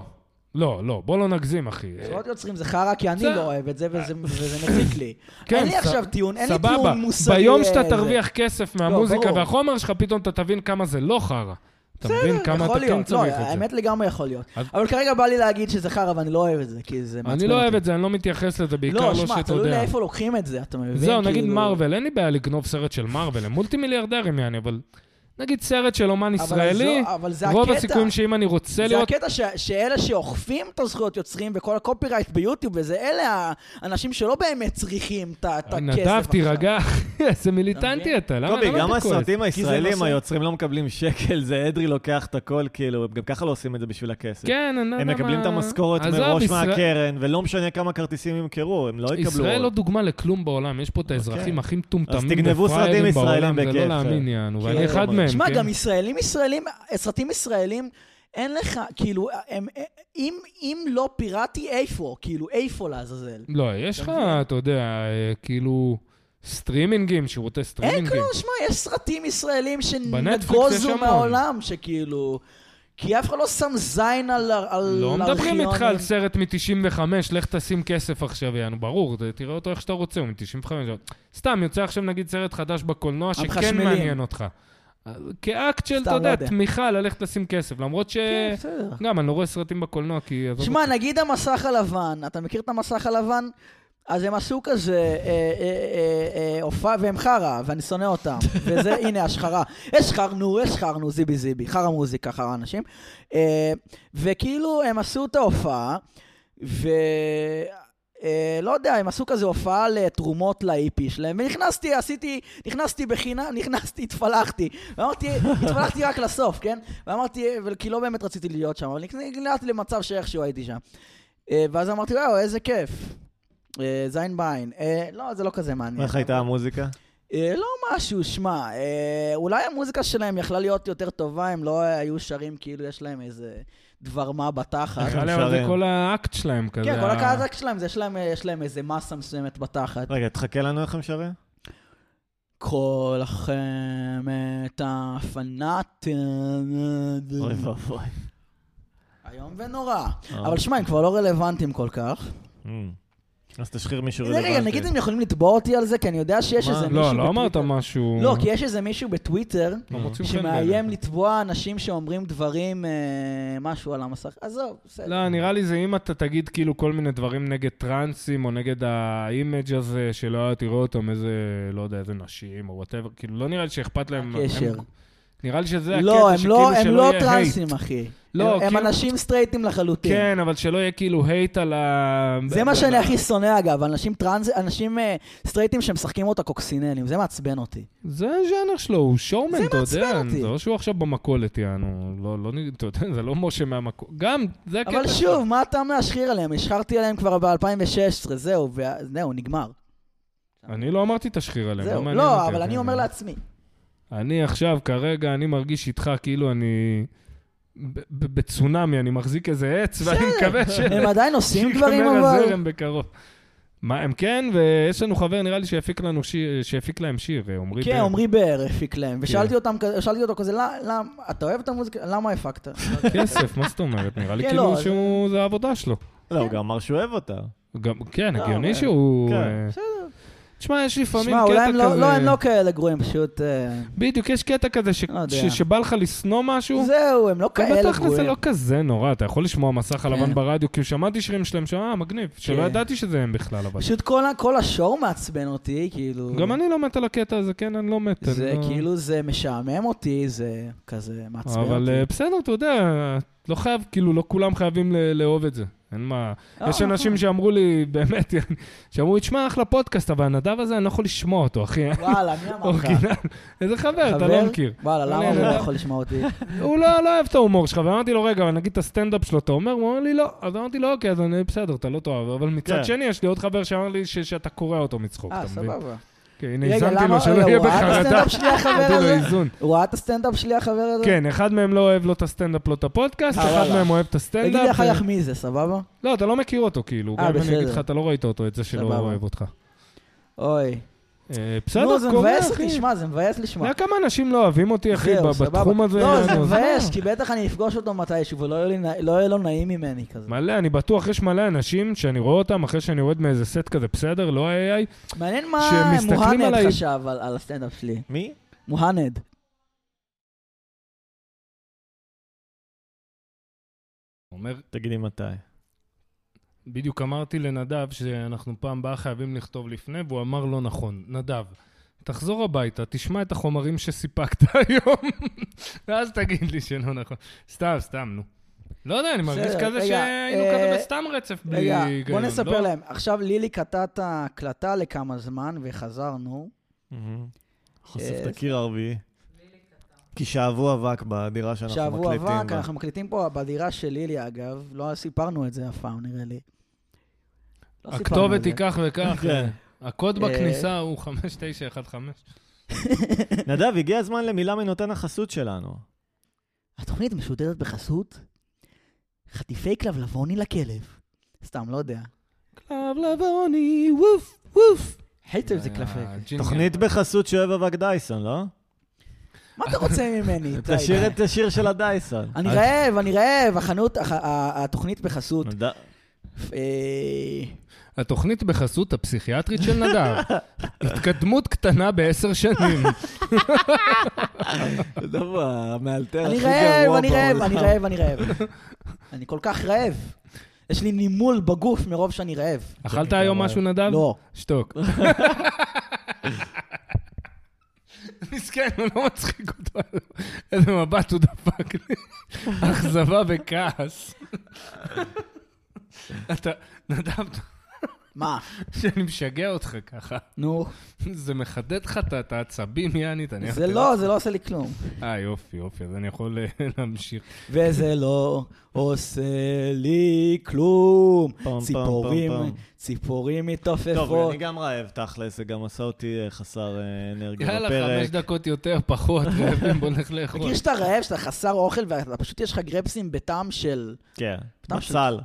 [SPEAKER 3] לא, לא, בוא לא נגזים, אחי.
[SPEAKER 2] זכויות יוצרים זה חרא, כי אני
[SPEAKER 3] זה-
[SPEAKER 2] לא אוהב את זה, וזה וזה מציק לי.
[SPEAKER 3] כן,
[SPEAKER 2] אין לי
[SPEAKER 3] ס-
[SPEAKER 2] עכשיו טיעון, אין לי
[SPEAKER 3] סבבה,
[SPEAKER 2] טיעון מוסרי.
[SPEAKER 3] ביום
[SPEAKER 2] אה,
[SPEAKER 3] שאתה
[SPEAKER 2] זה. לא,
[SPEAKER 3] תרוויח כסף מהמוזיקה
[SPEAKER 2] ברור.
[SPEAKER 3] והחומר שלך, פתאום אתה תבין כמה זה לא חרא. אתה מבין כמה
[SPEAKER 2] יכול
[SPEAKER 3] אתה כן
[SPEAKER 2] להיות, לא,
[SPEAKER 3] צריך את זה.
[SPEAKER 2] האמת לגמרי יכול להיות.
[SPEAKER 3] אז-
[SPEAKER 2] אבל כרגע בא לי להגיד שזה חרא ואני לא אוהב את זה, כי זה מעצבן
[SPEAKER 3] אני לא אוהב
[SPEAKER 2] אותי.
[SPEAKER 3] את זה, אני לא מתייחס לזה, בעיקר
[SPEAKER 2] לא,
[SPEAKER 3] לא
[SPEAKER 2] שמע,
[SPEAKER 3] שאתה
[SPEAKER 2] תלוי
[SPEAKER 3] יודע.
[SPEAKER 2] לאיפה לוקחים את זה, אתה מבין?
[SPEAKER 3] זהו, נגיד
[SPEAKER 2] כאילו-
[SPEAKER 3] מארוול, אין לי בעיה לגנוב סרט של מארוול, הם מולטי מיליארדרים יעני, אבל נגיד סרט של אומן
[SPEAKER 2] אבל
[SPEAKER 3] ישראלי,
[SPEAKER 2] זו- אבל זה
[SPEAKER 3] רוב
[SPEAKER 2] הקטע.
[SPEAKER 3] הסיכויים שאם אני רוצה
[SPEAKER 2] זה
[SPEAKER 3] לראות...
[SPEAKER 2] הקטע ש- שאלה שאוכפים את הזכויות יוצרים וכל הקופירייט ביוטיוב וזה, אלה האנשים שלא באמת צריכים את ה- את הכסף עכשיו.
[SPEAKER 3] אה, נדב, תירגע, אחי, איזה מיליטנטי אתה, למה לא
[SPEAKER 1] קובי,
[SPEAKER 3] למה
[SPEAKER 1] גם
[SPEAKER 3] אתה כועס?
[SPEAKER 1] הסרטים
[SPEAKER 2] זה
[SPEAKER 1] הישראלים,
[SPEAKER 2] נושא-
[SPEAKER 1] היוצרים לא מקבלים שקל, זה אדרי לוקח את הכל, כאילו, גם ככה לא עושים את זה בשביל הכסף.
[SPEAKER 3] כן, אני לא
[SPEAKER 1] הם
[SPEAKER 3] יודע
[SPEAKER 1] מקבלים
[SPEAKER 3] מה-
[SPEAKER 1] את המשכורת
[SPEAKER 3] עזוב,
[SPEAKER 1] מראש
[SPEAKER 3] ישראל-
[SPEAKER 1] מהקרן, ולא משנה כמה כרטיסים ימכרו, הם לא יקבלו עוד. כן.
[SPEAKER 3] ישראל לא דוגמה לכלום בעולם, יש פה את האזרחים הכי מטומטמים
[SPEAKER 1] אז תגנבו סרטים
[SPEAKER 3] ופראיירים בעולם,
[SPEAKER 1] ישראלים
[SPEAKER 3] זה לא
[SPEAKER 1] בכיף.
[SPEAKER 3] להאמין, יענו, ואני
[SPEAKER 1] כן,
[SPEAKER 3] אחד
[SPEAKER 1] אבל-
[SPEAKER 3] מהם,
[SPEAKER 2] כאילו, שמע,
[SPEAKER 3] כן?
[SPEAKER 2] גם ישראלים ישראלים, סרטים ישראלים, אין לך, כאילו, הם- אם- אם לא פיראטי, איפה? כאילו, איפה לעזאזל?
[SPEAKER 3] לא, יש לך,
[SPEAKER 2] אתה מבין?
[SPEAKER 3] אתה יודע, אה, כאילו, סטרימינגים, שירותי
[SPEAKER 2] אין
[SPEAKER 3] סטרימינגים.
[SPEAKER 2] כלום, שמע, יש סרטים ישראלים
[SPEAKER 3] בנטפליקס יש
[SPEAKER 2] שנגוזו
[SPEAKER 3] המון.
[SPEAKER 2] מהעולם, שכאילו... כי אף אחד לא שם זין על על
[SPEAKER 3] לא מדברים איתך על
[SPEAKER 2] ארכיונים.
[SPEAKER 3] סרט מ-95, לך תשים כסף עכשיו, יענו, ברור, ת- תראה אותו איך שאתה רוצה, הוא מ-95. סתם, יוצא עכשיו נגיד סרט חדש בקולנוע שכן
[SPEAKER 2] המחשמלים.
[SPEAKER 3] מעניין אותך. אה, כאקט של,
[SPEAKER 2] סתם,
[SPEAKER 3] אתה
[SPEAKER 2] לא
[SPEAKER 3] יודע,
[SPEAKER 2] יודע.
[SPEAKER 3] תמיכה ללכת לשים כסף, למרות ש...
[SPEAKER 2] כן, בסדר.
[SPEAKER 3] גם, אני לא רואה סרטים בקולנוע, כי... עזוב
[SPEAKER 2] שמע, נגיד המסך הלבן, אתה מכיר את המסך הלבן? אז הם עשו כזה אה, אה, אה, אה, הופעה, והם חרא, ואני שונא אותם. וזה, הנה, השחרה. השחרנו, השחרנו, זיבי זיבי. חרא מוזיקה, חרא אנשים. אה, וכאילו, הם עשו את ההופעה, ו... אה, לא יודע, הם עשו כזה הופעה לתרומות לאיפי שלהם, ונכנסתי, עשיתי, נכנסתי בחינם, נכנסתי, התפלחתי. ואמרתי, התפלחתי רק לסוף, כן? ואמרתי, אבל- כי לא באמת רציתי להיות שם, אבל נגלעתי למצב שאיכשהו הייתי שם. אה, ואז אמרתי, וואו, איזה כיף. אה, זין בעין. אה, לא, זה לא כזה מעניין.
[SPEAKER 1] איך הייתה המוזיקה?
[SPEAKER 2] אה, לא משהו, שמע, אה, אולי המוזיקה שלהם יכלה להיות יותר טובה, הם לא היו שרים כאילו יש להם איזה דבר מה בתחת.
[SPEAKER 3] נראה לי אבל זה
[SPEAKER 1] שרן.
[SPEAKER 3] כל האקט שלהם כזה.
[SPEAKER 2] כן, כל
[SPEAKER 1] אה.
[SPEAKER 3] ה-
[SPEAKER 2] הקאזק שלהם, זה יש להם, אה, יש להם איזה מסה מסוימת בתחת.
[SPEAKER 1] רגע, תחכה לנו איך הם שרים?
[SPEAKER 2] כל החמת הפנאטים. לא.
[SPEAKER 1] אוי ואבוי.
[SPEAKER 2] איום ונורא.
[SPEAKER 1] אה.
[SPEAKER 2] אבל שמע, הם כבר לא רלוונטיים כל כך.
[SPEAKER 3] Mm.
[SPEAKER 1] אמ. אז תשחיר מישהו
[SPEAKER 2] רגע, נגיד
[SPEAKER 1] רלוונטי.
[SPEAKER 2] הם יכולים לתבע אותי על זה, כי אני יודע שיש
[SPEAKER 1] מה?
[SPEAKER 2] איזה מישהו
[SPEAKER 3] כאילו, לא,
[SPEAKER 2] בטוויטר.
[SPEAKER 3] לא אמרת משהו...
[SPEAKER 2] לא, כי יש איזה מישהו בטוויטר
[SPEAKER 1] Mm.
[SPEAKER 3] לא מוצאים חן
[SPEAKER 2] שמאיים
[SPEAKER 3] בעיניי.
[SPEAKER 2] לתבוע אנשים שאומרים דברים, אה, משהו על המסך. עזוב, בסדר.
[SPEAKER 3] לא, נראה לי זה אם אתה תגיד כאילו כל מיני דברים נגד טרנסים, או נגד האימג' הזה, שלא היה תראה אותם איזה, לא יודע, איזה נשים, או וואטאבר, כאילו, לא נראה לי שאכפת להם...
[SPEAKER 2] הקשר.
[SPEAKER 3] הם- נראה לי שזה הקטע
[SPEAKER 2] לא, הם
[SPEAKER 3] שכאילו
[SPEAKER 2] לא, הם
[SPEAKER 3] שלא
[SPEAKER 2] לא
[SPEAKER 3] יהיה hate.
[SPEAKER 2] טרנסים, אחי.
[SPEAKER 3] לא,
[SPEAKER 2] הם- הם
[SPEAKER 3] כאילו-
[SPEAKER 2] אנשים סטרייטים לחלוטין.
[SPEAKER 3] כן, אבל שלא יהיה כאילו הייט על ה...
[SPEAKER 2] זה מה שאני הכי שונא אגב, אנשים טרנס, אנשים אה, סטרייטים שמשחקים אותה קוקסינלים, זה מעצבן אותי.
[SPEAKER 3] זה הז'אנר שלו, הוא שואומן,
[SPEAKER 2] זה
[SPEAKER 3] אתה
[SPEAKER 2] מעצבן
[SPEAKER 3] יודע.
[SPEAKER 2] אותי.
[SPEAKER 3] זה לא שהוא עכשיו במכולת, יענו. לא, לא, נ- אתה יודע, זה לא משה מהמכולת. גם, זה הקטע
[SPEAKER 2] אבל
[SPEAKER 3] שלו.
[SPEAKER 2] שוב, מה אתה להשחיר עליהם? השחרתי עליהם כבר ב-2016, זהו, ו- זהו, נגמר.
[SPEAKER 3] אני לא אמרתי תשחיר עליהם, לא
[SPEAKER 2] זהו,
[SPEAKER 3] מעניין אותי.
[SPEAKER 2] לא, אבל אני אומר לעצמי.
[SPEAKER 3] אני עכשיו, כרגע, אני מרגיש איתך כאילו אני... ב- ב- בצונאמי, אני מחזיק איזה עץ, ואני מקווה ש...
[SPEAKER 2] הם עדיין עושים
[SPEAKER 3] שיגמר
[SPEAKER 2] דברים אבל?
[SPEAKER 3] הזרם בקרוב. מה, הם כן, ויש לנו חבר, נראה לי, שהפיק לנו שיר, שהפיק להם שיר, אה, עמרי
[SPEAKER 2] כן,
[SPEAKER 3] בר.
[SPEAKER 2] עמרי באר הפיק להם,
[SPEAKER 3] כן.
[SPEAKER 2] ושאלתי אותם כזה- שאלתי אותו כזה, "לא- למה, אתה אוהב את המוזיקה? למה הפקת?
[SPEAKER 3] כסף, מה זאת אומרת? נראה לי
[SPEAKER 2] כן,
[SPEAKER 3] כאילו
[SPEAKER 2] לא, זה-
[SPEAKER 3] שהוא, זה העבודה שלו.
[SPEAKER 1] לא, הוא גם אמר שהוא אוהב אותה.
[SPEAKER 3] גם, כן,
[SPEAKER 2] לא,
[SPEAKER 3] הגיוני
[SPEAKER 2] אבל-
[SPEAKER 3] שהוא...
[SPEAKER 1] כן,
[SPEAKER 3] אה, תשמע, יש לפעמים
[SPEAKER 2] שמע, אולי
[SPEAKER 3] קטע
[SPEAKER 2] הם
[SPEAKER 3] כזה...
[SPEAKER 2] לא, לא, הם לא כאלה גרועים, פשוט... אה,
[SPEAKER 3] בדיוק, יש קטע כזה ש...
[SPEAKER 2] לא יודע.
[SPEAKER 3] ש... שבא לך לשנוא משהו.
[SPEAKER 2] זהו, הם לא כאלה
[SPEAKER 3] ובתכל'ס זה
[SPEAKER 2] גרועים.
[SPEAKER 3] לא כזה נורא, אתה יכול לשמוע מסך הלבן
[SPEAKER 2] כן.
[SPEAKER 3] ברדיו, כאילו שמעתי שירים שלהם שם, אה, מגניב, שלא
[SPEAKER 2] כן.
[SPEAKER 3] ידעתי שזה הם בכלל, אבל...
[SPEAKER 2] פשוט כל ה- כל השואו מעצבן אותי, כאילו...
[SPEAKER 3] גם אני לא מת על הקטע הזה, כן, אני לא מת. אני
[SPEAKER 2] זה
[SPEAKER 3] לא-
[SPEAKER 2] כאילו, זה משעמם אותי, זה כזה מעצבן אותי.
[SPEAKER 3] אבל אה, בסדר, אתה יודע, לא חייב, כאילו, לא כולם חייבים ל- לאהוב את זה. אין מה...
[SPEAKER 2] לא,
[SPEAKER 3] אה, יש אנשים
[SPEAKER 2] נכון.
[SPEAKER 3] שאמרו לי, באמת, שאמרו לי, תשמע, אחלה פודקאסט, אבל הנדב הזה, אני לא יכול לשמוע אותו, אחי.
[SPEAKER 2] וואלה, מי אמר לך?
[SPEAKER 3] אורגינל. איזה חבר, אוקיי, אתה לא
[SPEAKER 2] חבר?
[SPEAKER 3] מכיר.
[SPEAKER 2] וואלה,
[SPEAKER 3] לא,
[SPEAKER 2] למה
[SPEAKER 3] אני
[SPEAKER 2] הוא לא
[SPEAKER 3] יודע.
[SPEAKER 2] יכול לשמוע אותי?
[SPEAKER 3] הוא לא לא אוהב את ההומור שלך, ואמרתי לו, רגע, אבל נגיד את הסטנדאפ שלו, אתה אומר? הוא אומר לי, לא. אז אמרתי לו, אוקיי, אז אני בסדר, אתה לא תאהב. אבל
[SPEAKER 1] כן.
[SPEAKER 3] מצד שני, יש לי עוד חבר שאמר לי ש- שאתה קורע אותו מצחוק,
[SPEAKER 2] אה,
[SPEAKER 3] אתה מבין?
[SPEAKER 2] סבבה.
[SPEAKER 3] כן, הנה,
[SPEAKER 2] רגע,
[SPEAKER 3] הזמתי
[SPEAKER 2] למה...
[SPEAKER 3] לו שלא
[SPEAKER 2] רגע,
[SPEAKER 3] יהיה
[SPEAKER 2] הוא ראה את
[SPEAKER 3] בחרדה.
[SPEAKER 2] הסטנדאפ שלי החבר
[SPEAKER 3] נתתי לו
[SPEAKER 2] הזה?
[SPEAKER 3] איזון.
[SPEAKER 2] הוא ראה את הסטנדאפ שלי החבר הזה?
[SPEAKER 3] כן, אחד מהם לא אוהב לא את הסטנדאפ, לא את הפודקאסט,
[SPEAKER 2] אה,
[SPEAKER 3] אחד
[SPEAKER 2] וואלה.
[SPEAKER 3] מהם אוהב את
[SPEAKER 2] תגיד לי
[SPEAKER 3] הסטנדאפ.
[SPEAKER 2] אחר כך מי זה, סבבה?
[SPEAKER 3] לא, אתה לא מכיר אותו, כאילו.
[SPEAKER 2] אה,
[SPEAKER 3] גם אם אני אגיד
[SPEAKER 2] בסדר.
[SPEAKER 3] לך, אתה לא ראית אותו, את זה שלא
[SPEAKER 2] סבבה.
[SPEAKER 3] אוהב אותך.
[SPEAKER 2] אוי.
[SPEAKER 3] אה,
[SPEAKER 2] נו,
[SPEAKER 3] בסדר,
[SPEAKER 2] זה
[SPEAKER 3] קורה,
[SPEAKER 2] מבאס
[SPEAKER 3] אחי.
[SPEAKER 2] אותי, שמע, זה מבאס
[SPEAKER 3] אתה
[SPEAKER 2] לשמוע.
[SPEAKER 3] יודע כמה אנשים לא אוהבים אותי, אחי,
[SPEAKER 2] זהו,
[SPEAKER 3] ב-
[SPEAKER 2] סבבה.
[SPEAKER 3] בתחום הזה?
[SPEAKER 2] לא, זה
[SPEAKER 3] נו,
[SPEAKER 2] מבאס, כי בטח אני אפגוש אותו מתישהו, ולא יהיה לי נע- לא יהיה לו נעים ממני כזה.
[SPEAKER 3] מלא, אני בטוח, יש מלא אנשים שאני רואה אותם אחרי שאני יורד מאיזה סט כזה, בסדר, לא AI,
[SPEAKER 2] מעניין מה
[SPEAKER 3] כשמסתכלים
[SPEAKER 2] מוהנד
[SPEAKER 3] עליי-
[SPEAKER 2] חשב על על הסטנדאפ שלי.
[SPEAKER 1] מי?
[SPEAKER 2] מוהנד.
[SPEAKER 3] אומר,
[SPEAKER 1] תגידי מתי.
[SPEAKER 3] בדיוק אמרתי לנדב שאנחנו פעם הבאה חייבים לכתוב לפני, והוא אמר לא נכון. נדב, תחזור הביתה, תשמע את החומרים שסיפקת היום, ואז תגיד לי שלא נכון. סתם, סתם, נו. לא יודע, אני מרגיש
[SPEAKER 2] בסדר,
[SPEAKER 3] כזה
[SPEAKER 2] רגע,
[SPEAKER 3] שהיינו
[SPEAKER 2] אה,
[SPEAKER 3] כזה בסתם רצף בלי
[SPEAKER 2] רגע,
[SPEAKER 3] היגיון.
[SPEAKER 2] בוא נספר
[SPEAKER 3] לא?
[SPEAKER 2] להם. עכשיו לילי קטעה את ההקלטה לכמה זמן, וחזרנו.
[SPEAKER 1] Mm-hmm. חושף
[SPEAKER 2] אה,
[SPEAKER 1] את הקיר הרביעי. כי שאבו אבק בדירה שאנחנו
[SPEAKER 2] שבוע
[SPEAKER 1] מקליטים.
[SPEAKER 2] הבא,
[SPEAKER 1] בה.
[SPEAKER 2] אנחנו מקליטים פה בדירה של לילי, אגב. לא סיפרנו את זה אף פעם, נראה לי. לא סיפרנו את
[SPEAKER 3] הכתובת
[SPEAKER 2] זה.
[SPEAKER 3] היא כך וכך.
[SPEAKER 1] כן.
[SPEAKER 2] אה.
[SPEAKER 3] הקוד בכניסה הוא 5915.
[SPEAKER 1] נדב, הגיע הזמן למילה מנותן החסות שלנו.
[SPEAKER 2] התוכנית משודרת בחסות חטיפי כלבלבוני לכלב. סתם, לא יודע.
[SPEAKER 3] כלב לבוני, ווף, ווף.
[SPEAKER 2] הייתם לא,
[SPEAKER 1] אה,
[SPEAKER 2] זה כלפי.
[SPEAKER 3] אה,
[SPEAKER 2] כן.
[SPEAKER 1] תוכנית בחסות שאוהב אבק דייסון, לא?
[SPEAKER 2] מה אתה רוצה ממני? די,
[SPEAKER 1] תשאיר
[SPEAKER 2] די.
[SPEAKER 1] את אה. השיר של הדייסון.
[SPEAKER 2] אני
[SPEAKER 3] אז-
[SPEAKER 2] רעב, אני רעב, החנות, הח- ה- התוכנית בחסות.
[SPEAKER 1] נדב-
[SPEAKER 2] אה,
[SPEAKER 3] התוכנית בחסות הפסיכיאטרית של נדב. התקדמות קטנה בעשר שנים.
[SPEAKER 1] נדב, המאלתר אה, הכי
[SPEAKER 2] אני
[SPEAKER 1] גרוע
[SPEAKER 2] רעב, אני רעב,
[SPEAKER 1] בעולם.
[SPEAKER 2] אני רעב, אני רעב. אני כל כך רעב. יש לי נימול בגוף מרוב שאני רעב.
[SPEAKER 3] אכלת היום משהו, נדב?
[SPEAKER 2] לא.
[SPEAKER 3] שתוק. מסכן, הוא לא מצחיק אותו. איזה מבט הוא דפק לי. אכזבה וכעס. אתה, נדב,
[SPEAKER 2] מה?
[SPEAKER 3] שאני משגע אותך ככה.
[SPEAKER 2] נו,
[SPEAKER 3] זה מחדד לך את- את העצבים, יעני, תניח.
[SPEAKER 2] זה לא, זה לא עושה לי כלום.
[SPEAKER 3] אה, יופי, יופי, אז אני יכול אה, להמשיך.
[SPEAKER 2] וזה לא עושה לי כלום.
[SPEAKER 1] פם, פם,
[SPEAKER 2] ציפורים,
[SPEAKER 1] פם, פם.
[SPEAKER 2] ציפורים
[SPEAKER 1] טוב,
[SPEAKER 2] מתעופפות.
[SPEAKER 1] אני גם רעב, תכלס, זה גם עשה אותי אה, חסר אה, אנרגיה בפרק.
[SPEAKER 3] יאללה, חמש דקות יותר, פחות, רעבים, בוא נלך לאכול.
[SPEAKER 2] מכיר שאתה רעב, שאתה חסר אוכל, ופשוט יש לך גרפסים בטעם של...
[SPEAKER 1] כן,
[SPEAKER 2] טעם של-
[SPEAKER 1] בצל.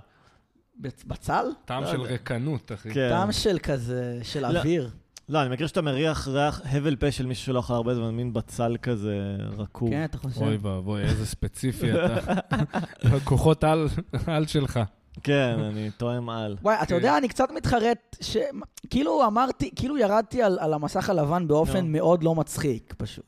[SPEAKER 2] בצל?
[SPEAKER 3] טעם
[SPEAKER 1] לא
[SPEAKER 3] של
[SPEAKER 1] יודע.
[SPEAKER 3] רקנות, אחי.
[SPEAKER 1] כן.
[SPEAKER 2] טעם של כזה, של
[SPEAKER 1] לא.
[SPEAKER 2] אוויר.
[SPEAKER 1] לא, אני מכיר שאתה מריח ריח הבל פה של מישהו שלא אכל הרבה זמן, מין בצל כזה רקוב.
[SPEAKER 2] כן, אתה חושב?
[SPEAKER 3] אוי ואבוי, איזה ספציפי אתה. הכוחות על על שלך.
[SPEAKER 1] כן, אני תואם על.
[SPEAKER 2] וואי, אתה
[SPEAKER 3] כן.
[SPEAKER 2] יודע, אני קצת מתחרט, ש... כאילו אמרתי, כאילו ירדתי על, על המסך הלבן באופן
[SPEAKER 1] נו.
[SPEAKER 2] מאוד לא מצחיק, פשוט.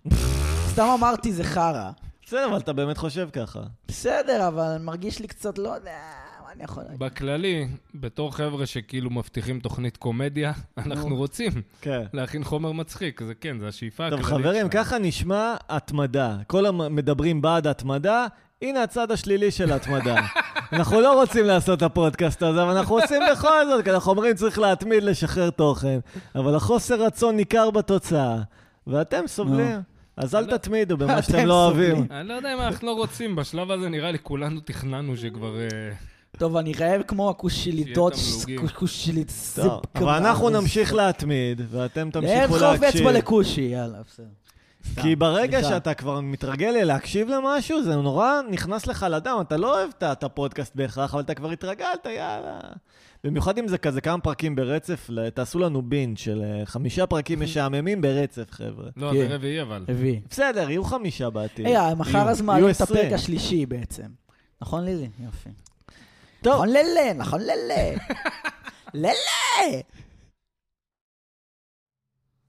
[SPEAKER 2] סתם אמרתי, זה חרא.
[SPEAKER 1] בסדר, אבל אתה באמת חושב ככה.
[SPEAKER 2] בסדר, אבל מרגיש לי קצת, לא יודע, מה אני יכול להגיד?
[SPEAKER 3] בכללי, בתור חבר'ה שכאילו מבטיחים תוכנית קומדיה, אנחנו
[SPEAKER 2] נו.
[SPEAKER 3] רוצים
[SPEAKER 1] כן.
[SPEAKER 3] להכין חומר מצחיק, זה כן, זה השאיפה
[SPEAKER 2] אה,
[SPEAKER 1] טוב,
[SPEAKER 3] הכללית.
[SPEAKER 1] חברים,
[SPEAKER 3] שלנו.
[SPEAKER 1] ככה נשמע התמדה. כל המדברים בעד התמדה, הנה הצד השלילי של התמדה. אנחנו לא רוצים לעשות את הפודקאסט הזה, אבל אנחנו עושים בכל זאת, כי אנחנו אומרים צריך להתמיד לשחרר תוכן, אבל החוסר רצון ניכר בתוצאה, ואתם סובלים. אז אל תתמידו במה שאתם
[SPEAKER 2] אתם
[SPEAKER 1] לא
[SPEAKER 2] סובלים.
[SPEAKER 1] אוהבים.
[SPEAKER 3] אני לא יודע אם אנחנו לא רוצים, בשלב הזה נראה לי כולנו תכננו שכבר... אה,
[SPEAKER 2] טוב, אני רעב כמו הקושיליטות,
[SPEAKER 3] שיהיה תמלוגים.
[SPEAKER 2] ש- קושילית...
[SPEAKER 1] טוב, אבל אנחנו נמשיך להתמיד, ואתם
[SPEAKER 2] לערב
[SPEAKER 1] תמשיכו
[SPEAKER 2] חוף
[SPEAKER 1] להקשיב.
[SPEAKER 2] אצבע לכושי, יאללה, בסדר. סתם,
[SPEAKER 1] כי ברגע
[SPEAKER 2] סליחה.
[SPEAKER 1] שאתה כבר מתרגל ללהקשיב למשהו, זה נורא נכנס לך לדם, אתה לא אוהב את- את הפודקאסט בהכרח, אבל אתה כבר התרגלת, יאללה. במיוחד אם זה כזה כמה פרקים ברצף, ל- תעשו לנו בינג' של אה, חמישה פרקים משעממים ברצף, חבר'ה.
[SPEAKER 3] לא, זה
[SPEAKER 2] כן.
[SPEAKER 3] רביעי אבל.
[SPEAKER 2] הביא.
[SPEAKER 1] בסדר, יהיו חמישה בעתיד.
[SPEAKER 2] רגע, מחר אז
[SPEAKER 1] אוקיי. יהיו
[SPEAKER 2] מעלים את
[SPEAKER 1] 20.
[SPEAKER 2] הפרק השלישי בעצם. נכון לילי? יופי.
[SPEAKER 1] טוב.
[SPEAKER 2] נכון לילה, נכון לילה. לילה!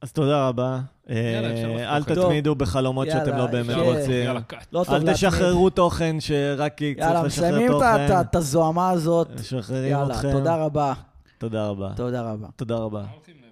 [SPEAKER 1] אז תודה רבה.
[SPEAKER 3] יאללה, אפשר
[SPEAKER 1] אה, אל
[SPEAKER 3] לחתוך את
[SPEAKER 2] זה.
[SPEAKER 1] תתמידו בחלומות
[SPEAKER 2] יאללה,
[SPEAKER 1] שאתם לא באמת
[SPEAKER 2] יאללה.
[SPEAKER 1] רוצים.
[SPEAKER 3] יאללה, קאט.
[SPEAKER 2] לא טוב
[SPEAKER 1] אל
[SPEAKER 2] להתמיד.
[SPEAKER 1] תשחררו תוכן שרק כי צריך
[SPEAKER 2] יאללה,
[SPEAKER 1] לשחרר
[SPEAKER 2] מסיימים את ה-
[SPEAKER 1] תוכן.
[SPEAKER 2] את- את הזוהמה הזאת.
[SPEAKER 1] משחררים
[SPEAKER 2] יאללה,
[SPEAKER 1] אתכם.
[SPEAKER 2] תודה רבה.
[SPEAKER 1] תודה רבה.
[SPEAKER 2] תודה רבה.
[SPEAKER 1] תודה רבה.
[SPEAKER 3] הולכים ל-